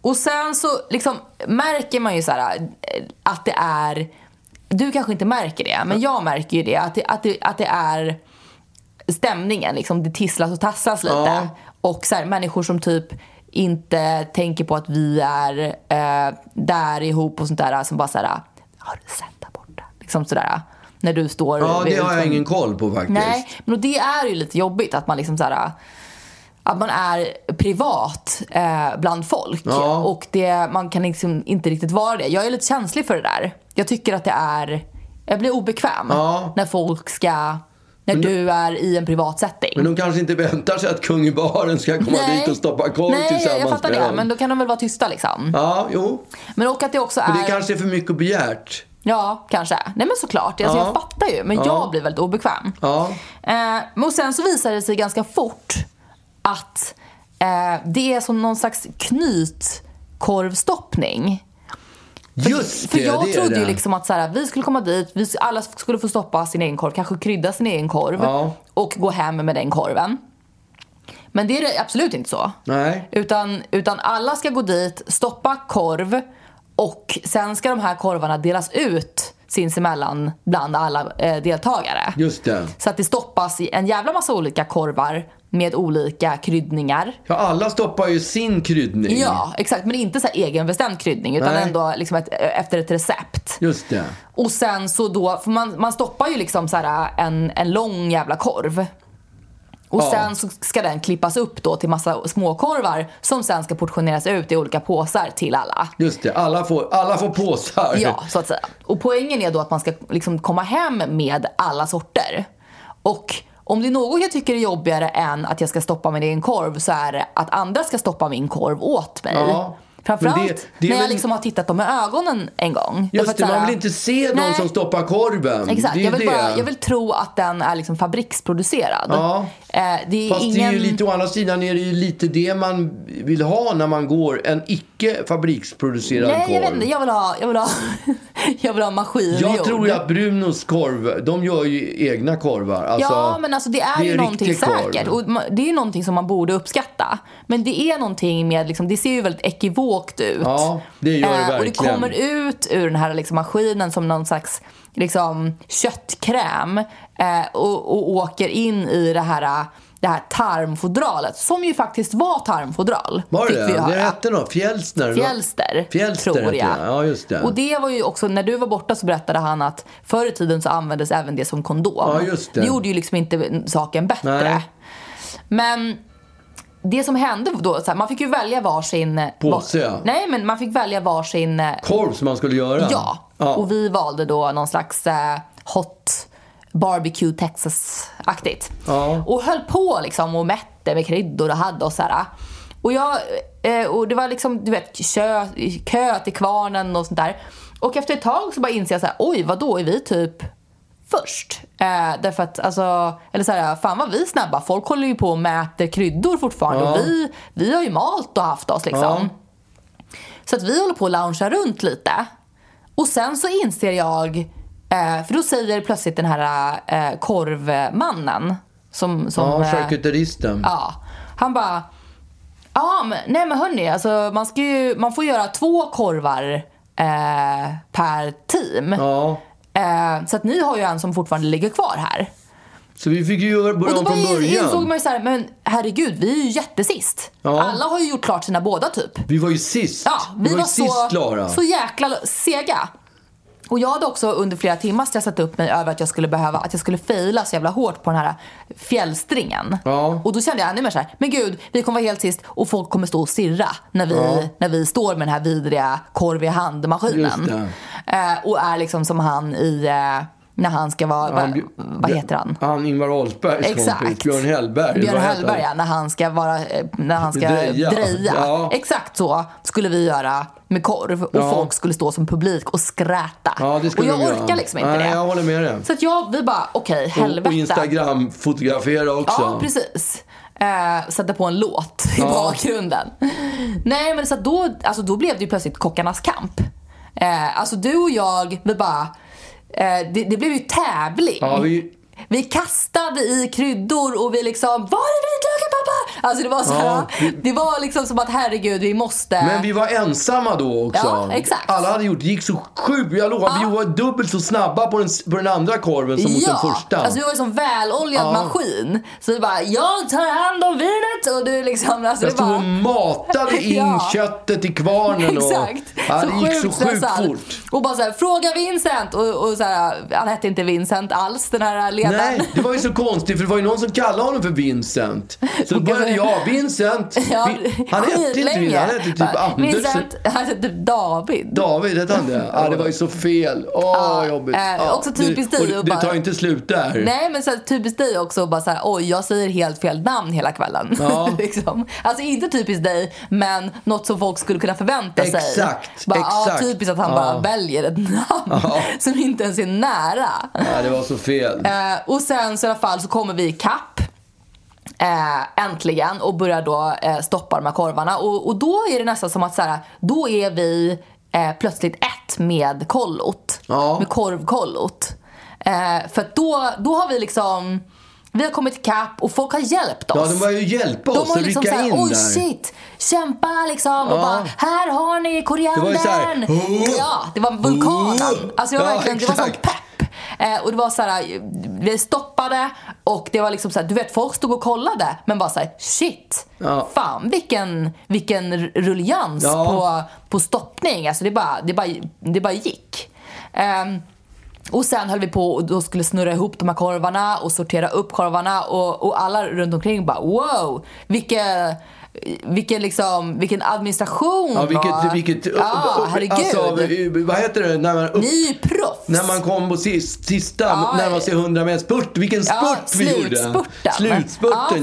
Speaker 1: Och sen så liksom märker man ju så här eh, att det är... Du kanske inte märker det, men jag märker ju det. Att det, att det, att det är stämningen, liksom, det tisslas och tasslas lite.
Speaker 3: Ja.
Speaker 1: Och så här, människor som typ inte tänker på att vi är eh, där ihop och sånt där. Som bara så här, "Ah, har du sett där borta? Liksom sådär. När du står
Speaker 3: Ja,
Speaker 1: vid-
Speaker 3: det har jag
Speaker 1: liksom-
Speaker 3: ingen koll på faktiskt.
Speaker 1: Nej, men och det är ju lite jobbigt att man liksom så här. att man är privat eh, bland folk.
Speaker 3: Ja.
Speaker 1: Och det, man kan liksom inte riktigt vara det. Jag är lite känslig för det där. Jag tycker att det är... Jag blir obekväm
Speaker 3: Ja.
Speaker 1: när folk ska... När du är i en privat setting.
Speaker 3: Men de kanske inte väntar sig att kung i baren ska komma dit och stoppa korv
Speaker 1: Nej, jag-
Speaker 3: tillsammans
Speaker 1: jag fattar
Speaker 3: med
Speaker 1: det.
Speaker 3: dem.
Speaker 1: Men då kan de väl vara tysta liksom.
Speaker 3: Ja, jo.
Speaker 1: Men och att det också är...
Speaker 3: Men det kanske är för mycket begärt.
Speaker 1: Ja, kanske. Nej men såklart. Alltså,
Speaker 3: Ja.
Speaker 1: Jag fattar ju. Men jag blir väldigt obekväm.
Speaker 3: Ja.
Speaker 1: Eh, men och sen så visar det sig ganska fort att eh, det är som någon slags knytkorvstoppning.
Speaker 3: Just
Speaker 1: För
Speaker 3: det,
Speaker 1: jag
Speaker 3: det är
Speaker 1: trodde
Speaker 3: det.
Speaker 1: ju liksom att så här, vi skulle komma dit, vi, alla skulle få stoppa sin egen korv, kanske krydda sin egen korv
Speaker 3: Ja.
Speaker 1: och gå hem med den korven. Men det är det absolut inte så.
Speaker 3: Nej.
Speaker 1: Utan, utan alla ska gå dit, stoppa korv och sen ska de här korvarna delas ut sinsemellan bland alla eh, deltagare.
Speaker 3: Just det.
Speaker 1: Så att det stoppas i en jävla massa olika korvar med olika kryddningar.
Speaker 3: Ja, alla stoppar ju sin kryddning.
Speaker 1: Ja, exakt. Men inte så här egenbestämd kryddning utan
Speaker 3: Nej.
Speaker 1: ändå liksom ett, efter ett recept.
Speaker 3: Just det.
Speaker 1: Och sen så då, för man, man stoppar ju liksom så här en, en lång jävla korv. Och
Speaker 3: Ja.
Speaker 1: sen så ska den klippas upp då till massa småkorvar som sen ska portioneras ut i olika påsar till alla.
Speaker 3: Just det. Alla får, alla får påsar.
Speaker 1: Ja, så att säga. Och poängen är då att man ska liksom komma hem med alla sorter. Och om det är något jag tycker är jobbigare än att jag ska stoppa min egen korv så är det att andra ska stoppa min korv åt mig.
Speaker 3: Ja.
Speaker 1: Framförallt
Speaker 3: Men det- det är
Speaker 1: när jag
Speaker 3: väl-
Speaker 1: liksom har tittat dem i ögonen en gång. Därför
Speaker 3: Just
Speaker 1: att
Speaker 3: det,
Speaker 1: så här-
Speaker 3: man vill inte se någon
Speaker 1: Nej.
Speaker 3: som stoppar korven.
Speaker 1: Exakt,
Speaker 3: Mm, Det är
Speaker 1: jag vill,
Speaker 3: det.
Speaker 1: bara, jag vill tro att den är liksom fabriksproducerad.
Speaker 3: Ja.
Speaker 1: Eh, det är
Speaker 3: Fast det är
Speaker 1: ingen...
Speaker 3: ju lite, å andra sidan är det ju lite det man vill ha när man går en icke fabriksproducerad
Speaker 1: Nej,
Speaker 3: korv.
Speaker 1: jag vet inte. Jag vill ha, jag vill ha, (laughs) jag vill ha maskingjord.
Speaker 3: Jag tror ju att Brunos korv, de gör ju egna korvar. Alltså,
Speaker 1: ja, men alltså det är, ju
Speaker 3: riktig
Speaker 1: någonting
Speaker 3: korv.
Speaker 1: säkert. Och ma- det är ju någonting som man borde uppskatta. Men det är någonting med, liksom, det ser ju väldigt ekivokt ut.
Speaker 3: Ja, det gör det
Speaker 1: Eh, och det
Speaker 3: verkligen.
Speaker 1: kommer ut ur den här liksom, maskinen som någon slags liksom, köttkräm eh, och, och åker in i det här, eh, det här tarmfodralet. Som ju faktiskt var tarmfodral.
Speaker 3: Var
Speaker 1: fick
Speaker 3: det
Speaker 1: vi ju
Speaker 3: det? Det
Speaker 1: höra.
Speaker 3: hette något? Fjälsner? eller något?
Speaker 1: Fjälster,
Speaker 3: Fjälster
Speaker 1: tror
Speaker 3: hette
Speaker 1: jag.
Speaker 3: det. Ja, just det.
Speaker 1: Och det var ju också, när du var borta så berättade han att förr i tiden så användes även det som kondom.
Speaker 3: Ja, just det.
Speaker 1: gjorde ju liksom inte saken bättre.
Speaker 3: Nej.
Speaker 1: Men det som hände då, så här, man fick ju välja varsin...
Speaker 3: Påse, ja.
Speaker 1: var, Nej, men man fick välja varsin... eh,
Speaker 3: Korv som man skulle göra?
Speaker 1: Ja. Och vi valde då någon slags eh, hot barbecue Texas-aktigt.
Speaker 3: Ja.
Speaker 1: Och höll på liksom och mätte med kryddor och hade och så här. Och, jag, eh, och det var liksom du vet, kö, kö till kvarnen och sånt där. Och efter ett tag så bara inser jag så här, oj vad då är vi typ först? Eh, därför att alltså, eller så här, fan vad vi är snabba. Folk håller ju på och mäter kryddor fortfarande. Och vi, vi har ju malt och haft oss liksom.
Speaker 3: Ja.
Speaker 1: Så att vi håller på att loungea runt lite. Och sen så inser jag, eh, för då säger plötsligt den här eh, korvmannen som... som
Speaker 3: Ja,
Speaker 1: eh,
Speaker 3: charkuteristen.
Speaker 1: ja, han bara, ja men, nej men hörni, alltså, man, ska ju, man får göra två korvar eh, per team.
Speaker 3: Ja.
Speaker 1: Eh, så att ni har ju en som fortfarande ligger kvar här.
Speaker 3: Så vi fick ju göra-
Speaker 1: Och
Speaker 3: börja
Speaker 1: då
Speaker 3: om
Speaker 1: bara
Speaker 3: från
Speaker 1: in- insåg
Speaker 3: början.
Speaker 1: man ju såhär, men herregud vi är ju jättesist.
Speaker 3: Ja.
Speaker 1: Alla har ju gjort klart sina båda typ.
Speaker 3: Vi var ju sist.
Speaker 1: Ja, vi
Speaker 3: var,
Speaker 1: var,
Speaker 3: ju sist
Speaker 1: så,
Speaker 3: Klara.
Speaker 1: så jäkla sega. Och jag hade också under flera timmar stressat upp mig över att jag skulle behöva, att jag skulle faila så jävla hårt på den här fjällstringen.
Speaker 3: Ja.
Speaker 1: Och då kände jag ännu mer såhär, men gud, vi kommer vara helt sist och folk kommer stå och stirra när vi, när vi står med den här vidriga korv i
Speaker 3: Just
Speaker 1: handmaskinen.
Speaker 3: det.
Speaker 1: Eh, och är liksom som han i, eh, när han ska vara,
Speaker 3: Han
Speaker 1: vad,
Speaker 3: blir-
Speaker 1: vad heter han?
Speaker 3: Han Ingvar Ahlbergs kompis,
Speaker 1: Exakt.
Speaker 3: Björn Hellberg.
Speaker 1: Björn
Speaker 3: Vad heter
Speaker 1: Hellberg,
Speaker 3: han?
Speaker 1: ja, när han ska, vara, eh, när han ska
Speaker 3: Dreja.
Speaker 1: dreja.
Speaker 3: Ja.
Speaker 1: Exakt så skulle vi göra med korv och
Speaker 3: Ja.
Speaker 1: folk skulle stå som publik och skräta.
Speaker 3: Ja, det
Speaker 1: och
Speaker 3: skulle
Speaker 1: jag
Speaker 3: de göra.
Speaker 1: orkar liksom inte
Speaker 3: Nej,
Speaker 1: det.
Speaker 3: jag håller med dig.
Speaker 1: Så att jag, vi bara, okej,
Speaker 3: Och,
Speaker 1: helvete.
Speaker 3: och Instagram-fotografera också.
Speaker 1: Ja, precis. Eh, sätta på en låt i bakgrunden. Nej, men så att då, alltså, då blev det ju plötsligt kockarnas kamp. Eh, alltså du och jag, vi bara... Eh, det, det blev ju tävling.
Speaker 3: Ja, vi-
Speaker 1: Vi kastade i kryddor och vi liksom Var är vitlöken pappa? Alltså det var så här,
Speaker 3: Ja, vi-
Speaker 1: Det var liksom som att herregud vi måste
Speaker 3: Men vi var ensamma då också.
Speaker 1: Ja, exakt.
Speaker 3: Alla hade gjort, det gick så sjukt. Jag lovar, vi var dubbelt så snabba på den, på den andra korven som mot den första.
Speaker 1: alltså vi var ju som väloljad
Speaker 3: Ja.
Speaker 1: maskin. Så vi bara, jag tar hand om vinet och du liksom. Alltså
Speaker 3: jag
Speaker 1: det
Speaker 3: stod
Speaker 1: bara...
Speaker 3: och matade
Speaker 1: (laughs)
Speaker 3: in
Speaker 1: Ja.
Speaker 3: köttet i kvarnen. Och,
Speaker 1: Exakt.
Speaker 3: Ja, det gick så sjukt
Speaker 1: stressad.
Speaker 3: fort.
Speaker 1: Och bara såhär, fråga Vincent! Och, och såhär, han hette inte Vincent alls den här ledaren.
Speaker 3: Nej, det var ju så konstigt för det var ju någon som kallade honom för Vincent. Så då
Speaker 1: Och
Speaker 3: började heter jag? Vincent!
Speaker 1: (laughs) Ja,
Speaker 3: Vi- han hette inte
Speaker 1: skitlänge.
Speaker 3: Vincent, han hette typ
Speaker 1: Bara,
Speaker 3: Anders.
Speaker 1: Vincent, han hette typ David.
Speaker 3: David hette
Speaker 1: (laughs)
Speaker 3: han det? Ja, det var ju så fel. Åh,
Speaker 1: Ja,
Speaker 3: jobbigt.
Speaker 1: eh, också typiskt
Speaker 3: det,
Speaker 1: dig
Speaker 3: och det,
Speaker 1: att
Speaker 3: det
Speaker 1: bara-
Speaker 3: tar ju inte slut där.
Speaker 1: Nej men så här, typiskt dig också att bara så här, oj jag säger helt fel namn hela kvällen.
Speaker 3: Ja.
Speaker 1: (laughs) liksom. Alltså inte typiskt dig men något som folk skulle kunna förvänta sig.
Speaker 3: Exakt,
Speaker 1: bara, ja,
Speaker 3: exakt.
Speaker 1: typiskt att han
Speaker 3: Ja.
Speaker 1: bara väljer ett namn (laughs) som inte ens är nära.
Speaker 3: Ja, det var så fel.
Speaker 1: Eh, och sen så i alla fall så kommer vi i kapp. Eh, äntligen och börjar då eh, stoppa de här korvarna. Och, och då är det nästan som att så här, då är vi eh, plötsligt ett med kollot.
Speaker 3: Ja.
Speaker 1: Med korvkollot. Eh, för att då, då har vi liksom, vi har kommit i kapp och folk har hjälpt oss.
Speaker 3: Ja, de var ju hjälpa
Speaker 1: Alltså, De
Speaker 3: oss
Speaker 1: har
Speaker 3: att
Speaker 1: ju liksom
Speaker 3: rycka
Speaker 1: såhär,
Speaker 3: in
Speaker 1: oj
Speaker 3: där.
Speaker 1: shit, kämpa liksom och
Speaker 3: Ja.
Speaker 1: bara, här har ni koriandern.
Speaker 3: Det var ju såhär, "Oh!"
Speaker 1: ja, det var vulkanen.
Speaker 3: Oh!
Speaker 1: Alltså det var
Speaker 3: Ja,
Speaker 1: verkligen, det var sån
Speaker 3: exakt.
Speaker 1: pepp. Eh, och det var såhär, vi stoppade och det var liksom såhär, du vet folk stod och kollade men bara såhär, shit.
Speaker 3: Ja.
Speaker 1: Fan vilken, vilken r- rullians
Speaker 3: Ja.
Speaker 1: på, på stoppning. Alltså det bara, det bara, det bara gick. Ehm, och sen höll vi på och då skulle snurra ihop de här korvarna och sortera upp korvarna och, och alla runt omkring bara wow, vilken, vilken, liksom, vilken administration.
Speaker 3: Ja, vilket...
Speaker 1: va?
Speaker 3: vilket
Speaker 1: ja herregud.
Speaker 3: Alltså, vad heter det? När man, upp,
Speaker 1: Ni är ju proffs.
Speaker 3: när man kom på sist, sista,
Speaker 1: Ja,
Speaker 3: närmade sig 100 med spurt. Vilken spurt vi gjorde!
Speaker 1: slutspurten.
Speaker 3: Slutspurten,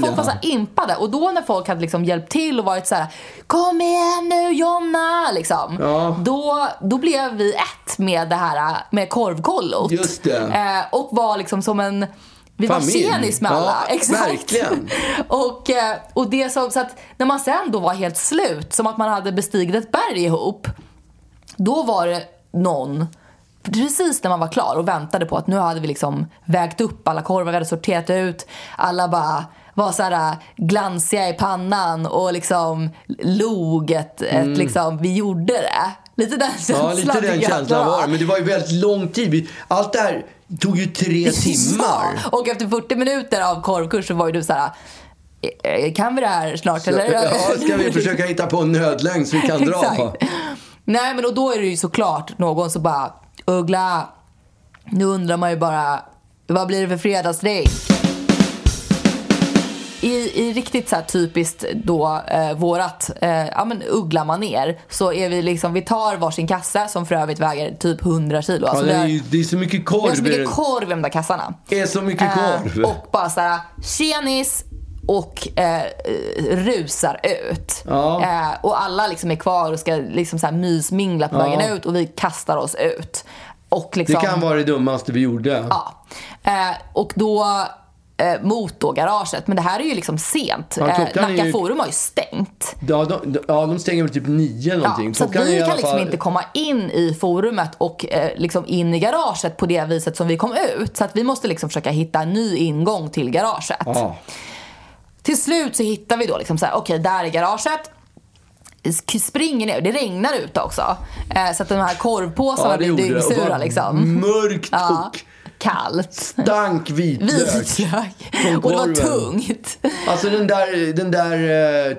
Speaker 1: ja. Folk var så här impade. Och då när folk hade liksom hjälpt till och varit så här: Kom igen nu Jonna! Liksom,
Speaker 3: Ja.
Speaker 1: då, då blev vi ett med det här med korvkollot.
Speaker 3: Just det.
Speaker 1: Eh, och var liksom som en vi
Speaker 3: Familj.
Speaker 1: var tjenis med alla. (laughs)
Speaker 3: Ja,
Speaker 1: Exakt.
Speaker 3: verkligen.
Speaker 1: Och, eh, och det som, så att när man sen då var helt slut, som att man hade bestigit ett berg ihop. Då var det någon precis när man var klar och väntade på att nu hade vi liksom vägt upp alla korvar, vi hade sorterat ut. Alla bara var så här äh, glansiga i pannan och liksom log ett, ett liksom, vi gjorde det. Lite den känslan
Speaker 3: Mm. Ja, lite den
Speaker 1: tycker jag att
Speaker 3: känslan var
Speaker 1: var.
Speaker 3: det. Men det var ju väldigt lång tid. Vi- Allt det här tog ju tre timmar.
Speaker 1: (laughs) Ja, och efter 40 minuter av korvkurs så var ju du så här. "Eh, Kan vi det här snart
Speaker 3: Så,
Speaker 1: eller?
Speaker 3: ja, ska vi försöka hitta på en nödlängd så vi kan dra?
Speaker 1: (laughs) Exakt. Nej men och då är det ju såklart någon som bara Uggla, nu undrar man ju bara vad blir det för fredagsdrink? I, I riktigt så här typiskt då eh, vårat eh, ja, men uggla maner så är vi liksom, vi tar varsin kasse som för övrigt väger typ 100 kilo.
Speaker 3: Ja,
Speaker 1: Alltså,
Speaker 3: det,
Speaker 1: vi har-
Speaker 3: är ju, det är så mycket
Speaker 1: vi har så
Speaker 3: korv i
Speaker 1: mycket
Speaker 3: den.
Speaker 1: korv i de där kassarna.
Speaker 3: Det är så mycket korv.
Speaker 1: Eh, och bara såhär, tjenis och eh, eh, rusar ut.
Speaker 3: Ja.
Speaker 1: Eh, och alla liksom är kvar och ska liksom så här mysmingla på
Speaker 3: Ja.
Speaker 1: vägen ut och vi kastar oss ut. Och
Speaker 3: Det
Speaker 1: liksom,
Speaker 3: kan vara det dummaste vi gjorde.
Speaker 1: Ja. Eh, och då eh, mot då garaget. Men det här är ju liksom sent.
Speaker 3: Ja,
Speaker 1: eh,
Speaker 3: klockan är
Speaker 1: Nacka
Speaker 3: ju-
Speaker 1: forum har ju stängt.
Speaker 3: Ja, de, ja, de stänger väl typ nio eller någonting.
Speaker 1: Ja, så att
Speaker 3: Klockan är
Speaker 1: vi
Speaker 3: i
Speaker 1: kan
Speaker 3: alla
Speaker 1: liksom
Speaker 3: fall-
Speaker 1: inte komma in i forumet och eh, liksom in i garaget på det viset som vi kom ut. Så att vi måste liksom försöka hitta en ny ingång till garaget.
Speaker 3: Ja.
Speaker 1: Till slut så hittar vi då liksom så här, okej där är garaget. Sk- Springer ner, det regnar ute också. Eh, så att de här korvpåsarna
Speaker 3: Ja, det
Speaker 1: blir
Speaker 3: gjorde det. Och
Speaker 1: dyngsura
Speaker 3: bara
Speaker 1: liksom.
Speaker 3: Mörkt
Speaker 1: Ja,
Speaker 3: och
Speaker 1: kallt.
Speaker 3: dank vitlök.
Speaker 1: Vitlök.
Speaker 3: Från
Speaker 1: Och det var
Speaker 3: korven.
Speaker 1: tungt.
Speaker 3: Alltså den där, den där eh,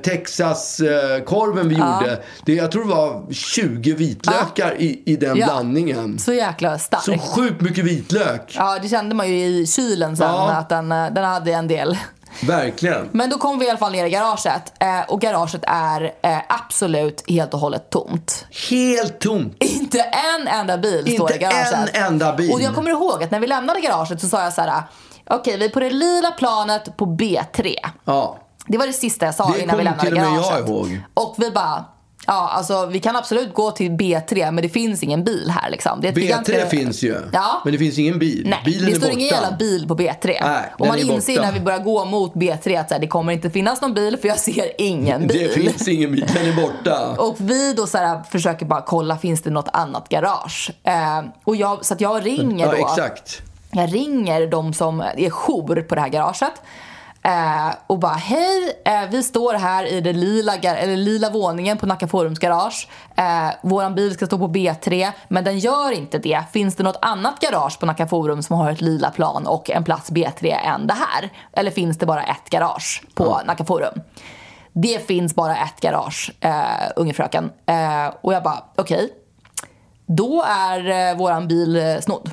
Speaker 3: Texas-korven vi gjorde. Det, jag tror det var 20 vitlökar i, i den
Speaker 1: Ja.
Speaker 3: blandningen.
Speaker 1: Så jäkla starkt.
Speaker 3: Så sjukt mycket vitlök.
Speaker 1: Ja, det kände man ju i kylen sen
Speaker 3: Ja.
Speaker 1: att den, eh, den hade en del.
Speaker 3: Verkligen.
Speaker 1: Men då kom vi i alla fall ner i garaget eh, och garaget är eh, absolut helt och hållet tomt. (laughs)
Speaker 3: Helt tomt.
Speaker 1: Inte en enda bil står i
Speaker 3: Inte
Speaker 1: garaget.
Speaker 3: en enda bil.
Speaker 1: Och jag kommer ihåg att när vi lämnade garaget så sa jag så här: okej vi är på det lila planet på B3.
Speaker 3: Ja.
Speaker 1: Det var det sista jag sa
Speaker 3: Det
Speaker 1: innan vi lämnade
Speaker 3: kommer till och med jag
Speaker 1: garaget.
Speaker 3: ihåg.
Speaker 1: Och vi bara, ja alltså vi kan absolut gå till B3 men det finns ingen bil här liksom. Det är ett
Speaker 3: B3
Speaker 1: gigantiskt-
Speaker 3: finns ju.
Speaker 1: Ja.
Speaker 3: Men det finns ingen bil.
Speaker 1: Nej,
Speaker 3: Bilen
Speaker 1: det
Speaker 3: är
Speaker 1: står
Speaker 3: borta.
Speaker 1: ingen jävla bil på B3.
Speaker 3: Nej,
Speaker 1: och
Speaker 3: den
Speaker 1: man
Speaker 3: är borta.
Speaker 1: inser när vi börjar gå mot B3 att så här, det kommer inte finnas någon bil för jag ser ingen bil.
Speaker 3: Det finns ingen bil. Den är borta.
Speaker 1: (laughs) Och vi då så här, försöker bara kolla, finns det något annat garage? Eh, och jag, så att jag ringer
Speaker 3: Ja,
Speaker 1: då.
Speaker 3: exakt.
Speaker 1: Jag ringer de som är jour på det här garaget. Eh, och bara hej, eh, vi står här i den lila, gar- eller lila våningen på Nacka Forums garage. Eh, våran bil ska stå på B3 men den gör inte det. Finns det något annat garage på Nacka Forum som har ett lila plan och en plats B3 än det här? Eller finns det bara ett garage på Nacka Forum? Det finns bara ett garage, eh, unge fröken. Eh, och jag bara okej, då är eh, våran bil eh, snodd.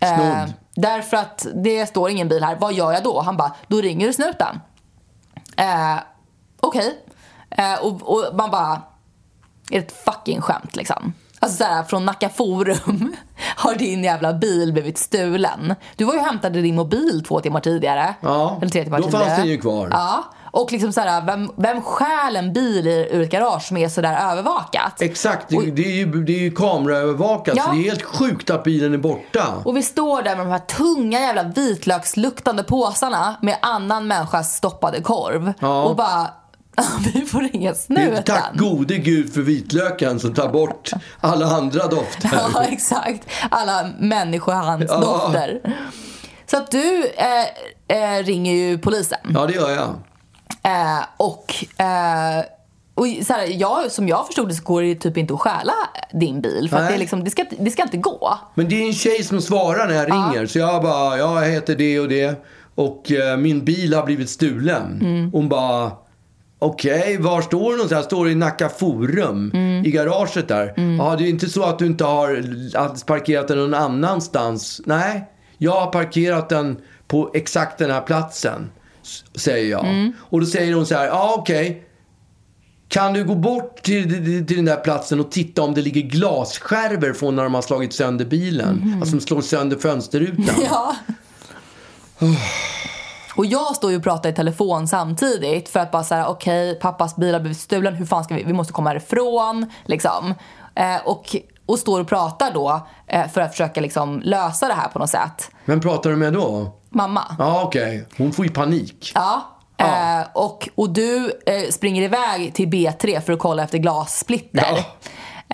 Speaker 1: Eh,
Speaker 3: Snodd.
Speaker 1: därför att det står ingen bil här. Vad gör jag då? Han bara, då ringer du snuten. Eh, okej. Eh, och, och man bara, är det ett fucking skämt liksom? Alltså såhär, från Nacka Forum (laughs) har din jävla bil blivit stulen. Du var ju och hämtade din mobil två timmar tidigare.
Speaker 3: Ja,
Speaker 1: eller tre timmar
Speaker 3: då
Speaker 1: tidigare.
Speaker 3: fanns den ju kvar.
Speaker 1: Ja, och liksom såhär, vem, vem stjäl en bil i- ur ett garage som är sådär övervakat?
Speaker 3: Exakt, det, det är ju, det är ju kameraövervakat
Speaker 1: Ja.
Speaker 3: så det är helt sjukt att bilen är borta.
Speaker 1: Och vi står där med de här tunga jävla vitlöksluktande påsarna med annan människas stoppade korv.
Speaker 3: Ja.
Speaker 1: Och bara, (laughs) vi får ringa
Speaker 3: Det är
Speaker 1: snuten.
Speaker 3: tack gode gud för vitlöken som tar bort alla andra dofter.
Speaker 1: (laughs) Ja, exakt. Alla människohandsdofter. Så att du eh, eh, ringer ju polisen.
Speaker 3: Ja, det gör jag.
Speaker 1: Eh, och eh, och så här, jag, som jag förstod det så går det typ inte att stjäla din bil. För att
Speaker 3: Nej.
Speaker 1: det, är liksom, det, ska, inte- det ska inte gå.
Speaker 3: Men det är en tjej som svarar när jag ringer. Så jag bara, ja, jag heter det och det. Och eh, min bil har blivit stulen. Hon bara, okej, var står du någonstans? Jag står i Nacka Forum. I garaget där. Ja, det är inte så att du inte har att- parkerat den någon annanstans. Nej, jag har parkerat den på exakt den här platsen. s- Säger jag. Och då säger hon så här, ja okej. Kan du gå bort till, till, till den där platsen och titta om det ligger glasskärvor från när de har slagit sönder bilen? Alltså de slår sönder fönsterrutan.
Speaker 1: Mhm. Ja. Och jag står ju och pratar i telefon samtidigt för att bara säga okej pappas bil har blivit stulen, hur fan ska vi, vi måste komma härifrån liksom. Eh, och, och står och pratar då eh, för att försöka liksom lösa det här på något sätt.
Speaker 3: Vem pratar du med då?
Speaker 1: Mamma.
Speaker 3: Ja, okej. Hon får ju panik.
Speaker 1: Ja. Eh, och, och du eh, springer iväg till B3 för att kolla efter glassplitter.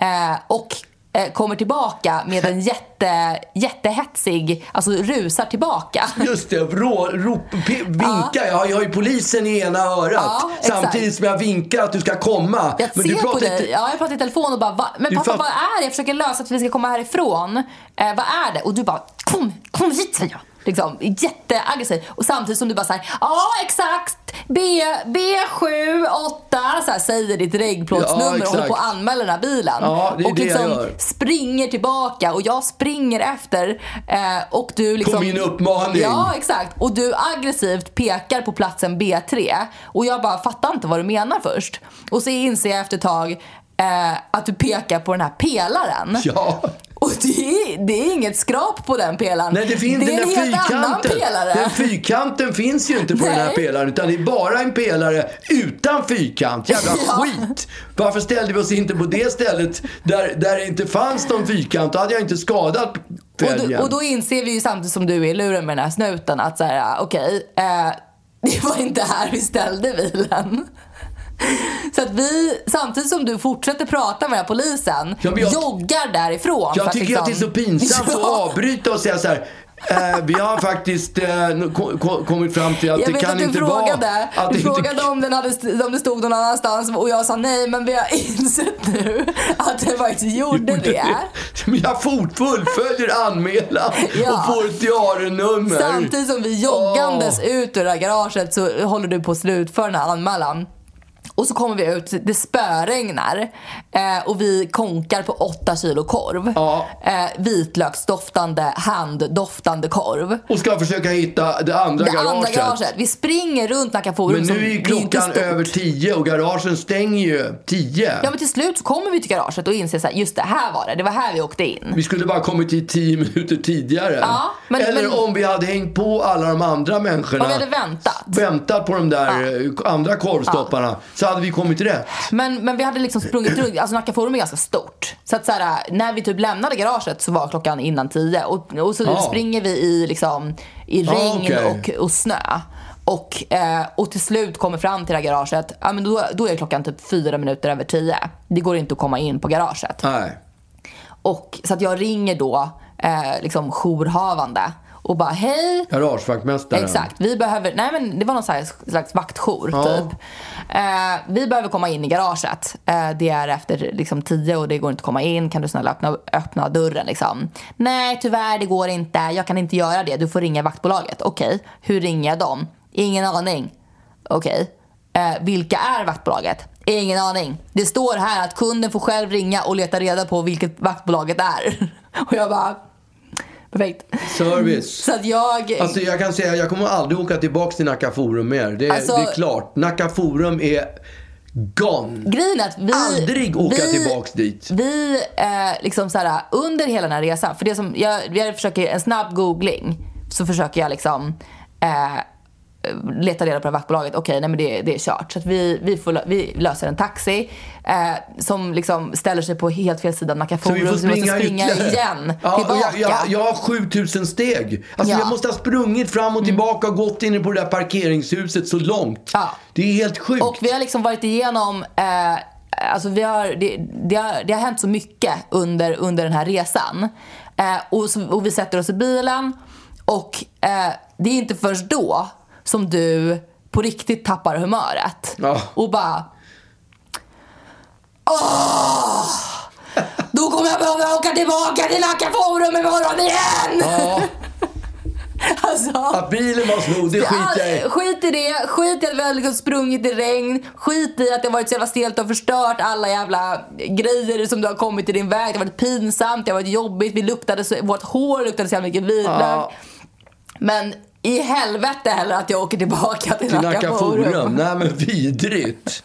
Speaker 1: Eh, och eh, kommer tillbaka med en jätte, jättehetsig, alltså rusar tillbaka.
Speaker 3: Just det, rå, rop, pe, vinka. Jag, jag har ju polisen i ena örat.
Speaker 1: Ja, exakt.
Speaker 3: samtidigt som jag vinkar att du ska komma.
Speaker 1: Jag
Speaker 3: Men
Speaker 1: ser
Speaker 3: du
Speaker 1: på
Speaker 3: pratar
Speaker 1: dig.
Speaker 3: inte-
Speaker 1: Ja, jag pratar i telefon och bara va? Men
Speaker 3: Du
Speaker 1: pappa
Speaker 3: fatt-
Speaker 1: vad är det? Jag försöker lösa att vi ska komma härifrån. Eh, vad är det? Och du bara kom, kom hit säger jag. Liksom, jätteaggressiv. Och samtidigt som du bara säger ja exakt B, B7, 8 så här, säger ditt
Speaker 3: Ja,
Speaker 1: reggplåtsnummer och
Speaker 3: exakt.
Speaker 1: håller på att anmäla den här bilen.
Speaker 3: Ja, det är
Speaker 1: och
Speaker 3: det jag
Speaker 1: liksom
Speaker 3: gör.
Speaker 1: springer tillbaka och jag springer efter. Eh, och du liksom,
Speaker 3: min uppmaning.
Speaker 1: Ja exakt. Och du aggressivt pekar på platsen B3. Och jag bara fattar inte vad du menar först. Och så inser jag efter ett tag eh, att du pekar på den här pelaren.
Speaker 3: Ja.
Speaker 1: Och det är, det är inget skrap på den pelaren.
Speaker 3: Nej, det finns
Speaker 1: det är
Speaker 3: den
Speaker 1: en
Speaker 3: där
Speaker 1: helt annan
Speaker 3: fyrkanten.
Speaker 1: pelare.
Speaker 3: Den fyrkanten finns ju inte på den här
Speaker 1: Nej.
Speaker 3: pelaren utan det är bara en pelare utan fyrkant. Jävla
Speaker 1: (laughs) Ja.
Speaker 3: skit! Varför ställde vi oss inte på det stället där, där det inte fanns någon fyrkant? Då hade jag inte skadat
Speaker 1: och,
Speaker 3: fälgen.
Speaker 1: då, och då inser vi ju samtidigt som du är i luren med den här snuten att så här, okej, eh, (laughs) det var inte här vi ställde bilen. Så att vi, samtidigt som du fortsätter prata med den här polisen,
Speaker 3: Ja, men jag-
Speaker 1: joggar därifrån. för
Speaker 3: Jag tycker
Speaker 1: liksom-
Speaker 3: att det är
Speaker 1: (laughs)
Speaker 3: så pinsamt att avbryta och säga så här. Eh, vi har faktiskt eh, nu ko- ko- kommit fram till att
Speaker 1: Jag
Speaker 3: det
Speaker 1: vet
Speaker 3: kan
Speaker 1: att du
Speaker 3: inte vara...
Speaker 1: frågade,
Speaker 3: att
Speaker 1: du
Speaker 3: det inte-
Speaker 1: frågade om, den hade, st- om det stod någon annanstans och jag sa nej men vi har (laughs) insett nu att det faktiskt gjorde det.
Speaker 3: (laughs) Men jag fort fullföljer anmälan
Speaker 1: Ja.
Speaker 3: och får ett diarienummer.
Speaker 1: Samtidigt som vi joggandes ut ur det här garaget så håller du på att slutföra den här anmälan. Och så kommer vi ut, det spöregnar eh, och vi konkar på 8 kilo korv.
Speaker 3: Ja.
Speaker 1: Eh, vitlöksdoftande, handdoftande korv.
Speaker 3: Och ska försöka hitta det andra
Speaker 1: Det
Speaker 3: garaget.
Speaker 1: andra garaget. Vi springer runt Nacka Forum
Speaker 3: Men
Speaker 1: som
Speaker 3: nu är ju
Speaker 1: det är liksom inte
Speaker 3: klockan
Speaker 1: stort.
Speaker 3: över tio och garagen stänger ju tio.
Speaker 1: Ja men till slut så kommer vi till garaget och inser så här, just det här var det, det var här vi åkte in.
Speaker 3: Vi skulle bara kommit hit tio minuter tidigare.
Speaker 1: Ja, men-
Speaker 3: Eller
Speaker 1: men-
Speaker 3: om vi hade hängt på alla de andra människorna.
Speaker 1: Om vi hade väntat.
Speaker 3: Väntat på de där eh, andra korvstopparna. Så hade vi kommit rätt.
Speaker 1: Men, men vi hade liksom sprungit runt, alltså Nacka Forum är ganska stort. Så att så här, när vi typ lämnade garaget så var klockan innan tio och, och så
Speaker 3: Ja.
Speaker 1: springer vi i, liksom, i
Speaker 3: Ja,
Speaker 1: regn
Speaker 3: okej.
Speaker 1: och, och snö. Och, eh, och till slut kommer fram till det här garaget, ja, men då, då är klockan typ fyra minuter över tio. Det går inte att komma in på garaget.
Speaker 3: Nej.
Speaker 1: Och, så att jag ringer då eh, liksom jourhavande och bara hej,
Speaker 3: Garagevaktmästaren.
Speaker 1: Exakt. Vi behöver, nej men det var någon så här slags vaktjour
Speaker 3: Ja.
Speaker 1: typ. Eh, vi behöver komma in i garaget. Eh, det är efter liksom tio och det går inte att komma in. Kan du snälla öppna, öppna dörren liksom? Nej tyvärr det går inte. Jag kan inte göra det. Du får ringa vaktbolaget. Okej, hur ringer jag dem? Ingen aning. Okej. Eh, vilka är vaktbolaget? Ingen aning. Det står här (laughs) att kunden får själv ringa och leta reda på vilket vaktbolaget är. Och jag bara, Perfekt.
Speaker 3: Service.
Speaker 1: Mm. Så att jag...
Speaker 3: Alltså jag kan säga, jag kommer aldrig åka tillbaka till Nacka Forum mer. Det, är-
Speaker 1: Alltså-
Speaker 3: det är klart. Nacka Forum är gone.
Speaker 1: Grejen är att vi...
Speaker 3: Aldrig åka
Speaker 1: vi,
Speaker 3: tillbaks dit.
Speaker 1: Vi, eh, liksom så här, under hela den här resan, för det som, jag, jag försöker en snabb googling, så försöker jag liksom eh, leta reda på det här vaktbolaget. Okej, nej men det, det är kört. Så att vi, vi, får, lö- vi löser en taxi eh, som liksom ställer sig på helt fel sida av Nacka
Speaker 3: Så
Speaker 1: Forum.
Speaker 3: vi får
Speaker 1: vi måste
Speaker 3: springa
Speaker 1: springa
Speaker 3: ytterligare.
Speaker 1: igen,
Speaker 3: (laughs) Ja, och
Speaker 1: tillbaka.
Speaker 3: jag, jag, jag har 7000 steg. Alltså
Speaker 1: Ja. Mm.
Speaker 3: jag måste ha sprungit fram och tillbaka och gått in på det där parkeringshuset så långt.
Speaker 1: Ja.
Speaker 3: Det är helt sjukt.
Speaker 1: Och vi har liksom varit igenom, eh, alltså vi har, det, det, har, det har hänt så mycket under, under den här resan. Eh, och, så, och vi sätter oss i bilen och eh, det är inte först då som du på riktigt tappar humöret.
Speaker 3: Ja.
Speaker 1: Och bara... Åh! Då kommer jag behöva åka tillbaka till Nacka Forum imorgon igen!
Speaker 3: Ja,
Speaker 1: (laughs) Alltså,
Speaker 3: att bilen var snodd, det skiter jag i.
Speaker 1: All- skit i det, skit i att vi har liksom sprungit i regn, skit i att det har varit så jävla stelt och förstört alla jävla grejer som du har kommit i din väg. Det har varit pinsamt, det har varit jobbigt, vi luktade så, vårt hår luktade så jävla mycket vitlök.
Speaker 3: Ja.
Speaker 1: Men i helvete heller att jag åker tillbaka till,
Speaker 3: Till Nacka Forum. Nej men vidrigt.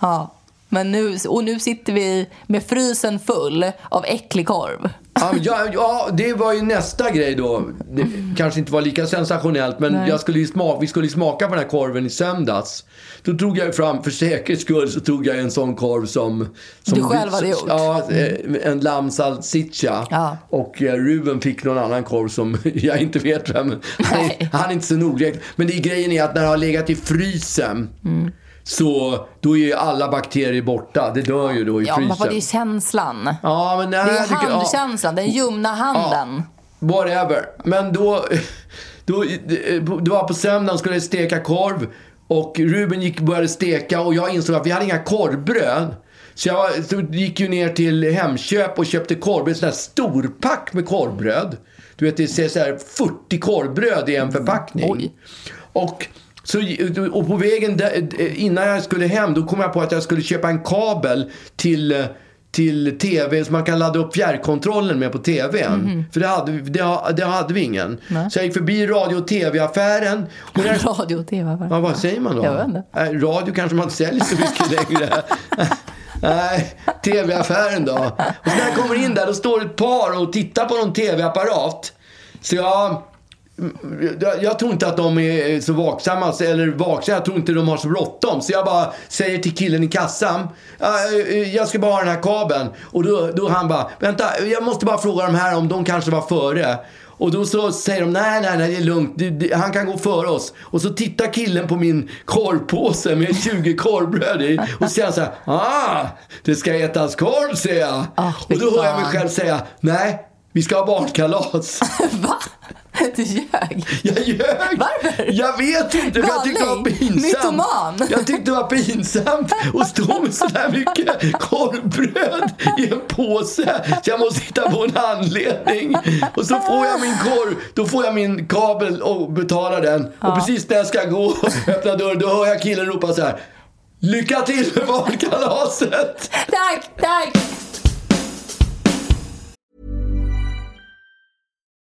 Speaker 1: Ja. Men nu, och nu sitter vi med frysen full av äcklig korv.
Speaker 3: Ja, men ja, ja, det var ju nästa grej då. Det kanske inte var lika sensationellt, men jag skulle ju smaka, vi skulle ju smaka på den här korven i söndags. Då tog jag ju fram, för säkerhets skull, så tog jag en sån korv som... som
Speaker 1: Du själv hade gjort?
Speaker 3: Mm. Ja, eh, en lamm salsiccia.
Speaker 1: Ja.
Speaker 3: Och eh, Ruben fick någon annan korv som (laughs) jag inte vet
Speaker 1: (laughs)
Speaker 3: vem. Han,
Speaker 1: Nej.
Speaker 3: är- han är inte så noggrann. Men det, grejen är att när det har legat i frysen,
Speaker 1: Mm.
Speaker 3: så då är ju alla bakterier borta. Det dör ju då i
Speaker 1: Ja, men
Speaker 3: frysen.
Speaker 1: pappa, det är känslan.
Speaker 3: Ja, men nej,
Speaker 1: Det är
Speaker 3: jag tycker- ja.
Speaker 1: handkänslan, den ljumna handen.
Speaker 3: Whatever. Men då, (laughs) då, eh, det var på söndagen skulle jag steka korv och Ruben gick, började steka och jag insåg att vi hade inga korvbröd. Så jag var- så gick ju ner till Hemköp och köpte korvbröd, sån här storpack med korvbröd. Du vet, det ser så här 40 korvbröd i en förpackning.
Speaker 1: Oj.
Speaker 3: Och, så, och på vägen där, eh, innan jag skulle hem då kom jag på att jag skulle köpa en kabel till, eh, till tv så man kan ladda upp fjärrkontrollen med på tvn. För det hade, vi- det, ha- det hade vi ingen. Så jag gick förbi radio och tv-affären. Och när-
Speaker 1: Radio och TV. bara.
Speaker 3: Ja, vad säger man då?
Speaker 1: Jag vet inte.
Speaker 3: Nej, Radio kanske man inte säljer så
Speaker 1: (laughs)
Speaker 3: mycket längre. Nej, tv-affären då. Och så när jag kommer in där, då står ett par och tittar på någon tv-apparat. Så jag, mm, jag, jag tror inte att de är så vaksamma, så- eller vaksamma, jag tror inte de har så bråttom. Så jag bara säger till killen i kassan, "Ja, eh, eh, jag ska bara ha den här kabeln. Och då, då han bara, vänta, jag måste bara fråga de här om de kanske var före. Och då så säger de, nej, nej, nej, det är lugnt. Det- det- Han kan gå före oss. Och så tittar killen på min korvpåse med (laughs) 20 korvbröd i. Och säger så här, ah, det ska ätas korv, säger jag.
Speaker 1: Ah, fy
Speaker 3: och då hör jag mig
Speaker 1: fan.
Speaker 3: själv säga, nej, vi ska ha barnkalas.
Speaker 1: (laughs) Va? Du ljög?
Speaker 3: (laughs) Jag ljög!
Speaker 1: Varför?
Speaker 3: Jag vet inte, men jag tyckte det var
Speaker 1: Galning.
Speaker 3: pinsamt.
Speaker 1: Mytoman.
Speaker 3: (laughs) Jag tyckte det var pinsamt att stå med sådär mycket korvbröd i en påse. Så jag måste hitta på en anledning. Och så får jag min korv, då får jag min kabel och betalar den. Och precis när jag ska gå och öppna dörren, då hör jag killen ropa så här. Lycka till med barnkalaset!
Speaker 1: Tack, tack!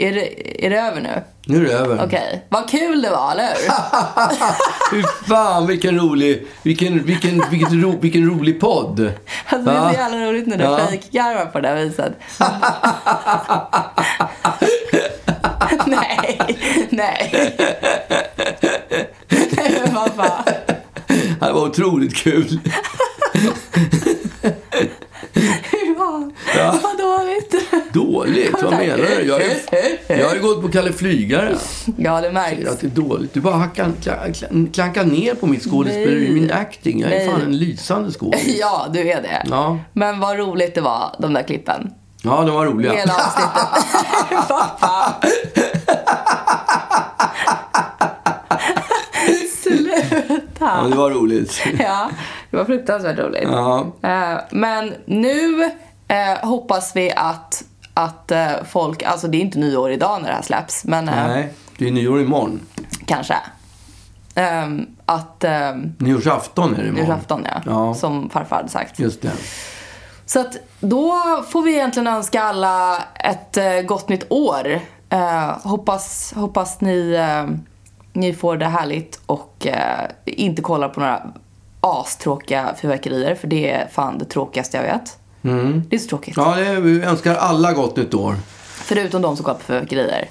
Speaker 1: Är det, är det över nu?
Speaker 3: Nu är det över.
Speaker 1: Okej. Vad kul det var, eller hur?
Speaker 3: Fy fan vilken rolig, vilken, vilken, vilket ro, vilken rolig podd.
Speaker 1: Alltså, det är
Speaker 3: Ja.
Speaker 1: så jävla roligt när du
Speaker 3: Ja.
Speaker 1: fejkgarvar på det här
Speaker 3: (laughs)
Speaker 1: viset. nej, nej. nej men vad fan.
Speaker 3: Det var otroligt kul.
Speaker 1: (laughs) Hur var ja. Vad dåligt.
Speaker 3: Dåligt, vad menar du? Jag, är, jag har ju gått på Kalle Flygare.
Speaker 1: Ja, det märks.
Speaker 3: Att det är dåligt. Du bara hackar, kla- kla- klankar ner på mitt skådespeleri, min acting. Jag är
Speaker 1: Nej.
Speaker 3: fan en lysande skådis.
Speaker 1: (laughs) Ja, du är det.
Speaker 3: Ja.
Speaker 1: Men vad roligt det var, de där klippen.
Speaker 3: Ja, de var roliga.
Speaker 1: Hela
Speaker 3: (laughs)
Speaker 1: avsnittet. Vad fan.
Speaker 3: Ja,
Speaker 1: Sluta.
Speaker 3: det var roligt.
Speaker 1: Ja, det var fruktansvärt roligt.
Speaker 3: Ja.
Speaker 1: Eh, Men nu eh, hoppas vi att, att eh, folk, alltså det är inte nyår idag när det här släpps, men eh,
Speaker 3: Nej, det är nyår imorgon.
Speaker 1: kanske. Ehm, att eh,
Speaker 3: Nyårsafton är det imorgon.
Speaker 1: nyårsafton ja,
Speaker 3: Ja.
Speaker 1: som farfar hade sagt.
Speaker 3: Just det.
Speaker 1: Så att då får vi egentligen önska alla ett eh, gott nytt år. Eh, hoppas, hoppas ni, eh, ni får det härligt och eh, inte kollar på några astråkiga fyrverkerier för det är fan det tråkigaste jag vet. Det är så tråkigt.
Speaker 3: Mm. Ja, det är, vi önskar alla gott nytt år.
Speaker 1: Förutom de som kollar på fyrverkerier.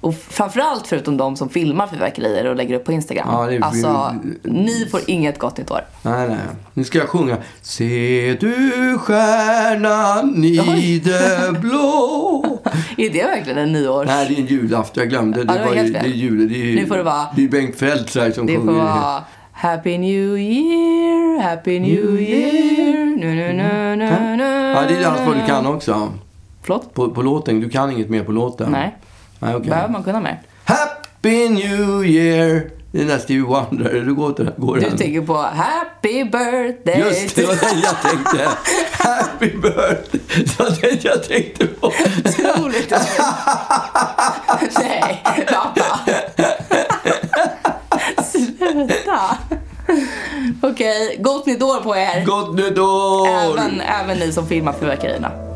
Speaker 1: Och framförallt förutom de som filmar fyrverkerier och lägger upp på Instagram.
Speaker 3: Ja, det är-
Speaker 1: Alltså, ni får inget gott nytt år. (laughs)
Speaker 3: Nej, nej. Nu ska jag sjunga. Se du
Speaker 1: (laughs)
Speaker 3: stjärnan i det blå.
Speaker 1: Är det verkligen en nyårs...
Speaker 3: Nej, det är en julafton. Jag glömde.
Speaker 1: Ja,
Speaker 3: Det,
Speaker 1: det var
Speaker 3: var
Speaker 1: helt
Speaker 3: ju, det
Speaker 1: fel.
Speaker 3: är jul. Det är, ju-
Speaker 1: Nu får det vara-
Speaker 3: Det är Bengt Feldtsberg som
Speaker 1: Det får
Speaker 3: sjunger.
Speaker 1: vara Happy New Year, Happy New Year. Nu, nu, nu, nu, nu.
Speaker 3: Mm. Ja, det är allt vad du kan också.
Speaker 1: Förlåt?
Speaker 3: På, på låten. Du kan inget mer på låten.
Speaker 1: Nej.
Speaker 3: Nej, okej.
Speaker 1: Behöver man kunna mer?
Speaker 3: Happy New Year. Det är den där Stevie Wonder. Hur går den? Går
Speaker 1: Du
Speaker 3: den?
Speaker 1: tänker på Happy birthday
Speaker 3: Just det, det var den jag
Speaker 1: (laughs)
Speaker 3: tänkte. Happy birthday. Det var den jag tänkte på. (laughs)
Speaker 1: Otroligt Nej, pappa. Sluta. Okej, gott nytt år på er.
Speaker 3: Gott nytt år!
Speaker 1: Även, även ni som filmar fyrverkerierna.